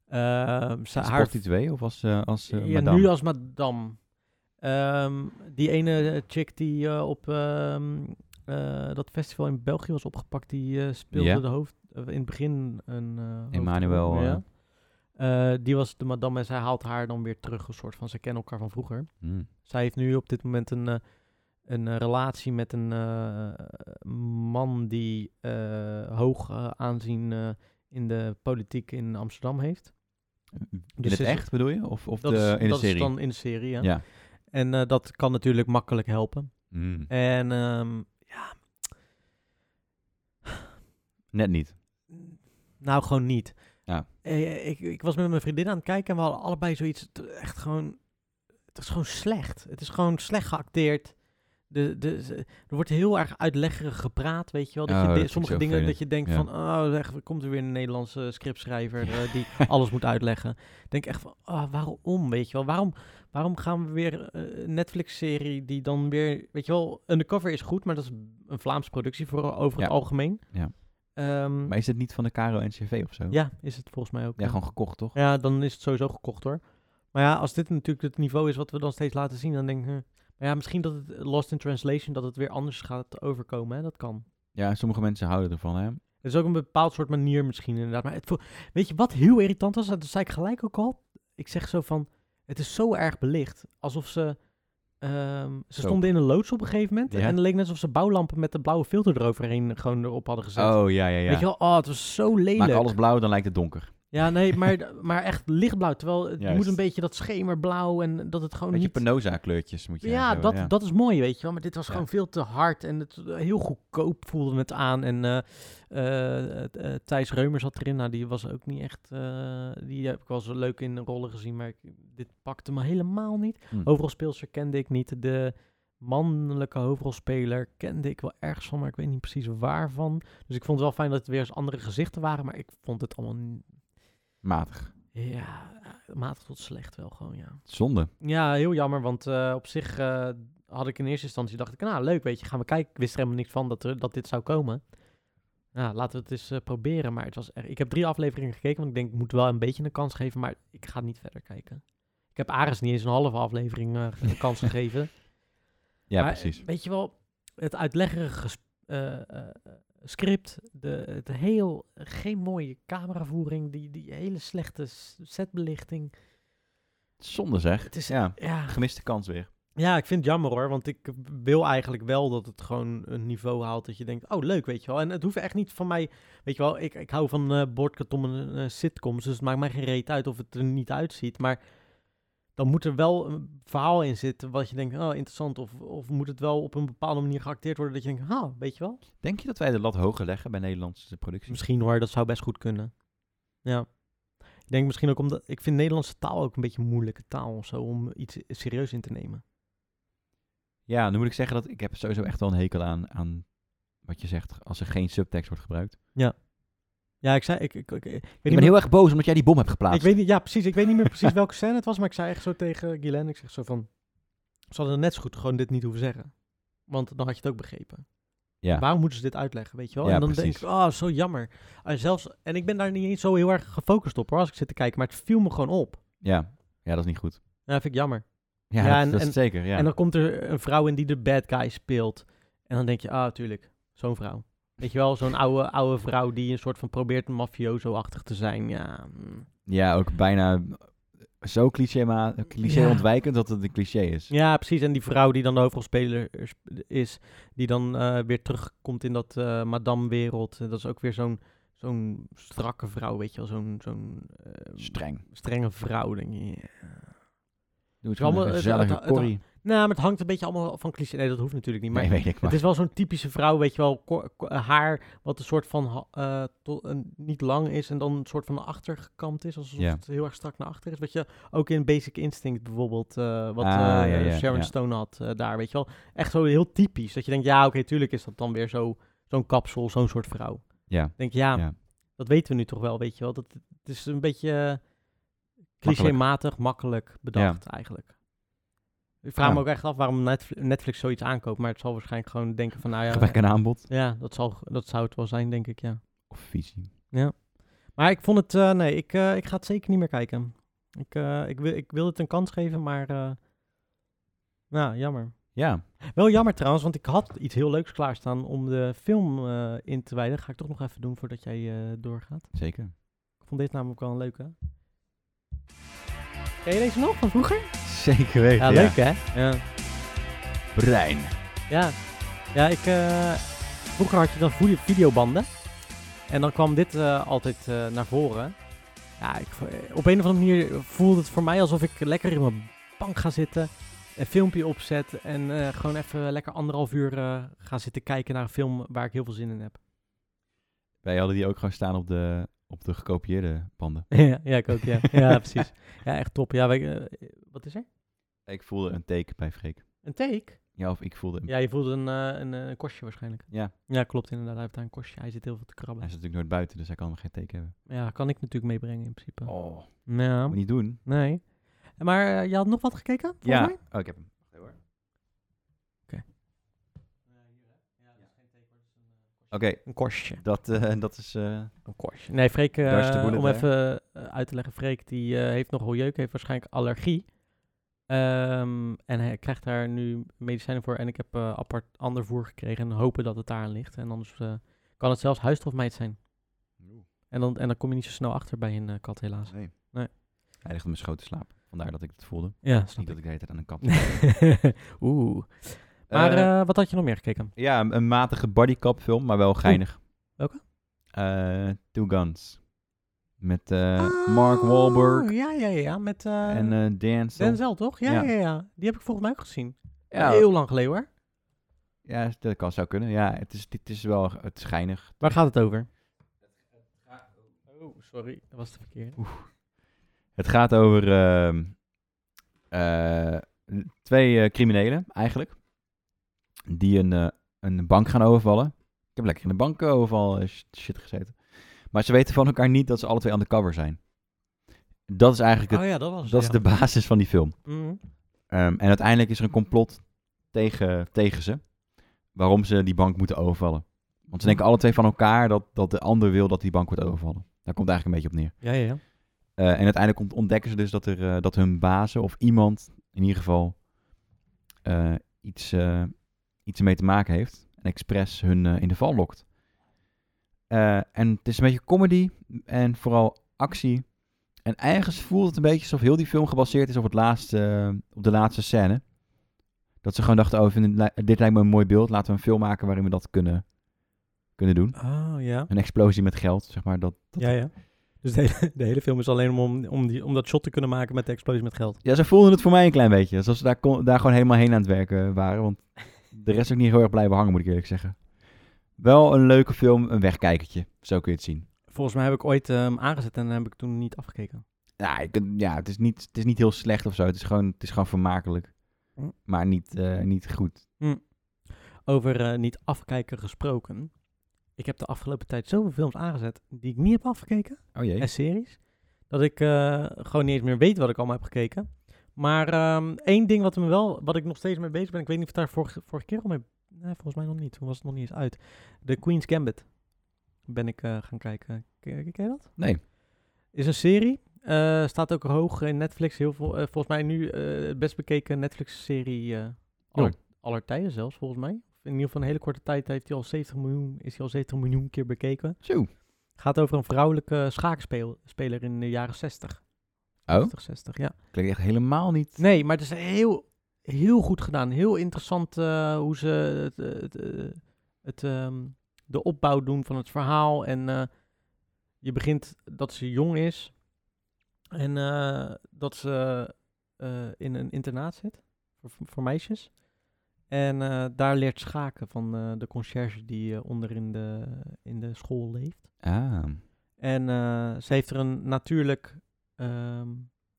Speaker 1: Ehm, ze,
Speaker 2: Als
Speaker 1: haar,
Speaker 2: prostituee of als, eh, als eh,
Speaker 1: ja,
Speaker 2: madame?
Speaker 1: nu als madame. Ehm, die ene chick die eh, op ehm, eh, dat festival in België was opgepakt, die eh, speelde
Speaker 2: Ja.
Speaker 1: de hoofd, eh, in het begin een eh, hoofdrol,
Speaker 2: Emmanuel, eh.
Speaker 1: ja. Eh, die was de madame en zij haalt haar dan weer terug, een soort van, ze kennen elkaar van vroeger.
Speaker 2: Hmm.
Speaker 1: Zij heeft nu op dit moment een, eh, een eh, relatie met een eh, man die eh, hoog eh, aanzien eh, in de politiek in Amsterdam heeft.
Speaker 2: In
Speaker 1: Dus
Speaker 2: het
Speaker 1: is-
Speaker 2: echt bedoel je? Of, of
Speaker 1: Dat,
Speaker 2: de,
Speaker 1: is,
Speaker 2: in de
Speaker 1: dat
Speaker 2: serie?
Speaker 1: is dan in de serie, ja.
Speaker 2: Ja.
Speaker 1: En eh, dat kan natuurlijk makkelijk helpen.
Speaker 2: Hmm.
Speaker 1: En ehm, ja,
Speaker 2: Net niet.
Speaker 1: nou gewoon niet.
Speaker 2: Ja.
Speaker 1: Eh, ik, ik was met mijn vriendin aan het kijken en we hadden allebei zoiets. t- Echt gewoon. Het is gewoon slecht. Het is gewoon slecht geacteerd. De, de, ze- er wordt heel erg uitleggerig gepraat, weet je wel. Dat
Speaker 2: Oh,
Speaker 1: je
Speaker 2: dat
Speaker 1: di-
Speaker 2: vind ik
Speaker 1: sommige
Speaker 2: zo
Speaker 1: dingen dat je
Speaker 2: vervelend.
Speaker 1: denkt
Speaker 2: Ja.
Speaker 1: van, oh, echt, er komt er weer een Nederlandse scriptschrijver eh, die alles moet uitleggen. Ik Denk echt van, oh, waarom, weet je wel? Waarom, waarom gaan we weer eh, een Netflix-serie die dan weer, weet je wel, Undercover is goed, maar dat is een Vlaams productie voor over het
Speaker 2: Ja.
Speaker 1: algemeen.
Speaker 2: Ja.
Speaker 1: Ehm,
Speaker 2: Maar is het niet van de KRO-NCV of zo?
Speaker 1: ja, is het volgens mij ook.
Speaker 2: Ja,
Speaker 1: ja.
Speaker 2: gewoon gekocht, toch?
Speaker 1: Ja, dan is het sowieso gekocht hoor. Maar ja, als dit natuurlijk het niveau is wat we dan steeds laten zien, dan denk ik. hm. Maar ja, misschien dat het eh, Lost in Translation dat het weer anders gaat overkomen. Hè? Dat kan.
Speaker 2: Ja, sommige mensen houden ervan, hè?
Speaker 1: Het is ook een bepaald soort manier misschien inderdaad. Maar het voel- weet je wat heel irritant was? Dat zei ik gelijk ook al. Ik zeg zo van, het is zo erg belicht. Alsof ze Ehm, ze
Speaker 2: Zo.
Speaker 1: stonden in een loods op een gegeven moment.
Speaker 2: Ja.
Speaker 1: En het leek net alsof ze bouwlampen met de blauwe filter eroverheen gewoon erop hadden gezet.
Speaker 2: Oh, ja, ja, ja.
Speaker 1: Weet je wel, oh, het was zo lelijk.
Speaker 2: Maak alles blauw, dan lijkt het donker.
Speaker 1: Ja, nee, maar, maar echt lichtblauw. Terwijl het- je
Speaker 2: Juist.
Speaker 1: moet een beetje dat schemerblauw en dat het gewoon
Speaker 2: Beetje
Speaker 1: Oh, niet...
Speaker 2: Penosa kleurtjes moet je
Speaker 1: Ja,
Speaker 2: hebben,
Speaker 1: dat, dat is mooi, weet je wel. Maar dit was
Speaker 2: Ja.
Speaker 1: gewoon veel te hard en het, heel goedkoop voelde het aan. En eh, eh, eh, eh, Thijs Reumer zat erin. Nou, die was ook niet echt... eh, die heb ik wel zo leuk in rollen gezien, maar ik- dit pakte me helemaal niet.
Speaker 2: Hm.
Speaker 1: Hoofdrolspeelster kende ik niet. De mannelijke hoofdrolspeler kende ik wel ergens van, maar ik weet niet precies waarvan. Dus ik vond het wel fijn dat het weer eens andere gezichten waren, maar ik vond het allemaal... n-
Speaker 2: Matig.
Speaker 1: Ja, eh, matig tot slecht wel gewoon, ja.
Speaker 2: Zonde.
Speaker 1: Ja, heel jammer, want eh, op zich eh, had ik in eerste instantie dacht ik, nou leuk, weet je, gaan we kijken. Ik wist er helemaal niks van dat, er, dat dit zou komen. Nou, laten we het eens eh, proberen. Maar het was er, ik heb drie afleveringen gekeken, want ik denk, ik moet wel een beetje een kans geven, maar ik ga niet verder kijken. Ik heb Ares niet eens een halve aflevering eh, een kans gegeven.
Speaker 2: Ja,
Speaker 1: Maar, eh,
Speaker 2: precies.
Speaker 1: Weet je wel, het uitleggerige ges- eh, eh, script, de, het heel, geen mooie cameravoering, die, die hele slechte s- setbelichting.
Speaker 2: Zonde zeg.
Speaker 1: Het is,
Speaker 2: Ja,
Speaker 1: ja,
Speaker 2: gemiste kans weer.
Speaker 1: Ja, ik vind het jammer hoor, want ik wil eigenlijk wel dat het gewoon een niveau haalt dat je denkt, oh leuk, weet je wel. En het hoeft echt niet van mij, weet je wel, ik, ik hou van eh bordkartonnen eh, sitcoms, dus het maakt mij geen reet uit of het er niet uitziet. Maar dan moet er wel een verhaal in zitten wat je denkt, oh interessant, of, of moet het wel op een bepaalde manier geacteerd worden dat je denkt, ah, weet je wel.
Speaker 2: Denk je dat wij de lat hoger leggen bij Nederlandse producties?
Speaker 1: Misschien hoor, dat zou best goed kunnen. Ja. Ik denk misschien ook omdat, ik vind Nederlandse taal ook een beetje een moeilijke taal of zo, om iets serieus in te nemen.
Speaker 2: Ja, nu moet ik zeggen dat ik heb sowieso echt wel een hekel aan, aan wat je zegt als er geen subtekst wordt gebruikt.
Speaker 1: Ja, ik zei, ik, ik, ik, ik weet
Speaker 2: Ik
Speaker 1: niet
Speaker 2: ben heel erg boos omdat jij die bom hebt geplaatst.
Speaker 1: Ik weet niet, ja, precies. Ik weet niet meer precies welke scène het was, maar ik zei echt zo tegen Guylaine, ik zeg zo van, ze hadden net zo goed gewoon dit niet hoeven zeggen. Want dan had je het ook begrepen.
Speaker 2: Ja.
Speaker 1: Waarom moeten ze dit uitleggen, weet je wel?
Speaker 2: Ja,
Speaker 1: en dan
Speaker 2: precies.
Speaker 1: denk ik, oh, zo jammer. En, zelfs, en ik ben daar niet eens zo heel erg gefocust op, hoor, als ik zit te kijken. Maar het viel me gewoon op.
Speaker 2: Ja. ja, dat is niet goed.
Speaker 1: Ja, vind ik jammer.
Speaker 2: Ja,
Speaker 1: Ja,
Speaker 2: dat,
Speaker 1: en-
Speaker 2: dat is
Speaker 1: en-
Speaker 2: zeker. Ja.
Speaker 1: En dan komt er een vrouw in die de bad guy speelt. En dan denk je, ah, tuurlijk, zo'n vrouw. Weet je wel, zo'n oude, oude vrouw die een soort van probeert een mafioso-achtig te zijn. Ja, mm.
Speaker 2: ja, ook bijna zo cliché, ma- cliché
Speaker 1: Ja.
Speaker 2: ontwijkend dat het een cliché is.
Speaker 1: Ja, precies. En die vrouw die dan de hoofdrolspeler is- is, die dan eh, weer terugkomt in dat eh madame-wereld. Eh, Dat is ook weer zo'n zo'n strakke vrouw, weet je wel. Zo'n zo'n eh,
Speaker 2: Streng.
Speaker 1: strenge vrouw, denk je. Ja.
Speaker 2: Doe het
Speaker 1: Allemaal-
Speaker 2: gewoon een
Speaker 1: het-
Speaker 2: gezellige
Speaker 1: het- het-
Speaker 2: korrie.
Speaker 1: Nou, maar het hangt een beetje allemaal van cliché. Nee, dat hoeft natuurlijk niet. Maar
Speaker 2: Nee, weet ik
Speaker 1: het
Speaker 2: maar.
Speaker 1: is wel zo'n typische vrouw, weet je wel. ko- ko- haar wat een soort van ha- eh, to- een- niet lang is en dan een soort van naar achter gekamd is. Alsof
Speaker 2: Ja.
Speaker 1: het heel erg strak naar achter is. Wat je ook in Basic Instinct bijvoorbeeld, eh, wat
Speaker 2: Ah,
Speaker 1: eh,
Speaker 2: ja, ja,
Speaker 1: Sharon
Speaker 2: ja.
Speaker 1: Stone had eh, daar, weet je wel. Echt zo heel typisch. Dat je denkt, ja, oké, tuurlijk is dat dan weer zo, zo'n kapsel, zo'n soort vrouw.
Speaker 2: Ja,
Speaker 1: Ik denk, ja,
Speaker 2: Ja.
Speaker 1: dat weten we nu toch wel, weet je wel. Dat, het is een beetje eh,
Speaker 2: Makkelijk.
Speaker 1: clichématig, makkelijk bedacht eigenlijk. Ik vraag
Speaker 2: Ja.
Speaker 1: me ook echt af waarom Netf- Netflix zoiets aankoopt. Maar het zal waarschijnlijk gewoon denken van, nou ja,
Speaker 2: gebrek aan aanbod.
Speaker 1: ja dat, zal, dat zou het wel zijn, denk ik, ja.
Speaker 2: Of visie.
Speaker 1: Maar ik vond het, eh, nee, ik, eh, ik ga het zeker niet meer kijken. Ik, eh, ik, wil, ik wil het een kans geven, maar eh, nou, jammer.
Speaker 2: Ja,
Speaker 1: Wel jammer trouwens, want ik had iets heel leuks klaarstaan om de film eh, in te wijden. Ga ik toch nog even doen voordat jij eh, doorgaat.
Speaker 2: zeker.
Speaker 1: Ik vond dit namelijk wel een leuke. Ken je deze nog van vroeger?
Speaker 2: Zeker weten,
Speaker 1: Ja, leuk hè? Ja.
Speaker 2: Brein.
Speaker 1: Ja, ja ik, eh, vroeger had je dan vide- videobanden. En dan kwam dit eh, altijd eh, naar voren. Ja, ik, vo- eh, op een of andere manier voelde het voor mij alsof ik lekker in mijn bank ga zitten. Een filmpje opzet en eh, gewoon even lekker anderhalf uur eh, ga zitten kijken naar een film waar ik heel veel zin in heb.
Speaker 2: Wij hadden die ook gewoon staan op de, op de gekopieerde banden.
Speaker 1: ja, ja, ik ook, ja. Ja, precies. Ja, echt top. Ja, wij, eh, wat is er?
Speaker 2: Ik voelde een teken bij Freek.
Speaker 1: Een take?
Speaker 2: Ja, of ik voelde hem.
Speaker 1: Ja, je voelde een, eh, een, eh, kostje waarschijnlijk.
Speaker 2: Ja.
Speaker 1: Ja, klopt inderdaad. Hij heeft daar een kostje. Hij zit heel veel te
Speaker 2: Hij
Speaker 1: krabben.
Speaker 2: is natuurlijk nooit buiten, dus hij kan hem geen teken hebben.
Speaker 1: Ja, kan ik natuurlijk meebrengen in principe.
Speaker 2: Oh,
Speaker 1: Ja.
Speaker 2: moet niet doen.
Speaker 1: Nee. Maar eh, je had nog wat gekeken? volgens
Speaker 2: ja.
Speaker 1: mij?
Speaker 2: Oh, ik heb hem. Oké, hoor. Eh,
Speaker 1: Oké.
Speaker 2: Oké,
Speaker 1: Een korstje.
Speaker 2: dat, eh, dat is... eh,
Speaker 1: Een korstje. Nee, Freek, eh,
Speaker 2: Daar is de bullet
Speaker 1: om
Speaker 2: bij.
Speaker 1: even eh, uit te leggen. Freek die eh, heeft nogal jeuk, heeft waarschijnlijk allergie. Ehm, en hij krijgt daar nu medicijnen voor. En ik heb eh, apart ander voer gekregen. En hopen dat het daar ligt. En anders eh, kan het zelfs huisstofmeid zijn. En dan, en dan kom je niet zo snel achter bij een eh, kat, helaas.
Speaker 2: nee.
Speaker 1: Nee.
Speaker 2: Hij ligt op mijn schoot te slapen. Vandaar dat ik het voelde.
Speaker 1: Ja,
Speaker 2: Niet
Speaker 1: snap
Speaker 2: dat
Speaker 1: ik.
Speaker 2: ik de hele tijd aan een kap
Speaker 1: Oeh. Maar
Speaker 2: Eh,
Speaker 1: eh, wat had je nog meer gekeken?
Speaker 2: Ja, een, een matige bodycap film, maar wel geinig.
Speaker 1: welke?
Speaker 2: Eh, Two Guns. Met eh,
Speaker 1: Ah.
Speaker 2: Mark Wahlberg
Speaker 1: Oh, Ja, ja, ja. Met eh
Speaker 2: en eh Denzel.
Speaker 1: Denzel, toch? Ja, ja.
Speaker 2: Ja.
Speaker 1: Ja, ja. Die heb ik volgens mij ook gezien.
Speaker 2: Ja,
Speaker 1: Heel lang geleden hoor.
Speaker 2: ja, dat kan zou kunnen. Ja, het is, dit is wel het is geinig.
Speaker 1: Waar gaat het over? Oh, sorry. Dat was de verkeerde.
Speaker 2: Het gaat over ehm, eh, twee eh, criminelen, eigenlijk. Die een, eh, een bank gaan overvallen. Ik heb lekker in de bankoverval eh, sh- shit gezeten. Maar ze weten van elkaar niet dat ze alle twee undercover zijn. Dat is eigenlijk het,
Speaker 1: oh ja, dat was het,
Speaker 2: dat is
Speaker 1: ja.
Speaker 2: de basis van die film.
Speaker 1: Mhm.
Speaker 2: Ehm, en uiteindelijk is er een complot tegen, tegen ze. Waarom ze die bank moeten overvallen. Want ze denken alle twee van elkaar dat, dat de ander wil dat die bank wordt overvallen. Daar komt het eigenlijk een beetje op neer.
Speaker 1: Ja, ja, ja.
Speaker 2: Eh, en uiteindelijk ont- ontdekken ze dus dat, er, eh, dat hun bazen of iemand in ieder geval eh, iets, eh iets ermee te maken heeft. En expres hun eh, in de val lokt. Eh, en het is een beetje comedy en vooral actie. En ergens voelt het een beetje alsof heel die film gebaseerd is op, het laatste, eh, op de laatste scène. Dat ze gewoon dachten, oh, we vinden het li- dit lijkt me een mooi beeld. Laten we een film maken waarin we dat kunnen, kunnen doen.
Speaker 1: Oh, ja.
Speaker 2: Een explosie met geld, zeg maar. Dat, dat
Speaker 1: Ja, ja. Dus de hele, de hele film is alleen om, om, die, om dat shot te kunnen maken met de explosie met geld.
Speaker 2: Ja, ze voelden het voor mij een klein beetje. Alsof ze daar, kon- daar gewoon helemaal heen aan het werken waren. Want de rest is ook niet heel erg blijven hangen, moet ik eerlijk zeggen. Wel een leuke film, een wegkijkertje. Zo kun je het zien.
Speaker 1: Volgens mij heb ik ooit ehm, aangezet en heb ik toen niet afgekeken.
Speaker 2: Ja, je kunt- ja het, is niet, het is niet heel slecht of zo. Het is gewoon, het is gewoon vermakelijk.
Speaker 1: Hm.
Speaker 2: Maar niet, eh, niet goed.
Speaker 1: Over eh, niet afkijken gesproken. Ik heb de afgelopen tijd zoveel films aangezet die ik niet heb afgekeken.
Speaker 2: Oh jee.
Speaker 1: En series. Dat ik eh, gewoon niet eens meer weet wat ik allemaal heb gekeken. Maar ehm, één ding wat, me wel, wat ik nog steeds mee bezig ben. Ik weet niet of ik daar vorige, vorige keer al mee... Nee, volgens mij nog niet. Toen was het nog niet eens uit. De Queen's Gambit ben ik eh, gaan kijken. Ken, ken je dat?
Speaker 2: Nee.
Speaker 1: Is een serie. Eh, staat ook hoog in Netflix. Heel veel, eh, volgens mij nu eh, het best bekeken Netflix-serie eh aller, aller tijden zelfs, volgens mij. In ieder geval een hele korte tijd heeft hij al 70 miljoen, is hij al 70 miljoen keer bekeken.
Speaker 2: Zo.
Speaker 1: Gaat over een vrouwelijke schaakspeler in de jaren 60.
Speaker 2: Oh,
Speaker 1: 50, 60, ja.
Speaker 2: klinkt echt helemaal niet.
Speaker 1: Nee, maar het is heel, heel goed gedaan. Heel interessant eh, hoe ze het, het, eh, het, ehm, de opbouw doen van het verhaal. En eh, je begint dat ze jong is. En eh, dat ze eh, in een internaat zit voor, voor meisjes. En eh, daar leert schaken van eh, de conciërge die eh, onder in de, in de school leeft.
Speaker 2: Ah,
Speaker 1: En eh, ze heeft er een natuurlijk ehm,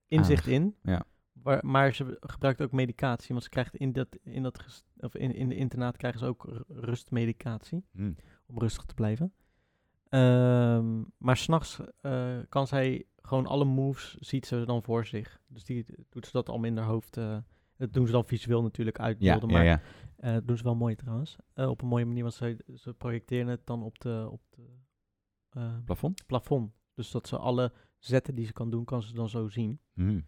Speaker 1: inzicht in.
Speaker 2: ja.
Speaker 1: Waar, maar ze gebruikt ook medicatie. Want ze krijgt in dat, in dat ges- of in, in de internaat krijgen ze ook ru- rustmedicatie.
Speaker 2: hm.
Speaker 1: Om rustig te blijven. Ehm, maar s'nachts eh kan zij gewoon alle moves ziet ze dan voor zich. Dus die doet ze dat allemaal in haar hoofd. eh, dat doen ze dan visueel natuurlijk
Speaker 2: ja,
Speaker 1: uitbeelden.
Speaker 2: ja,
Speaker 1: maar
Speaker 2: ja.
Speaker 1: eh, dat doen ze wel mooi trouwens. Eh, op een mooie manier, want ze, ze projecteren het dan op de, op de eh,
Speaker 2: Plafond?
Speaker 1: plafond. Dus dat ze alle zetten die ze kan doen, kan ze dan zo zien.
Speaker 2: Hm.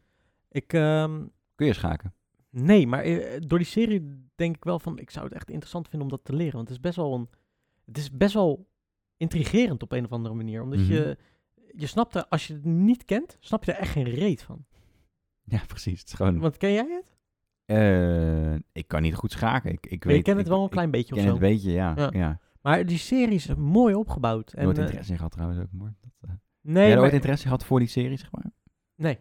Speaker 1: Ik, ehm,
Speaker 2: Kun je schaken?
Speaker 1: nee, maar eh, door die serie denk ik wel van, ik zou het echt interessant vinden om dat te leren. Want het is best wel een, het is best wel intrigerend op een of andere manier. Omdat
Speaker 2: Mhm.
Speaker 1: je, je snapt er, als je het niet kent, snap je er echt geen reet van.
Speaker 2: Ja, precies. Het is gewoon...
Speaker 1: Want ken jij het?
Speaker 2: Eh, ik kan niet goed schaken. Ik, ik
Speaker 1: Maar
Speaker 2: weet,
Speaker 1: je kent het
Speaker 2: ik-
Speaker 1: wel een
Speaker 2: ik
Speaker 1: klein beetje of
Speaker 2: ken
Speaker 1: zo.
Speaker 2: het een beetje, ja.
Speaker 1: Ja.
Speaker 2: ja.
Speaker 1: Maar die serie is mooi opgebouwd. En,
Speaker 2: Nooit
Speaker 1: eh,
Speaker 2: interesse in gehad trouwens ook, hoor. Dat, eh,
Speaker 1: nee,
Speaker 2: Jij had
Speaker 1: maar,
Speaker 2: ooit interesse gehad voor die serie, zeg maar?
Speaker 1: nee.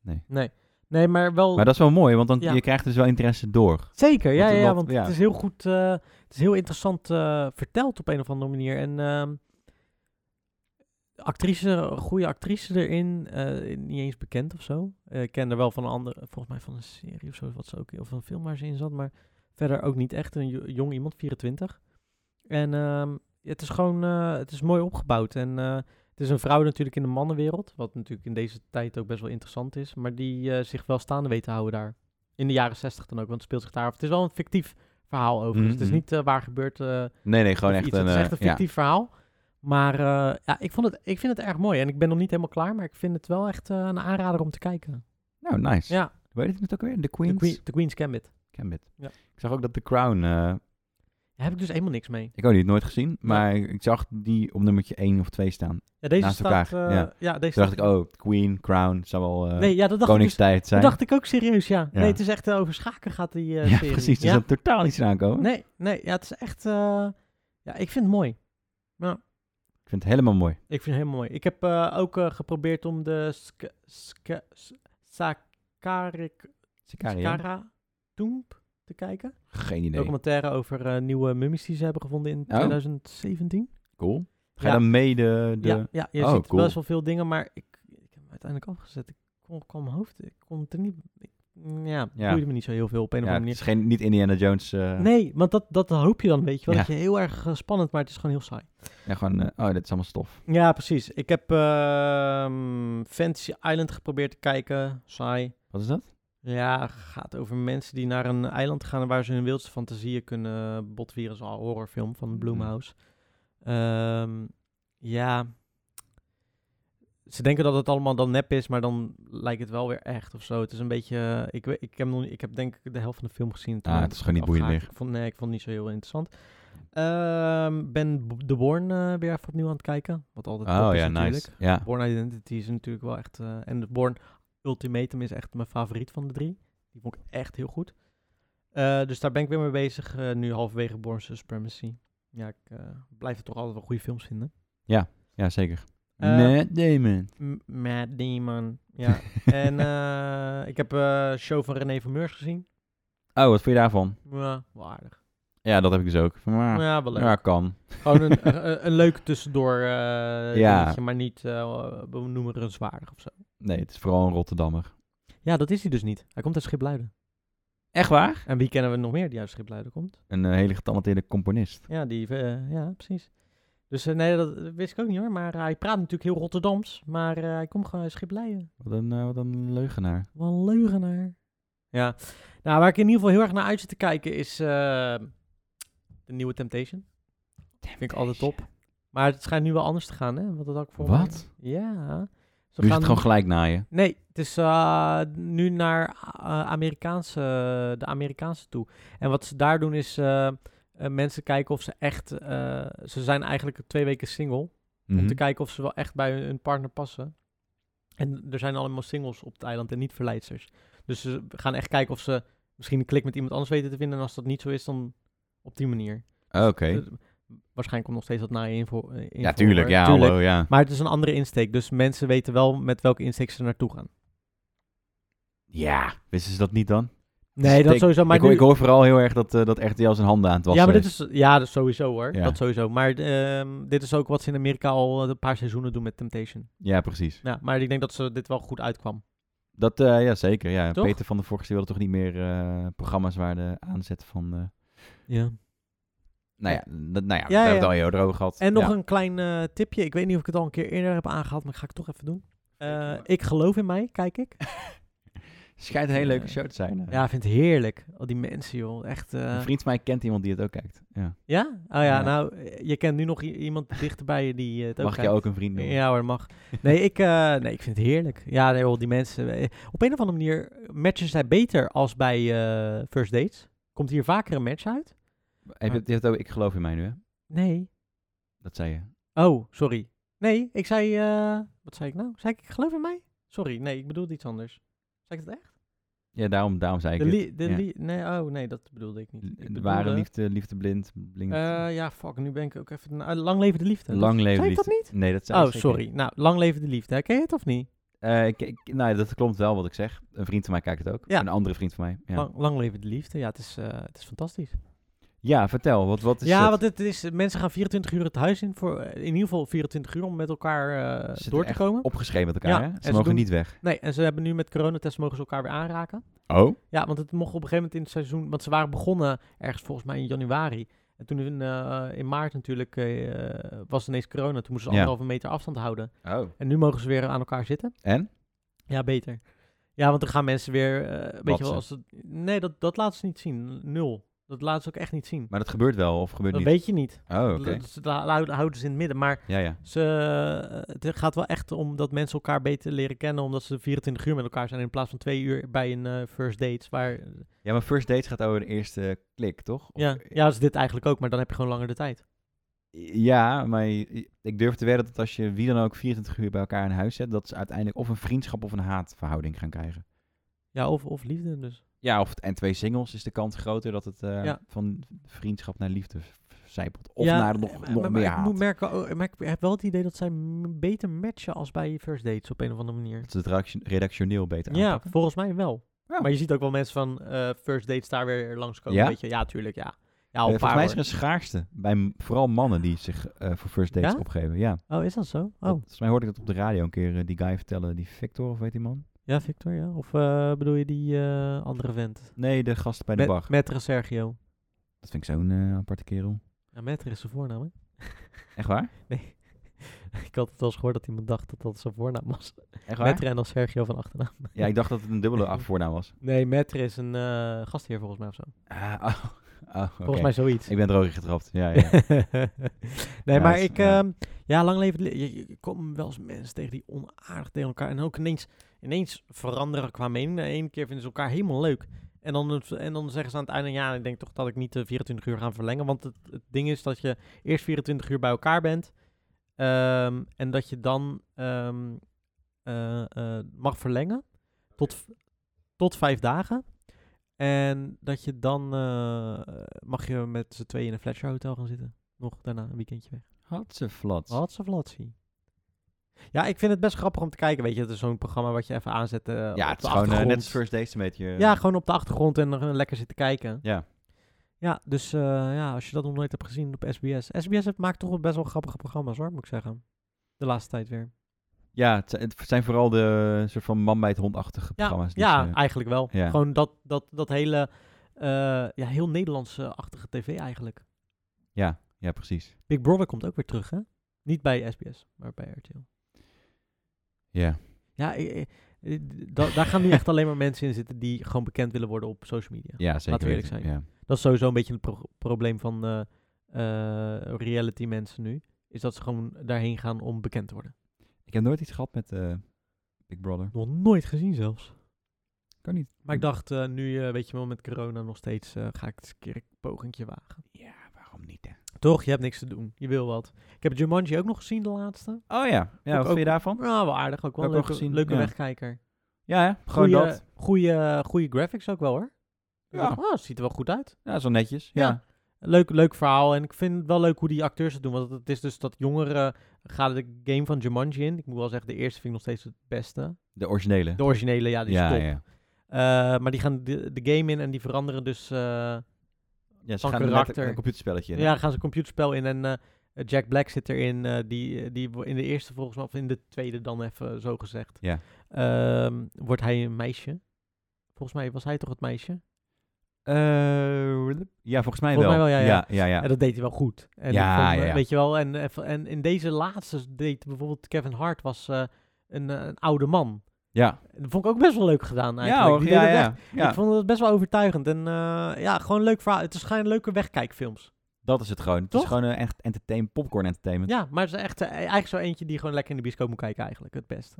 Speaker 2: Nee.
Speaker 1: Nee. Nee, maar wel...
Speaker 2: Maar dat is wel mooi, want dan,
Speaker 1: Ja.
Speaker 2: je krijgt dus wel interesse door.
Speaker 1: Zeker, ja,
Speaker 2: Wat-
Speaker 1: ja, ja,
Speaker 2: wat-
Speaker 1: want
Speaker 2: ja.
Speaker 1: het is heel goed, eh, het is heel interessant eh, verteld op een of andere manier. En ehm, actrice, goede actrice erin, eh, niet eens bekend of zo. Eh, ik ken er wel van een andere, volgens mij van een serie of zo, wat ze ook, of een film waar ze in zat, maar verder ook niet echt een jo- jong iemand, 24. En ehm, het is gewoon, eh, het is mooi opgebouwd en... eh, het is een vrouw natuurlijk in de mannenwereld, wat natuurlijk in deze tijd ook best wel interessant is, maar die eh, zich wel staande weet te houden daar. In de jaren zestig dan ook, want het speelt zich daar af. Het is wel een fictief verhaal over. Dus het is
Speaker 2: Mhm.
Speaker 1: niet eh, waar gebeurt eh,
Speaker 2: Nee, nee, gewoon
Speaker 1: of
Speaker 2: echt
Speaker 1: iets.
Speaker 2: een...
Speaker 1: het is
Speaker 2: eh,
Speaker 1: echt een
Speaker 2: ja.
Speaker 1: fictief verhaal. Maar eh, ja, ik, vond het, ik vind het erg mooi. En ik ben nog niet helemaal klaar, maar ik vind het wel echt eh, een aanrader om te kijken.
Speaker 2: Nou, nice.
Speaker 1: Ja,
Speaker 2: Hoe heet het ook weer? The
Speaker 1: The,
Speaker 2: Queen's
Speaker 1: Queen, The Queen's Gambit.
Speaker 2: Gambit.
Speaker 1: Ja.
Speaker 2: Ik zag ook dat The Crown eh,
Speaker 1: Daar heb ik dus helemaal niks mee.
Speaker 2: Ik ook niet, nooit gezien. Maar ik zag die op nummertje 1 of 2 staan.
Speaker 1: Ja, deze
Speaker 2: Naast
Speaker 1: staat...
Speaker 2: elkaar,
Speaker 1: eh,
Speaker 2: ja.
Speaker 1: deze
Speaker 2: Toen dacht
Speaker 1: staat-
Speaker 2: ik, oh, Queen, Crown, zou wel eh,
Speaker 1: nee, ja, dat dacht ik dus-
Speaker 2: koningstijd zijn.
Speaker 1: Dat dacht ik ook serieus, ja.
Speaker 2: Ja.
Speaker 1: Nee, het is echt eh, over schaken gaat die eh,
Speaker 2: ja,
Speaker 1: serie.
Speaker 2: precies. Dus
Speaker 1: Ja.
Speaker 2: dat totaal niet aan aankomen.
Speaker 1: Nee, nee, ja, het is echt... eh, ja, ik vind het mooi.
Speaker 2: Ik vind het helemaal mooi.
Speaker 1: Ik vind het heel mooi. Ik heb eh, ook eh, geprobeerd om de sk- sk- s- Sakarik
Speaker 2: Sicario.
Speaker 1: Skara Tomb te kijken.
Speaker 2: Geen idee.
Speaker 1: Documentaire over eh, nieuwe mummies die ze hebben gevonden in
Speaker 2: Oh.
Speaker 1: 2017.
Speaker 2: Cool. Ga je
Speaker 1: Ja.
Speaker 2: dan mee de... de...
Speaker 1: Ja, ja, je
Speaker 2: Oh,
Speaker 1: ziet
Speaker 2: cool.
Speaker 1: best wel veel dingen, maar ik, ik heb hem uiteindelijk afgezet. Ik kon, kwam mijn hoofd, ik kon het er niet... Ik, ja, het
Speaker 2: Ja.
Speaker 1: boeide me niet zo heel veel op een of
Speaker 2: Ja,
Speaker 1: andere
Speaker 2: het
Speaker 1: manier.
Speaker 2: is geen, niet Indiana Jones. eh,
Speaker 1: Nee, want dat, dat hoop je dan, weet je wel.
Speaker 2: Ja.
Speaker 1: Dat je heel erg eh, spannend, maar het is gewoon heel saai.
Speaker 2: ja, gewoon, eh, oh, dit is allemaal stof.
Speaker 1: Ja, precies. Ik heb ehm, Fantasy Island geprobeerd te kijken. Saai.
Speaker 2: Wat is dat?
Speaker 1: Ja, gaat over mensen die naar een eiland gaan en waar ze hun wildste fantasieën kunnen botvieren. Zo'n horrorfilm van
Speaker 2: Mhm.
Speaker 1: Bloomhouse. Ehm, ja. Ze denken dat het allemaal dan nep is, maar dan lijkt het wel weer echt of zo. Het is een beetje... eh, Ik, weet- ik, heb, nog, niet- ik heb denk ik de helft van de film gezien. en toen
Speaker 2: Ah,
Speaker 1: ben
Speaker 2: het is
Speaker 1: ik
Speaker 2: gewoon niet boeiend
Speaker 1: afgehaakt. Ik vond, nee, ik vond het niet zo heel interessant. Ehm, ben B- The Born eh, weer even opnieuw aan het kijken. Wat altijd top
Speaker 2: oh
Speaker 1: is
Speaker 2: ja,
Speaker 1: dus natuurlijk.
Speaker 2: nice. Ja.
Speaker 1: Born Identity is natuurlijk wel echt... eh, en de Born Ultimatum is echt mijn favoriet van de drie. Die vond ik echt heel goed. Eh, dus daar ben ik weer mee bezig. eh, nu halverwege Born Supremacy. Ja, ik eh, blijf het toch altijd wel goede films vinden.
Speaker 2: ja, zeker.
Speaker 1: Eh,
Speaker 2: Matt Damon.
Speaker 1: M- Matt Damon. Ja. en eh, ik heb eh show van René Vermeurs gezien.
Speaker 2: Oh, wat vond je daarvan?
Speaker 1: Ja, wel aardig.
Speaker 2: Ja, dat heb ik dus ook. Van, maar,
Speaker 1: Ah. Ja, wel Nou, leuk.
Speaker 2: ja, kan.
Speaker 1: Gewoon een, eh, een, een leuk tussendoor eh
Speaker 2: Ja.
Speaker 1: dingetje, maar niet eh benoemerenswaardig of zo.
Speaker 2: Nee, het is vooral een Rotterdammer.
Speaker 1: Ja, dat is hij dus niet. Hij komt uit Schipluiden.
Speaker 2: Echt waar?
Speaker 1: En wie kennen we nog meer die uit Schipluiden komt?
Speaker 2: Een eh, hele getalenteerde componist.
Speaker 1: Ja, die, eh, ja precies. Dus eh, nee, dat eh, wist ik ook niet hoor. Maar hij praat natuurlijk heel Rotterdams. Maar eh, hij komt gewoon uit Schipleien.
Speaker 2: Wat een, eh, wat een leugenaar.
Speaker 1: Wat een leugenaar. Ja. Nou, waar ik in ieder geval heel erg naar uit zit te kijken is eh, de nieuwe Temptation. Vind ik altijd top. Maar het schijnt nu wel anders te gaan, hè? Wat dat ook voor.
Speaker 2: Wat?
Speaker 1: Ja. Ze
Speaker 2: Nu is het gewoon gelijk naaien.
Speaker 1: Nee, het is eh, nu naar eh, Amerikaanse, de Amerikaanse toe. En wat ze daar doen is eh, eh, mensen kijken of ze echt... eh, ze zijn eigenlijk twee weken single. Om
Speaker 2: Mhm.
Speaker 1: te kijken of ze wel echt bij hun, hun partner passen. En er zijn allemaal singles op het eiland en niet verleidsters. Dus ze gaan echt kijken of ze misschien een klik met iemand anders weten te vinden. En als dat niet zo is, dan op die manier.
Speaker 2: Oh, Oké.
Speaker 1: Eh, waarschijnlijk komt nog steeds dat na je invo. eh, invo-
Speaker 2: Ja, tuurlijk.
Speaker 1: maar-
Speaker 2: Ja,
Speaker 1: tuurlijk.
Speaker 2: hallo, ja.
Speaker 1: Maar het is een andere insteek. Dus mensen weten wel met welke insteek ze naartoe gaan.
Speaker 2: Ja, wisten ze dat niet dan?
Speaker 1: Nee, dat sowieso. Maar
Speaker 2: Dus ik, hoor-
Speaker 1: nu-
Speaker 2: ik hoor vooral heel erg dat, eh, dat RTL zijn handen aan het wassen
Speaker 1: ja, maar dit
Speaker 2: is.
Speaker 1: is, ja, dat is sowieso hoor.
Speaker 2: Ja.
Speaker 1: Dat sowieso. Maar ehm, dit is ook wat ze in Amerika al eh, een paar seizoenen doen met Temptation.
Speaker 2: Ja, precies.
Speaker 1: Ja, maar ik denk dat ze dit wel goed uitkwam.
Speaker 2: Dat, eh, ja, zeker. Ja.
Speaker 1: Toch?
Speaker 2: Peter van der Vorst die wilde toch niet meer eh, programma's waar de aanzet van... eh,
Speaker 1: Ja.
Speaker 2: nou ja, dat, nou ja,
Speaker 1: Ja,
Speaker 2: daar hebben we het
Speaker 1: ja.
Speaker 2: al heel erg over gehad.
Speaker 1: En nog
Speaker 2: Ja.
Speaker 1: een klein eh, tipje. Ik weet niet of ik het al een keer eerder heb aangehaald, maar ik ga ik toch even doen. Eh, ik geloof in mij, kijk ik.
Speaker 2: Schijnt een hele leuke show te zijn. eh.
Speaker 1: Ja, vind het heerlijk. Al die mensen, joh. Echt. eh,
Speaker 2: Een vriend van mij kent iemand die het ook kijkt. Ja.
Speaker 1: Ja? Oh ja,
Speaker 2: Ja.
Speaker 1: nou, eh, je kent nu nog i- iemand dichterbij je die eh, het ook
Speaker 2: Mag ik jou
Speaker 1: kijkt.
Speaker 2: ook een vriend noemen?
Speaker 1: Ja hoor, mag. Nee ik, eh, nee, ik vind het heerlijk. Ja, nee, joh, die mensen. eh, Op een of andere manier matchen zij beter als bij eh, First Dates. Komt hier vaker een match uit?
Speaker 2: Heb je, het- je hebt ook, ik geloof in mij nu, hè?
Speaker 1: Nee.
Speaker 2: Dat zei je.
Speaker 1: Oh, sorry. Nee, ik zei... eh, wat zei ik nou? Zei ik, ik geloof in mij? Sorry, nee, ik bedoelde iets anders. Zei ik het echt?
Speaker 2: Ja, daarom, daarom zei ik
Speaker 1: De
Speaker 2: het.
Speaker 1: li- de
Speaker 2: ja.
Speaker 1: li- nee, oh nee, dat bedoelde ik niet.
Speaker 2: De
Speaker 1: Ik bedoelde,
Speaker 2: ware liefde, liefde blind, blind.
Speaker 1: eh, ja, fuck, nu ben ik ook even... na- lang leven de liefde. dat-
Speaker 2: lang leven
Speaker 1: zei ik
Speaker 2: liefde.
Speaker 1: dat niet?
Speaker 2: Nee, dat zei
Speaker 1: Oh,
Speaker 2: ik zeker niet.
Speaker 1: sorry. Nou, lang leven de liefde. hè. Ken je het of niet?
Speaker 2: Eh, ik, ik- nou, dat klopt wel wat ik zeg. Een vriend van mij kijkt het ook.
Speaker 1: Ja. Oh.
Speaker 2: Een andere vriend van mij. Ja,
Speaker 1: Lang, lang leven de liefde. Ja, het is, eh, het is fantastisch.
Speaker 2: ja vertel. Wat, wat is
Speaker 1: ja,
Speaker 2: het?
Speaker 1: want het is, mensen gaan 24 uur het huis in. Voor, eh, in ieder geval 24 uur om met elkaar eh,
Speaker 2: Ze zitten
Speaker 1: door te
Speaker 2: echt
Speaker 1: komen.
Speaker 2: Opgeschreven met elkaar,
Speaker 1: Ja,
Speaker 2: hè?
Speaker 1: en
Speaker 2: Ze
Speaker 1: ze
Speaker 2: mogen
Speaker 1: doen-
Speaker 2: niet weg.
Speaker 1: Nee, en ze hebben nu met coronatest mogen ze elkaar weer aanraken.
Speaker 2: Oh?
Speaker 1: Ja, want het mocht op een gegeven moment in het seizoen... Want ze waren begonnen ergens volgens mij in januari. En toen in, eh, in maart natuurlijk eh, was ineens corona. Toen moesten ze
Speaker 2: Ja.
Speaker 1: anderhalve meter afstand houden.
Speaker 2: Oh.
Speaker 1: En nu mogen ze weer aan elkaar zitten.
Speaker 2: En?
Speaker 1: Ja, beter. Ja, want dan gaan mensen weer, eh, weet je wel,
Speaker 2: Watsen.
Speaker 1: als het, nee, dat, dat laten ze niet zien. Nul. Dat laten ze ook echt niet zien.
Speaker 2: Maar dat gebeurt wel of gebeurt
Speaker 1: Dat
Speaker 2: niet?
Speaker 1: weet je niet.
Speaker 2: Oh, oké.
Speaker 1: Dat- dat- Dat hou- houden ze in het midden. Maar
Speaker 2: Ja, ja.
Speaker 1: ze, eh, het gaat wel echt om dat mensen elkaar beter leren kennen. Omdat ze 24 uur met elkaar zijn. In plaats van twee uur bij een eh, first dates. Waar,
Speaker 2: Ja, maar first dates gaat over de eerste klik, toch? Of-
Speaker 1: ja, ja, dat is dit eigenlijk ook. Maar dan heb je gewoon langer de tijd.
Speaker 2: Ja, maar je- ik durf te wedden dat als je wie dan ook 24 uur bij elkaar in huis zet, dat ze uiteindelijk of een vriendschap of een haatverhouding gaan krijgen.
Speaker 1: Ja, of, of liefde dus.
Speaker 2: Ja, of en twee singles is de kans groter dat het eh,
Speaker 1: Ja.
Speaker 2: van vriendschap naar liefde zijpelt. Of
Speaker 1: Ja, eh,
Speaker 2: naar nog,
Speaker 1: maar- maar,
Speaker 2: nog meer
Speaker 1: maar ik
Speaker 2: haat.
Speaker 1: moet merken, oh, maar ik heb wel het idee dat zij m- beter matchen als bij first dates op een of andere manier.
Speaker 2: Dat ze het redaction- redactioneel beter
Speaker 1: Ja,
Speaker 2: aanpakken. Eh,
Speaker 1: volgens mij wel.
Speaker 2: Ja.
Speaker 1: Maar je ziet ook wel mensen van eh, first dates daar weer langskomen.
Speaker 2: Ja?
Speaker 1: Weet je? Ja, tuurlijk, ja. Ja,
Speaker 2: Eh,
Speaker 1: al een
Speaker 2: volgens
Speaker 1: paar
Speaker 2: mij is er
Speaker 1: hoor.
Speaker 2: een schaarste bij m- vooral mannen die zich eh, voor first dates
Speaker 1: Ja?
Speaker 2: opgeven. Ja.
Speaker 1: Oh, is dat zo?
Speaker 2: Dat-
Speaker 1: Oh,
Speaker 2: volgens mij hoorde ik dat op de radio een keer eh, die guy vertellen, die Victor of weet die man?
Speaker 1: ja, Victor, ja. Of eh, bedoel je die eh, andere vent?
Speaker 2: Nee, de gast bij de
Speaker 1: Met-
Speaker 2: bar.
Speaker 1: Metre Sergio.
Speaker 2: Dat vind ik zo'n eh, aparte kerel.
Speaker 1: Ja, Metre is zijn voornaam, hè?
Speaker 2: Echt waar?
Speaker 1: Nee. Ik had het wel eens gehoord dat iemand dacht dat dat zijn voornaam was.
Speaker 2: Echt waar?
Speaker 1: Metre en dan Sergio van achternaam.
Speaker 2: Ja, ik dacht dat het een dubbele af- voornaam was.
Speaker 1: Nee, Metre is een eh, gastheer volgens mij of zo.
Speaker 2: Ah, oh, oh, oké.
Speaker 1: Volgens mij zoiets.
Speaker 2: Ik ben droog getrapt. Ja, ja.
Speaker 1: nee,
Speaker 2: Ja,
Speaker 1: maar
Speaker 2: is-
Speaker 1: ik...
Speaker 2: ja.
Speaker 1: ehm, ja, lang leven... het le- Je, je komt wel eens mensen tegen die onaardig tegen elkaar... En ook ineens, ineens veranderen qua mening. De ene keer vinden ze elkaar helemaal leuk. En dan, het- en dan zeggen ze aan het einde... Ja, ik denk toch dat ik niet de 24 uur ga verlengen. Want het, het ding is dat je eerst 24 uur bij elkaar bent. ehm, en dat je dan ehm, eh, eh, mag verlengen tot, v- tot vijf dagen. En dat je dan eh, mag je met z'n tweeën in een Fletcher Hotel gaan zitten. Nog daarna een weekendje weg.
Speaker 2: Had ze flat.
Speaker 1: Wat ze flatsie. Ja, ik vind het best grappig om te kijken. Weet je, het is zo'n programma wat je even aanzet. eh,
Speaker 2: Ja,
Speaker 1: op
Speaker 2: het
Speaker 1: de
Speaker 2: is gewoon eh,
Speaker 1: achtergrond.
Speaker 2: net als first dates een beetje. eh,
Speaker 1: Ja, gewoon op de achtergrond en er lekker zitten kijken.
Speaker 2: ja.
Speaker 1: Ja, dus eh, ja, als je dat nog nooit hebt gezien op SBS. SBS heeft- maakt toch wel best wel grappige programma's hoor, moet ik zeggen. De laatste tijd weer.
Speaker 2: Ja, het, zi- het zijn vooral de soort van man bij het hondachtige
Speaker 1: Ja,
Speaker 2: programma's. Dus, eh, die
Speaker 1: ja
Speaker 2: ze-
Speaker 1: eigenlijk wel.
Speaker 2: ja.
Speaker 1: Gewoon dat, dat, dat hele, eh, ja, heel Nederlandse-achtige tv eigenlijk.
Speaker 2: ja, ja, precies.
Speaker 1: Big Brother komt ook weer terug, hè? Niet bij SBS, maar bij RTL.
Speaker 2: Ja.
Speaker 1: Ja, eh, eh, eh, da- daar gaan nu echt alleen maar mensen in zitten die gewoon bekend willen worden op social media.
Speaker 2: ja, zeker.
Speaker 1: Laten we eerlijk
Speaker 2: weten.
Speaker 1: zijn.
Speaker 2: Ja.
Speaker 1: Dat is sowieso een beetje het pro- probleem van eh, eh, reality mensen nu. Is dat ze gewoon daarheen gaan om bekend te worden.
Speaker 2: Ik heb nooit iets gehad met eh, Big Brother.
Speaker 1: Nog nooit gezien zelfs.
Speaker 2: Kan niet.
Speaker 1: Maar ik dacht, eh, nu eh, weet je wel, met corona nog steeds eh, ga ik het eens een keer een pogingje wagen.
Speaker 2: Ja, waarom niet? Hè?
Speaker 1: Toch, je hebt niks te doen. Je wil wat. Ik heb Jumanji ook nog gezien, de laatste.
Speaker 2: Oh ja. ja
Speaker 1: Ook-
Speaker 2: wat vind je
Speaker 1: ook-
Speaker 2: daarvan?
Speaker 1: Nou, wel aardig. Ook wel
Speaker 2: Heb
Speaker 1: een
Speaker 2: ik ook
Speaker 1: leuke,
Speaker 2: gezien,
Speaker 1: leuke
Speaker 2: ja.
Speaker 1: wegkijker.
Speaker 2: Ja, hè? gewoon
Speaker 1: goeie,
Speaker 2: dat.
Speaker 1: Goeie, eh, goeie graphics ook wel hoor. Ik
Speaker 2: Ja.
Speaker 1: dacht, oh, ziet er wel goed uit.
Speaker 2: Ja, zo netjes. Ja.
Speaker 1: Ja. Leuk, leuk verhaal. En ik vind het wel leuk hoe die acteurs het doen. Want het is dus dat jongeren gaan de game van Jumanji in. Ik moet wel zeggen, de eerste vind ik nog steeds het beste.
Speaker 2: De originele.
Speaker 1: De originele, ja, die is
Speaker 2: ja,
Speaker 1: top.
Speaker 2: ja.
Speaker 1: Eh, maar die gaan de, de game in en die veranderen dus... eh,
Speaker 2: Ja, ze
Speaker 1: Van
Speaker 2: gaan er met
Speaker 1: karakter.
Speaker 2: een, een computerspelletje in.
Speaker 1: Ja, dan gaan ze een computerspel in en eh, Jack Black zit erin. eh, die, die wo- in de eerste volgens mij, of in de tweede dan even zo gezegd.
Speaker 2: Ja.
Speaker 1: Ehm, wordt hij een meisje? Volgens mij was hij toch het meisje?
Speaker 2: Eh, ja, volgens mij
Speaker 1: Volgens mij
Speaker 2: wel.
Speaker 1: wel, ja, ja.
Speaker 2: ja, ja,
Speaker 1: En dat deed hij wel goed. En
Speaker 2: Ja,
Speaker 1: ik vond, eh,
Speaker 2: ja, ja.
Speaker 1: Weet je wel, en, eh, v- en in deze laatste deed bijvoorbeeld Kevin Hart was eh, een, eh, een oude man.
Speaker 2: Ja.
Speaker 1: En Dat vond ik ook best wel leuk gedaan eigenlijk.
Speaker 2: Ja, hoor,
Speaker 1: Die
Speaker 2: ja,
Speaker 1: deed het
Speaker 2: ja,
Speaker 1: echt-
Speaker 2: ja.
Speaker 1: Ik vond het best wel overtuigend. En eh, ja, gewoon een leuk verhaal. Het is geen leuke wegkijkfilms.
Speaker 2: Dat is het gewoon. Het
Speaker 1: Toch?
Speaker 2: is gewoon eh, echt entertainment, popcorn entertainment.
Speaker 1: Ja, maar het is echt eh, eigenlijk zo eentje die gewoon lekker in de bioscoop moet kijken eigenlijk. Het beste.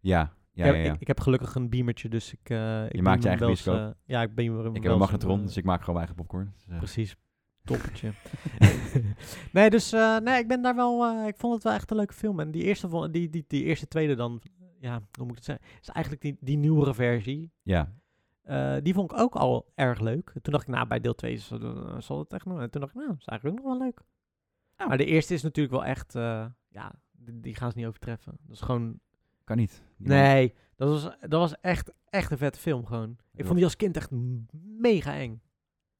Speaker 2: Ja,
Speaker 1: ik,
Speaker 2: ja, ja.
Speaker 1: heb,
Speaker 2: ja.
Speaker 1: Ik,
Speaker 2: Ik,
Speaker 1: ik heb gelukkig een beamertje, dus ik... eh, ik beam
Speaker 2: maakt je
Speaker 1: hem
Speaker 2: eigen
Speaker 1: wel eens,
Speaker 2: bioscoop.
Speaker 1: eh, ja, ik ben hem
Speaker 2: heb
Speaker 1: wel
Speaker 2: een
Speaker 1: eens,
Speaker 2: magnetron,
Speaker 1: eh,
Speaker 2: dus ik maak gewoon mijn eigen popcorn. Dus, eh,
Speaker 1: Precies. Toppertje. nee, dus eh, nee, ik ben daar wel... eh, ik vond het wel echt een leuke film. En die eerste, vond- die, die, die eerste tweede dan... Ja, hoe moet ik het zeggen? Is eigenlijk die, die nieuwere versie.
Speaker 2: ja.
Speaker 1: Eh, die vond ik ook al erg leuk. Toen dacht ik, nou, bij deel 2 zal het echt nog... En toen dacht ik, nou, is eigenlijk ook nog wel leuk.
Speaker 2: Ja.
Speaker 1: Maar de eerste is natuurlijk wel echt... eh, ja, die, die gaan ze niet overtreffen. Dat is gewoon
Speaker 2: Kan niet. Die man-
Speaker 1: Nee, dat was, dat was echt, echt een vette film gewoon. Ik
Speaker 2: Ja.
Speaker 1: vond die als kind echt m- mega eng.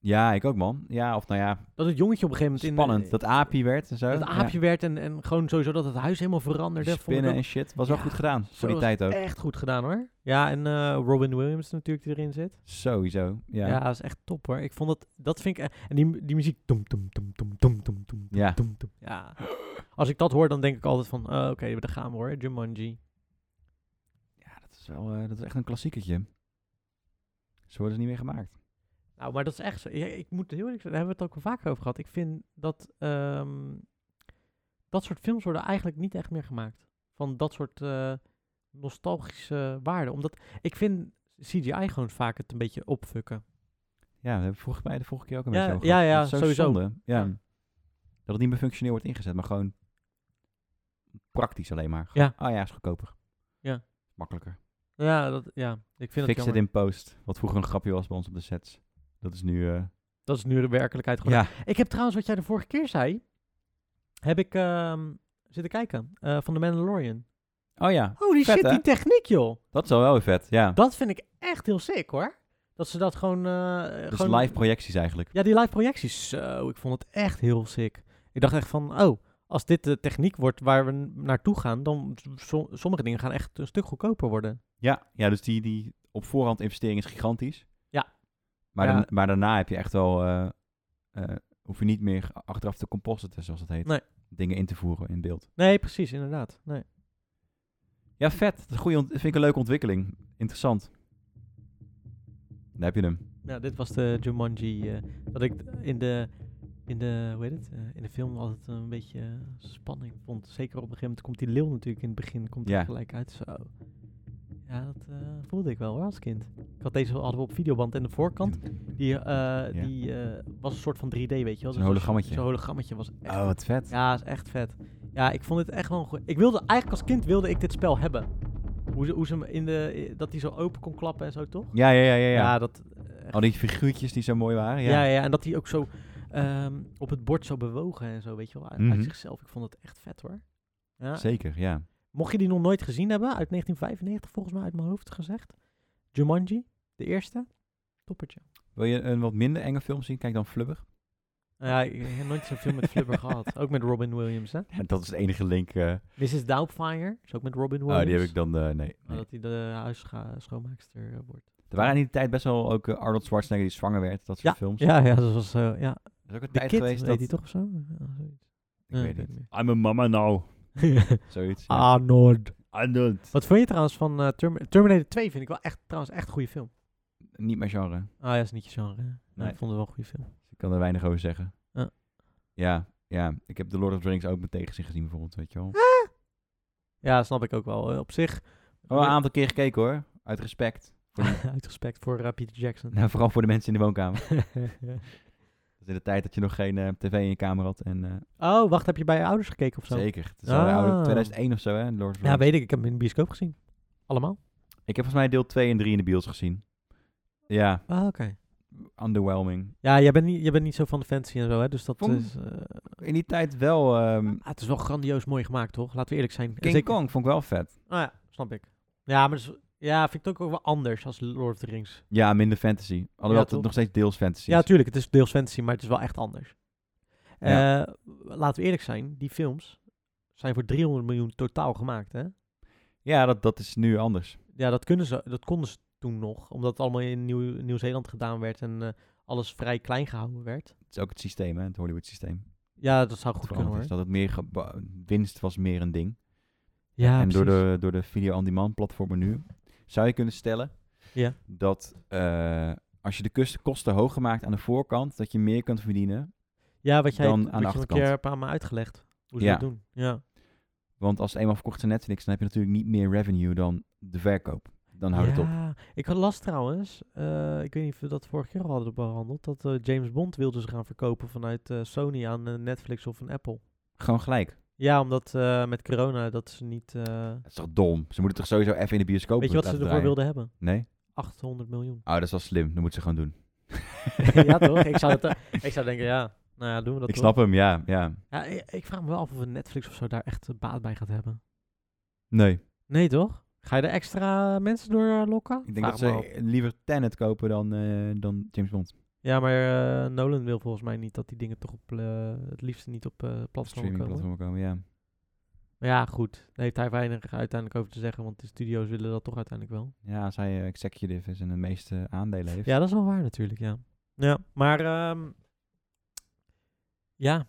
Speaker 2: Ja, ik ook, man. Ja, of nou ja,
Speaker 1: Dat het jongetje op een gegeven moment...
Speaker 2: spannend.
Speaker 1: In,
Speaker 2: dat aapje werd en zo.
Speaker 1: eh, dat aapje werd en, en gewoon sowieso dat het huis helemaal veranderde.
Speaker 2: ja.
Speaker 1: Vond ik
Speaker 2: Spinnen en
Speaker 1: ook
Speaker 2: shit. Was wel
Speaker 1: Ja,
Speaker 2: goed gedaan.
Speaker 1: zo
Speaker 2: Voor die
Speaker 1: was
Speaker 2: tijd ook.
Speaker 1: echt goed gedaan hoor. Ja, en eh, Robin Williams natuurlijk die erin zit.
Speaker 2: Sowieso.
Speaker 1: Ja.
Speaker 2: Ja. Ja.
Speaker 1: dat is echt top hoor. Ik vond dat... Dat vind ik... eh, En die, mu- die muziek... Tom, tom, tom, tom, tom, tom, tom,
Speaker 2: Ja.
Speaker 1: tom, tom. Ja. Als ik dat hoor, dan denk ik altijd van... eh, Oké, daar gaan we hoor. Jumanji.
Speaker 2: dat is wel, eh, dat is echt een klassiekertje. Zo worden ze niet meer gemaakt.
Speaker 1: Nou, maar dat is echt zo. Ja, ik moet heel eerlijk zijn, daar hebben we het ook al vaker over gehad. Ik vind dat ehm, dat soort films worden eigenlijk niet echt meer gemaakt. Van dat soort eh, nostalgische waarden. Omdat ik vind CGI gewoon vaak het een beetje opfukken.
Speaker 2: Ja, daar hebben we vroeg, bij de vorige keer ook een
Speaker 1: Ja,
Speaker 2: beetje over
Speaker 1: ja,
Speaker 2: gehad.
Speaker 1: ja,
Speaker 2: Dat is zo
Speaker 1: sowieso.
Speaker 2: zonde. Ja.
Speaker 1: Ja.
Speaker 2: Dat het niet meer functioneel wordt ingezet, maar gewoon praktisch alleen maar.
Speaker 1: Ja.
Speaker 2: Ah ja, is goedkoper.
Speaker 1: Ja.
Speaker 2: Makkelijker.
Speaker 1: Ja, dat, ja ik vind
Speaker 2: Fix
Speaker 1: het
Speaker 2: het
Speaker 1: jammer.
Speaker 2: in post, wat vroeger een grapje was bij ons op de sets. Dat is nu... eh,
Speaker 1: Dat is nu de werkelijkheid geworden.
Speaker 2: ja,
Speaker 1: Ik heb trouwens, wat jij de vorige keer zei, heb ik ehm, zitten kijken eh, van The Mandalorian.
Speaker 2: oh ja,
Speaker 1: Holy
Speaker 2: Vet,
Speaker 1: shit,
Speaker 2: hè?
Speaker 1: die techniek, joh.
Speaker 2: dat is al wel weer vet. Ja,
Speaker 1: Dat vind ik echt heel sick, hoor. Dat ze dat gewoon... eh,
Speaker 2: dus
Speaker 1: gewoon
Speaker 2: live projecties eigenlijk.
Speaker 1: Ja, die live projecties. Zo, ik vond het echt heel sick. Ik dacht echt van, oh, als dit de techniek wordt waar we n- naartoe gaan, dan so- sommige dingen gaan echt een stuk goedkoper worden.
Speaker 2: Ja, ja dus die, die op voorhand investering is gigantisch.
Speaker 1: Ja.
Speaker 2: Maar,
Speaker 1: Ja.
Speaker 2: daarna- maar daarna heb je echt wel... eh, eh, hoef je niet meer achteraf te compositen, zoals dat heet.
Speaker 1: Nee.
Speaker 2: Dingen in te voeren in beeld.
Speaker 1: Nee, precies, inderdaad. Nee.
Speaker 2: Ja, vet. Dat is een goeie ont- vind ik een leuke ontwikkeling. Interessant. Daar heb je hem.
Speaker 1: Nou, dit was de Jumanji. eh, dat ik in de, in de, hoe heet het, eh, in de film altijd een beetje eh, spanning vond. Zeker op een gegeven moment komt die leeuw natuurlijk in het begin komt die
Speaker 2: Ja.
Speaker 1: gelijk uit. Zo. Ja, dat eh, voelde ik wel hoor, als kind. Ik had deze hadden we op videoband en de voorkant. Die, eh, die eh, was een soort van 3D, weet je wel. Dus
Speaker 2: Zo'n hologrammetje.
Speaker 1: Zo'n hologrammetje was echt...
Speaker 2: Oh, wat vet.
Speaker 1: Ja, is echt vet. Ja, ik vond het echt wel een goeie- Ik wilde, eigenlijk als kind wilde ik dit spel hebben. Hoe ze, hoe ze hem in de... i- Dat hij zo open kon klappen en zo, toch?
Speaker 2: Ja, ja, ja, ja. ja.
Speaker 1: dat... eh,
Speaker 2: Al die figuurtjes die zo mooi waren. Ja,
Speaker 1: ja, ja, en dat hij ook zo ehm, op het bord zo bewogen en zo, weet je wel, uit, uit
Speaker 2: Mhm.
Speaker 1: zichzelf. Ik vond het echt vet hoor. Ja.
Speaker 2: zeker. Ja.
Speaker 1: Mocht je die nog nooit gezien hebben, uit 1995 volgens mij uit mijn hoofd gezegd. Jumanji, de eerste. Toppertje.
Speaker 2: Wil je een wat minder enge film zien? Kijk dan Flubber.
Speaker 1: Nou ja, ik heb nooit zoveel met Flubber gehad. Ook met Robin Williams, hè.
Speaker 2: Ja, dat is de enige link. eh.
Speaker 1: Mrs. Doubtfire is ook met Robin
Speaker 2: oh,
Speaker 1: Williams.
Speaker 2: die heb ik dan. eh, nee.
Speaker 1: Maar
Speaker 2: nee.
Speaker 1: Dat hij de huisschoonmaakster wordt.
Speaker 2: Er waren in die tijd best wel ook eh, Arnold Schwarzenegger die zwanger werd. Dat soort films.
Speaker 1: Ja, ja, dat was zo. ja.
Speaker 2: Dat is ook een
Speaker 1: De
Speaker 2: tijd
Speaker 1: Kid,
Speaker 2: geweest
Speaker 1: heet
Speaker 2: dat...
Speaker 1: die toch of zo? Ja, zoiets.
Speaker 2: Ik
Speaker 1: Ja,
Speaker 2: weet
Speaker 1: ik
Speaker 2: niet.
Speaker 1: weet Ah.
Speaker 2: I'm a mama now. Zoiets. ja.
Speaker 1: Arnold.
Speaker 2: Arnold.
Speaker 1: Wat vond je trouwens van eh, Termi- Terminator 2? Vind ik wel echt, trouwens echt een goede film.
Speaker 2: Niet mijn genre.
Speaker 1: Ah ja, is niet je genre. hè? Nee,
Speaker 2: Nee.
Speaker 1: Ik vond het wel een goede film.
Speaker 2: Ik kan er weinig over zeggen.
Speaker 1: Ah.
Speaker 2: Ja, ja. Ik heb The Lord of the Rings ook met tegenzin gezien bijvoorbeeld, weet je wel.
Speaker 1: Ja, snap ik ook wel. Eh, Op zich,
Speaker 2: Wel een aantal keer gekeken hoor. Uit respect.
Speaker 1: uit respect voor eh, Peter Jackson.
Speaker 2: Nou, vooral voor de mensen in de woonkamer. Dat is in de tijd dat je nog geen eh, tv in je kamer had. En, eh,
Speaker 1: oh, wacht, heb je bij je ouders gekeken of zo?
Speaker 2: zeker. Het is al
Speaker 1: Ah.
Speaker 2: ouder- 2001 of zo, hè? Lord of the
Speaker 1: Ja,
Speaker 2: Rings.
Speaker 1: weet ik. Ik heb hem in de bioscoop gezien. Allemaal?
Speaker 2: Ik heb volgens mij deel 2 en 3 in de bios gezien. Ja,
Speaker 1: Ah, oké.
Speaker 2: underwhelming.
Speaker 1: Ja, jij bent, niet, jij bent niet zo van de fantasy en zo, hè? Dus dat
Speaker 2: Vond-
Speaker 1: is... eh,
Speaker 2: In die tijd wel. ehm
Speaker 1: ah, het is wel grandioos mooi gemaakt, toch? Laten we eerlijk zijn. En
Speaker 2: King
Speaker 1: zeker-
Speaker 2: Kong vond ik wel vet.
Speaker 1: Ah ja, snap ik. Ja, maar dat is- ja, vind ik het ook wel anders als Lord of the Rings.
Speaker 2: Ja, minder fantasy. Alhoewel
Speaker 1: Ja,
Speaker 2: het
Speaker 1: toch?
Speaker 2: nog steeds deels fantasy
Speaker 1: Ja,
Speaker 2: is.
Speaker 1: tuurlijk. Het is deels fantasy, maar het is wel echt anders.
Speaker 2: Ja.
Speaker 1: Eh, laten we eerlijk zijn. Die films zijn voor 300 miljoen totaal gemaakt, hè?
Speaker 2: Ja, dat, dat is nu anders.
Speaker 1: Ja, dat, kunnen ze, dat konden ze toen nog. Omdat het allemaal in Nieuw- Nieuw-Zeeland gedaan werd en eh, alles vrij klein gehouden werd.
Speaker 2: Het is ook het systeem, hè? Het Hollywood systeem.
Speaker 1: Ja, dat zou goed
Speaker 2: Dat,
Speaker 1: kunnen hoor.
Speaker 2: dat het meer geba- winst was meer een ding.
Speaker 1: Ja,
Speaker 2: en door
Speaker 1: precies.
Speaker 2: de, door de video on-demand platformen nu zou je kunnen stellen
Speaker 1: Ja.
Speaker 2: dat eh, als je de kus- kosten hoog gemaakt aan de voorkant, dat je meer kunt verdienen.
Speaker 1: ja, wat jij
Speaker 2: dan
Speaker 1: wat
Speaker 2: aan de
Speaker 1: je een
Speaker 2: achterkant.
Speaker 1: keer hebt aan me uitgelegd. Hoe ze
Speaker 2: Ja.
Speaker 1: dat doen. Ja.
Speaker 2: Want als het eenmaal verkocht is aan Netflix, dan heb je natuurlijk niet meer revenue dan de verkoop. Dan houdt het op.
Speaker 1: ja, ik had last trouwens, eh, ik weet niet of we dat vorige keer al hadden behandeld, dat eh, James Bond wilde ze gaan verkopen vanuit eh, Sony aan eh, Netflix of een Apple.
Speaker 2: Gewoon gelijk.
Speaker 1: Ja, omdat eh, met corona dat ze niet... eh,
Speaker 2: Dat is toch dom? Ze moeten toch sowieso even in de bioscoop
Speaker 1: weet je wat ze
Speaker 2: laten
Speaker 1: ervoor
Speaker 2: draaien?
Speaker 1: wilden hebben?
Speaker 2: Nee?
Speaker 1: 800 miljoen.
Speaker 2: Oh, dat is wel slim. Dat moeten ze gewoon doen.
Speaker 1: ja toch? Ik zou, dat, eh, ik zou denken, ja, nou ja, doen we dat
Speaker 2: Ik
Speaker 1: toch?
Speaker 2: snap hem, ja. ja.
Speaker 1: Ja, i- ik vraag me wel af of een Netflix of zo daar echt eh, baat bij gaat hebben.
Speaker 2: Nee.
Speaker 1: Nee toch? Ga je er extra mensen door eh, lokken?
Speaker 2: Ik denk
Speaker 1: Vraag me
Speaker 2: dat
Speaker 1: af.
Speaker 2: ze liever Tenet kopen dan, eh, dan James Bond.
Speaker 1: Ja, maar eh, Nolan wil volgens mij niet dat die dingen toch op eh, het liefst niet op eh platform
Speaker 2: Streaming
Speaker 1: komen.
Speaker 2: platformen komen, ja.
Speaker 1: Maar ja, goed. Daar heeft hij weinig uiteindelijk over te zeggen, want de studio's willen dat toch uiteindelijk wel.
Speaker 2: Ja, als hij eh, executive is en de meeste aandelen heeft.
Speaker 1: Ja, dat is wel waar natuurlijk, ja. Ja, maar ehm, ja,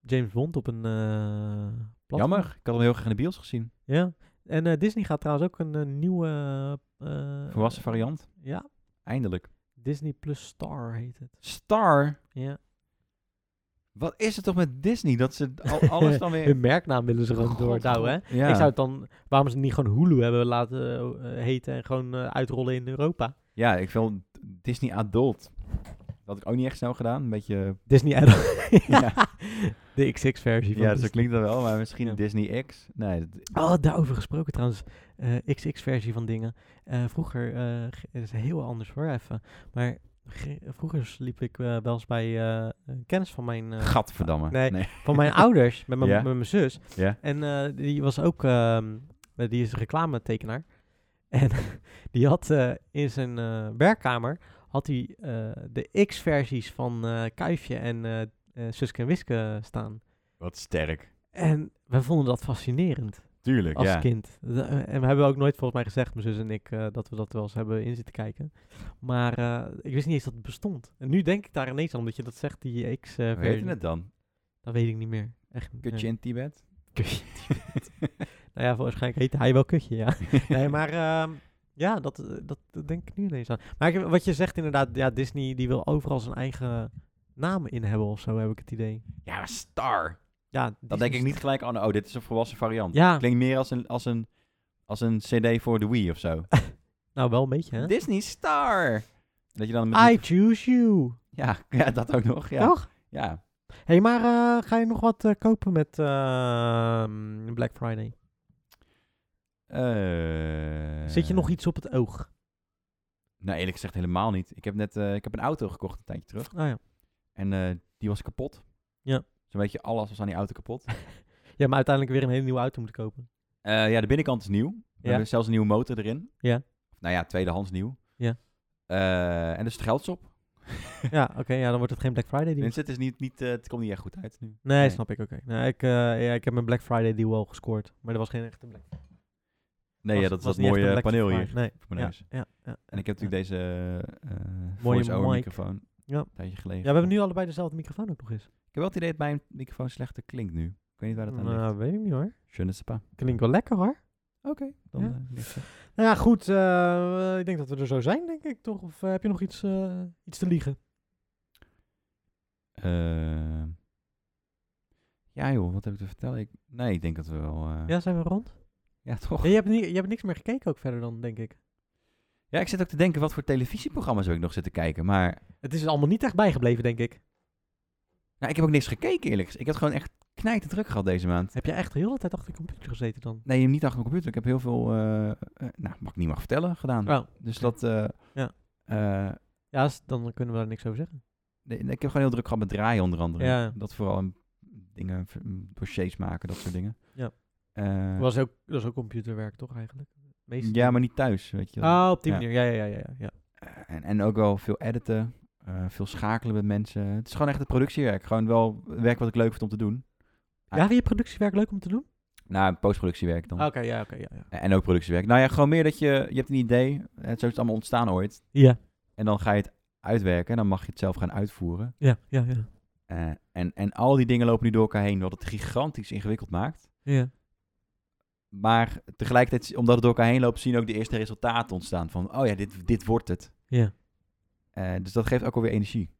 Speaker 1: James Bond op een eh, platform.
Speaker 2: Jammer, ik had hem heel graag in de bios gezien.
Speaker 1: Ja, en eh, Disney gaat trouwens ook een eh, nieuwe... eh,
Speaker 2: Volwassen variant,
Speaker 1: Ja,
Speaker 2: eindelijk.
Speaker 1: Disney Plus Star heet het.
Speaker 2: Star?
Speaker 1: Ja.
Speaker 2: Wat is het toch met Disney? Dat ze al, alles dan weer...
Speaker 1: Hun merknaam willen ze gewoon
Speaker 2: God,
Speaker 1: doordouwen, nou, hè?
Speaker 2: Ja.
Speaker 1: Ik zou het dan... Waarom ze het niet gewoon Hulu hebben laten eh, heten en gewoon eh, uitrollen in Europa?
Speaker 2: ja, ik wil Disney Adult. Dat had ik ook niet echt snel gedaan. Een beetje...
Speaker 1: Disney Adult.
Speaker 2: Ja.
Speaker 1: De XX-versie van
Speaker 2: Ja,
Speaker 1: Disney.
Speaker 2: zo klinkt dat wel, maar misschien
Speaker 1: Ja.
Speaker 2: Disney X. Nee, dat-
Speaker 1: Oh, daarover gesproken trouwens. eh, XX-versie van dingen. Eh, vroeger, eh, g- het is heel anders hoor, even. Maar ge- vroeger sliep ik eh, wel eens bij eh, een kennis van mijn, eh,
Speaker 2: gadverdamme.
Speaker 1: nee. van mijn ouders, met mijn
Speaker 2: Ja.
Speaker 1: met mijn zus.
Speaker 2: Ja.
Speaker 1: En eh, die was ook, ehm, eh, die is reclametekenaar. En die had eh, in zijn eh, werkkamer, had hij eh, de X-versies van eh, Kuifje en eh eh, Suske en Wiske staan.
Speaker 2: Wat sterk.
Speaker 1: En wij vonden dat fascinerend
Speaker 2: Tuurlijk,
Speaker 1: als
Speaker 2: ja.
Speaker 1: kind. De- eh, en we hebben ook nooit volgens mij gezegd, mijn zus en ik, eh, dat we dat wel eens hebben in zitten kijken. Maar eh, ik wist niet eens dat het bestond. En nu denk ik daar ineens aan, omdat je dat zegt, die x eh
Speaker 2: Hoe heette
Speaker 1: versie.
Speaker 2: het dan?
Speaker 1: Dat weet ik niet meer. Echt, niet,
Speaker 2: Kutje
Speaker 1: nee.
Speaker 2: in Tibet?
Speaker 1: Kutje in Tibet. nou ja, waarschijnlijk heette hij wel kutje, ja. nee, maar ehm, ja, dat, eh, dat, dat denk ik nu ineens aan. Maar ik- wat je zegt inderdaad, ja, Disney die wil overal zijn eigen naam in hebben of zo, heb ik het idee.
Speaker 2: Ja, maar Star.
Speaker 1: Ja,
Speaker 2: Dan denk ik niet gelijk aan, oh, dit is een volwassen variant.
Speaker 1: Ja.
Speaker 2: Klinkt meer als een, als een, als een cd voor de Wii of zo.
Speaker 1: Nou, wel een beetje, hè?
Speaker 2: Disney Star! Dat je dan met
Speaker 1: I choose you,
Speaker 2: ja, ja, dat ook nog. Ja.
Speaker 1: toch?
Speaker 2: Ja.
Speaker 1: Hé, hey, maar eh, ga je nog wat eh, kopen met ehm, Black Friday?
Speaker 2: Eh,
Speaker 1: Zit je nog iets op het oog?
Speaker 2: Nou, eerlijk gezegd helemaal niet. Ik heb net eh, ik heb een auto gekocht een tijdje terug.
Speaker 1: Ah, ja.
Speaker 2: En eh, die was kapot.
Speaker 1: Ja.
Speaker 2: Zo'n beetje alles was aan die auto kapot.
Speaker 1: ja, maar uiteindelijk weer een hele nieuwe auto moeten kopen.
Speaker 2: Eh, ja, de binnenkant is nieuw. We
Speaker 1: Ja.
Speaker 2: hebben zelfs een nieuwe motor erin.
Speaker 1: Ja.
Speaker 2: Nou ja, tweedehands nieuw.
Speaker 1: Ja.
Speaker 2: Eh, en dus het geld is op.
Speaker 1: ja, oké, ja, dan wordt het geen Black Friday deal.
Speaker 2: Dus het, is niet, niet, eh, het komt niet echt goed uit nu.
Speaker 1: Nee, snap ik, oké. Nou, ik, eh, ja, ik heb mijn Black Friday deal al gescoord, maar er was geen echte Black
Speaker 2: Nee,
Speaker 1: was-
Speaker 2: ja, dat is
Speaker 1: was
Speaker 2: dat
Speaker 1: niet echt een
Speaker 2: mooie
Speaker 1: Black
Speaker 2: paneel
Speaker 1: Friday.
Speaker 2: hier
Speaker 1: Nee,
Speaker 2: voor mijn
Speaker 1: ja,
Speaker 2: neus.
Speaker 1: ja, ja.
Speaker 2: En ik heb natuurlijk deze eh
Speaker 1: Mooie
Speaker 2: voice-over
Speaker 1: mic.
Speaker 2: microfoon
Speaker 1: Ja.
Speaker 2: een tijdje geleden.
Speaker 1: Ja, we hebben nu allebei dezelfde microfoon ook nog eens.
Speaker 2: Ik heb wel het idee dat mijn microfoon slechter klinkt nu. Ik weet niet waar dat aan
Speaker 1: Nou,
Speaker 2: ligt.
Speaker 1: weet ik niet hoor.
Speaker 2: Je ne sais pas.
Speaker 1: Klinkt wel lekker hoor.
Speaker 2: Oké. Dan,
Speaker 1: Ja.
Speaker 2: eh, ligt het.
Speaker 1: Nou ja, goed. eh, ik denk dat we er zo zijn, denk ik toch? Of eh, heb je nog iets, eh, iets te liegen?
Speaker 2: Eh, ja joh, wat heb ik te vertellen? Ik, nee, ik denk dat we wel... eh, ja.
Speaker 1: Ja, zijn we rond?
Speaker 2: toch?
Speaker 1: Ja, je, hebt niet, je hebt niks meer gekeken ook verder dan, denk ik.
Speaker 2: Ja, ik zit ook te denken wat voor televisieprogramma's heb ik nog zitten kijken. Maar
Speaker 1: Het is allemaal niet echt bijgebleven, denk ik.
Speaker 2: nou, ik heb ook niks gekeken eerlijk gezegd. Ik had gewoon echt knijten druk gehad deze maand.
Speaker 1: Heb je echt de hele tijd achter de computer gezeten dan?
Speaker 2: Nee, niet achter mijn computer. Ik heb heel veel, eh, eh, nou, wat ik niet mag vertellen, gedaan.
Speaker 1: Oh,
Speaker 2: Dus dat... eh,
Speaker 1: Ja.
Speaker 2: eh,
Speaker 1: ja, s- dan kunnen we daar niks over zeggen.
Speaker 2: Nee, nee, ik heb gewoon heel druk gehad met draaien onder andere.
Speaker 1: Ja.
Speaker 2: Dat vooral een- dingen, v- m, dossiers maken, dat soort dingen.
Speaker 1: Ja.
Speaker 2: Eh,
Speaker 1: Was ook, dat is ook computerwerk, toch eigenlijk? Meestal.
Speaker 2: ja, maar niet thuis, weet je.
Speaker 1: Ah, op die
Speaker 2: Ja.
Speaker 1: manier. Ja, ja, ja, ja. ja.
Speaker 2: Eh, en, en ook wel veel editen, eh, veel schakelen met mensen. Het is gewoon echt het productiewerk. Gewoon wel werk wat ik leuk vind om te doen. Ah.
Speaker 1: Ja, vind je productiewerk leuk om te doen?
Speaker 2: Nou, postproductiewerk dan.
Speaker 1: Ah, Oké, ja, oké, ja, ja.
Speaker 2: Eh, En ook productiewerk. Nou ja, gewoon meer dat je, je hebt een idee. eh, Zo is het allemaal ontstaan ooit.
Speaker 1: Ja,
Speaker 2: En dan ga je het uitwerken en dan mag je het zelf gaan uitvoeren.
Speaker 1: ja, ja, ja.
Speaker 2: Eh, en, en al die dingen lopen nu door elkaar heen, wat het gigantisch ingewikkeld maakt.
Speaker 1: Ja,
Speaker 2: Maar tegelijkertijd, omdat het door elkaar heen loopt, zien ook de eerste resultaten ontstaan. Van, oh ja, dit, dit wordt het.
Speaker 1: ja.
Speaker 2: Eh, dus dat geeft ook alweer energie.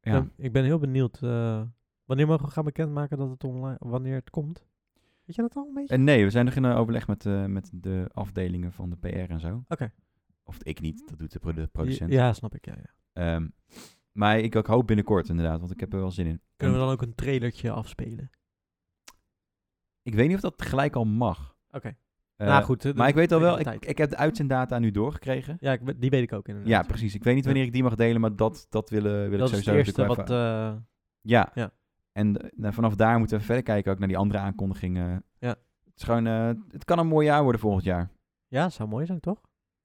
Speaker 2: Ja.
Speaker 1: Ik ben- Ik ben heel benieuwd. eh, wanneer mogen we gaan bekendmaken dat het online, wanneer het komt? Weet je dat al een beetje?
Speaker 2: En nee, we zijn nog in eh, overleg met, eh, met de afdelingen van de PR en zo.
Speaker 1: Oké.
Speaker 2: Of ik niet, dat doet de produ- producent.
Speaker 1: Ja, snap ik, ja, ja.
Speaker 2: Ehm, maar ik, ik hoop binnenkort inderdaad, want ik heb er wel zin in.
Speaker 1: Kunnen we
Speaker 2: En
Speaker 1: dan ook een trailertje afspelen?
Speaker 2: Ik weet niet of dat gelijk al mag.
Speaker 1: Oké.
Speaker 2: Eh,
Speaker 1: nou goed. eh,
Speaker 2: maar ik weet al wel, ik,
Speaker 1: tijd.
Speaker 2: ik heb de uitzenddata nu doorgekregen.
Speaker 1: Ja, ik, we- die weet ik ook inderdaad.
Speaker 2: Ja, precies. Ik weet niet wanneer ik die mag delen, maar dat, dat willen, wil
Speaker 1: Dat
Speaker 2: ik
Speaker 1: is het
Speaker 2: sowieso
Speaker 1: eerste
Speaker 2: natuurlijk wel
Speaker 1: wat...
Speaker 2: even-
Speaker 1: eh,
Speaker 2: Ja.
Speaker 1: Ja.
Speaker 2: En eh, nou, vanaf daar moeten we verder kijken ook naar die andere aankondigingen.
Speaker 1: Ja.
Speaker 2: Het, is gewoon, eh, het kan een mooi jaar worden volgend jaar.
Speaker 1: ja, zou mooi zijn, toch?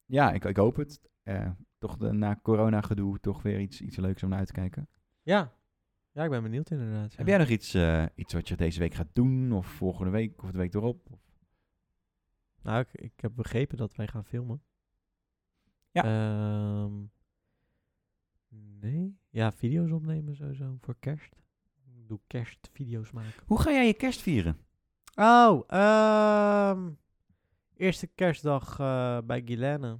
Speaker 2: Ja, ik, ik hoop het. Eh, toch de, na corona gedoe toch weer iets, iets leuks om naar uit te kijken.
Speaker 1: Ja. Ja, ik ben benieuwd inderdaad. ja.
Speaker 2: Heb jij nog iets, eh, iets wat je deze week gaat doen? Of volgende week? Of de week erop?
Speaker 1: Nou, ik, ik heb begrepen dat wij gaan filmen.
Speaker 2: Ja.
Speaker 1: Ehm, nee. Ja, video's opnemen sowieso voor kerst. Ik doe kerstvideo's maken.
Speaker 2: Hoe ga jij je kerst vieren?
Speaker 1: Oh, ehm, eerste kerstdag eh, bij Guilaine.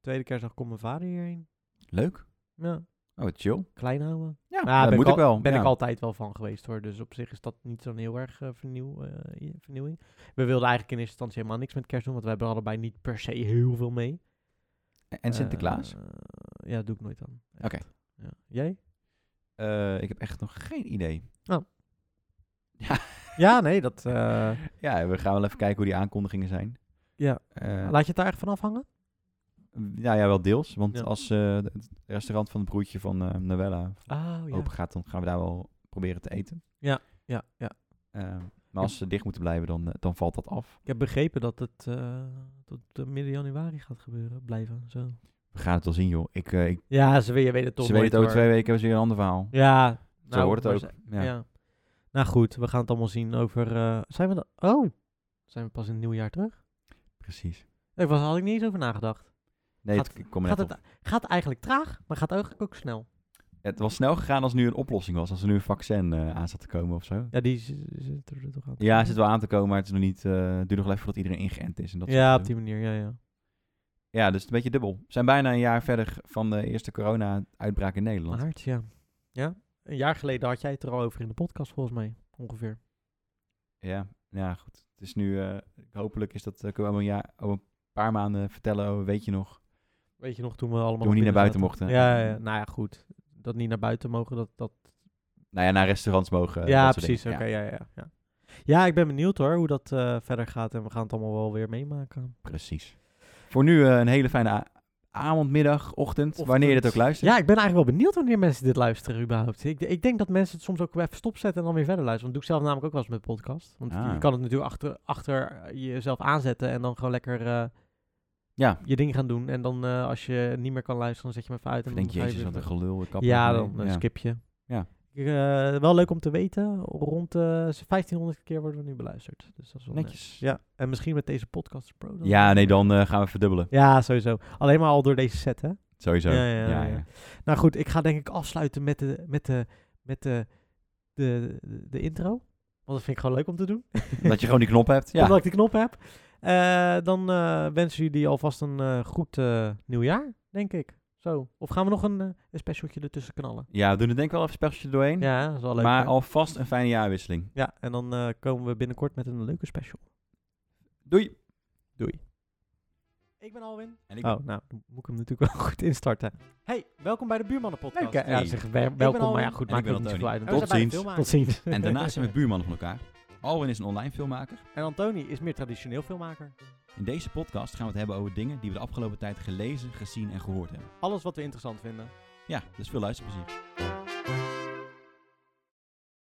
Speaker 1: Tweede kerstdag komt mijn vader hierheen.
Speaker 2: Leuk.
Speaker 1: Ja,
Speaker 2: Oh, wat chill.
Speaker 1: klein houden.
Speaker 2: Ja,
Speaker 1: Nou,
Speaker 2: dat
Speaker 1: ben
Speaker 2: moet
Speaker 1: ik
Speaker 2: ik wel.
Speaker 1: Ben
Speaker 2: ja.
Speaker 1: ik altijd wel van geweest hoor. Dus op zich is dat niet zo'n heel erg eh, vernieuw, eh, i- vernieuwing. We wilden eigenlijk in eerste instantie helemaal niks met kerst doen. Want we hebben er allebei niet per se heel veel mee.
Speaker 2: En Sinterklaas?
Speaker 1: Eh, ja, dat doe ik nooit dan. Echt.
Speaker 2: Oké.
Speaker 1: Ja. Jij?
Speaker 2: Eh, ik heb echt nog geen idee.
Speaker 1: Ja, nee, dat... eh,
Speaker 2: Ja, we gaan wel even kijken hoe die aankondigingen zijn.
Speaker 1: Ja.
Speaker 2: Eh,
Speaker 1: Laat je het daar echt van afhangen?
Speaker 2: nou ja, wel deels. Want
Speaker 1: Ja.
Speaker 2: als eh, het restaurant van het broertje van eh Noella
Speaker 1: Oh, ja.
Speaker 2: open gaat, dan gaan we daar wel proberen te eten.
Speaker 1: Ja, ja.
Speaker 2: Eh, maar als ze dicht moeten blijven, dan, eh, dan valt dat af.
Speaker 1: Ik heb begrepen dat het eh, tot eh, midden januari gaat gebeuren. Blijven, zo.
Speaker 2: We gaan het wel zien, joh. Ik, eh, ik,
Speaker 1: Ja, ze, je weet het toch
Speaker 2: ze weten
Speaker 1: nooit,
Speaker 2: over
Speaker 1: hoor.
Speaker 2: twee weken hebben ze weer een ander verhaal.
Speaker 1: Ja.
Speaker 2: Zo hoort het
Speaker 1: maar
Speaker 2: ook.
Speaker 1: ze-
Speaker 2: ja.
Speaker 1: Ja. Nou goed, we gaan het allemaal zien over... eh, zijn we dan... Oh, zijn we pas in het nieuwe jaar terug?
Speaker 2: precies.
Speaker 1: Daar was- had ik niet eens over nagedacht.
Speaker 2: Nee,
Speaker 1: Gaat-
Speaker 2: het, ik kom er
Speaker 1: Gaat
Speaker 2: net
Speaker 1: het, gaat eigenlijk traag, maar gaat eigenlijk ook snel.
Speaker 2: op. Het was snel gegaan als er nu een oplossing was. Als er nu een vaccin eh, aan zat te komen of zo.
Speaker 1: Ja, die z- zit er toch aan.
Speaker 2: Ja, het zit wel aan te komen, maar het, is nog niet, eh, het duurt nog wel even voordat iedereen ingeënt is. En dat soort
Speaker 1: Ja, op
Speaker 2: gedoe.
Speaker 1: die manier, ja, ja.
Speaker 2: Ja, dus het is een beetje dubbel. We zijn bijna een jaar verder van de eerste corona-uitbraak in Nederland.
Speaker 1: Maart, ja. Ja, een jaar geleden had jij het er al over in de podcast, volgens mij, ongeveer.
Speaker 2: Ja, ja, goed. Het is nu, eh, hopelijk is dat, eh, kunnen we over een, jaar, over een paar maanden vertellen, oh, weet je nog,
Speaker 1: Weet je nog, toen we allemaal...
Speaker 2: toen we
Speaker 1: nog
Speaker 2: niet naar buiten
Speaker 1: binnen
Speaker 2: mochten.
Speaker 1: zaten? Ja, ja, ja. nou ja, goed. Dat niet naar buiten mogen, dat... dat
Speaker 2: Nou ja, naar restaurants mogen. eh,
Speaker 1: ja,
Speaker 2: dat soort
Speaker 1: precies, oké,
Speaker 2: dingen. Ja,
Speaker 1: ja. Ja, ja, ja. Ja, ik ben benieuwd hoor, hoe dat eh, verder gaat. En we gaan het allemaal wel weer meemaken.
Speaker 2: precies. Voor nu eh, een hele fijne a- avond, middag, ochtend,
Speaker 1: Ochtend.
Speaker 2: wanneer je dit ook luistert.
Speaker 1: Ja, ik ben eigenlijk wel benieuwd wanneer mensen dit luisteren überhaupt. Ik, ik denk dat mensen het soms ook even stopzetten en dan weer verder luisteren. Want dat doe ik zelf namelijk ook wel eens met podcast. Want
Speaker 2: Ah.
Speaker 1: je kan het natuurlijk achter, achter eh, jezelf aanzetten en dan gewoon lekker eh,
Speaker 2: Ja.
Speaker 1: je ding gaan doen. En dan eh, als je niet meer kan luisteren, dan zet je hem even uit.
Speaker 2: Of
Speaker 1: En
Speaker 2: denk je,
Speaker 1: dan ga
Speaker 2: jezus,
Speaker 1: weer
Speaker 2: wat een
Speaker 1: verder.
Speaker 2: gelul. ik kap
Speaker 1: Ja,
Speaker 2: ermee.
Speaker 1: dan eh, skip je.
Speaker 2: Ja.
Speaker 1: Ik, eh, wel leuk om te weten, rond eh 1500 keer worden we nu beluisterd. Dus dat is wel netjes.
Speaker 2: Netjes. Ja,
Speaker 1: Ja, en misschien met deze podcast pro dan.
Speaker 2: nee, dan eh, gaan we verdubbelen.
Speaker 1: Ja, sowieso. Alleen maar al door deze set, hè?
Speaker 2: Sowieso.
Speaker 1: Ja, ja, ja. Nou goed, ik ga denk ik afsluiten met de, met de, met de, de, de intro. Want dat vind ik gewoon leuk om te doen.
Speaker 2: Dat je gewoon die knop hebt. Ja,
Speaker 1: Omdat ik de knop heb. Eh, dan eh, wensen jullie alvast een eh, goed eh, nieuwjaar, denk ik. Zo. Of gaan we nog een, eh, een specialtje ertussen knallen?
Speaker 2: ja we doen er denk ik wel even een specialtje doorheen.
Speaker 1: Ja, dat is wel leuk.
Speaker 2: maar
Speaker 1: hè?
Speaker 2: alvast een fijne jaarwisseling.
Speaker 1: Ja, en dan eh, komen we binnenkort met een leuke special.
Speaker 2: Doei.
Speaker 1: Ik ben Alwin.
Speaker 2: En ik
Speaker 1: Oh, nou, dan moet ik hem natuurlijk wel goed instarten. Hey, welkom bij de Buurmannen Podcast.
Speaker 2: Leuk, hè?
Speaker 1: Ja,
Speaker 2: Hey.
Speaker 1: zeg, wel- welkom, maar
Speaker 2: Alwin.
Speaker 1: ja, goed,
Speaker 2: En
Speaker 1: maakt
Speaker 2: ik ben
Speaker 1: ook niet zoveel uit.
Speaker 2: Antonie.
Speaker 1: want
Speaker 2: Tot
Speaker 1: we zijn
Speaker 2: ziens.
Speaker 1: bij de filmmaker. Tot ziens.
Speaker 2: En daarnaast zijn we buurmannen van elkaar. Alwin is een online filmmaker.
Speaker 1: En Antoni is meer traditioneel filmmaker.
Speaker 2: In deze podcast gaan we het hebben over dingen die we de afgelopen tijd gelezen, gezien en gehoord hebben.
Speaker 1: Alles wat we interessant vinden.
Speaker 2: Ja, dus veel luisterplezier.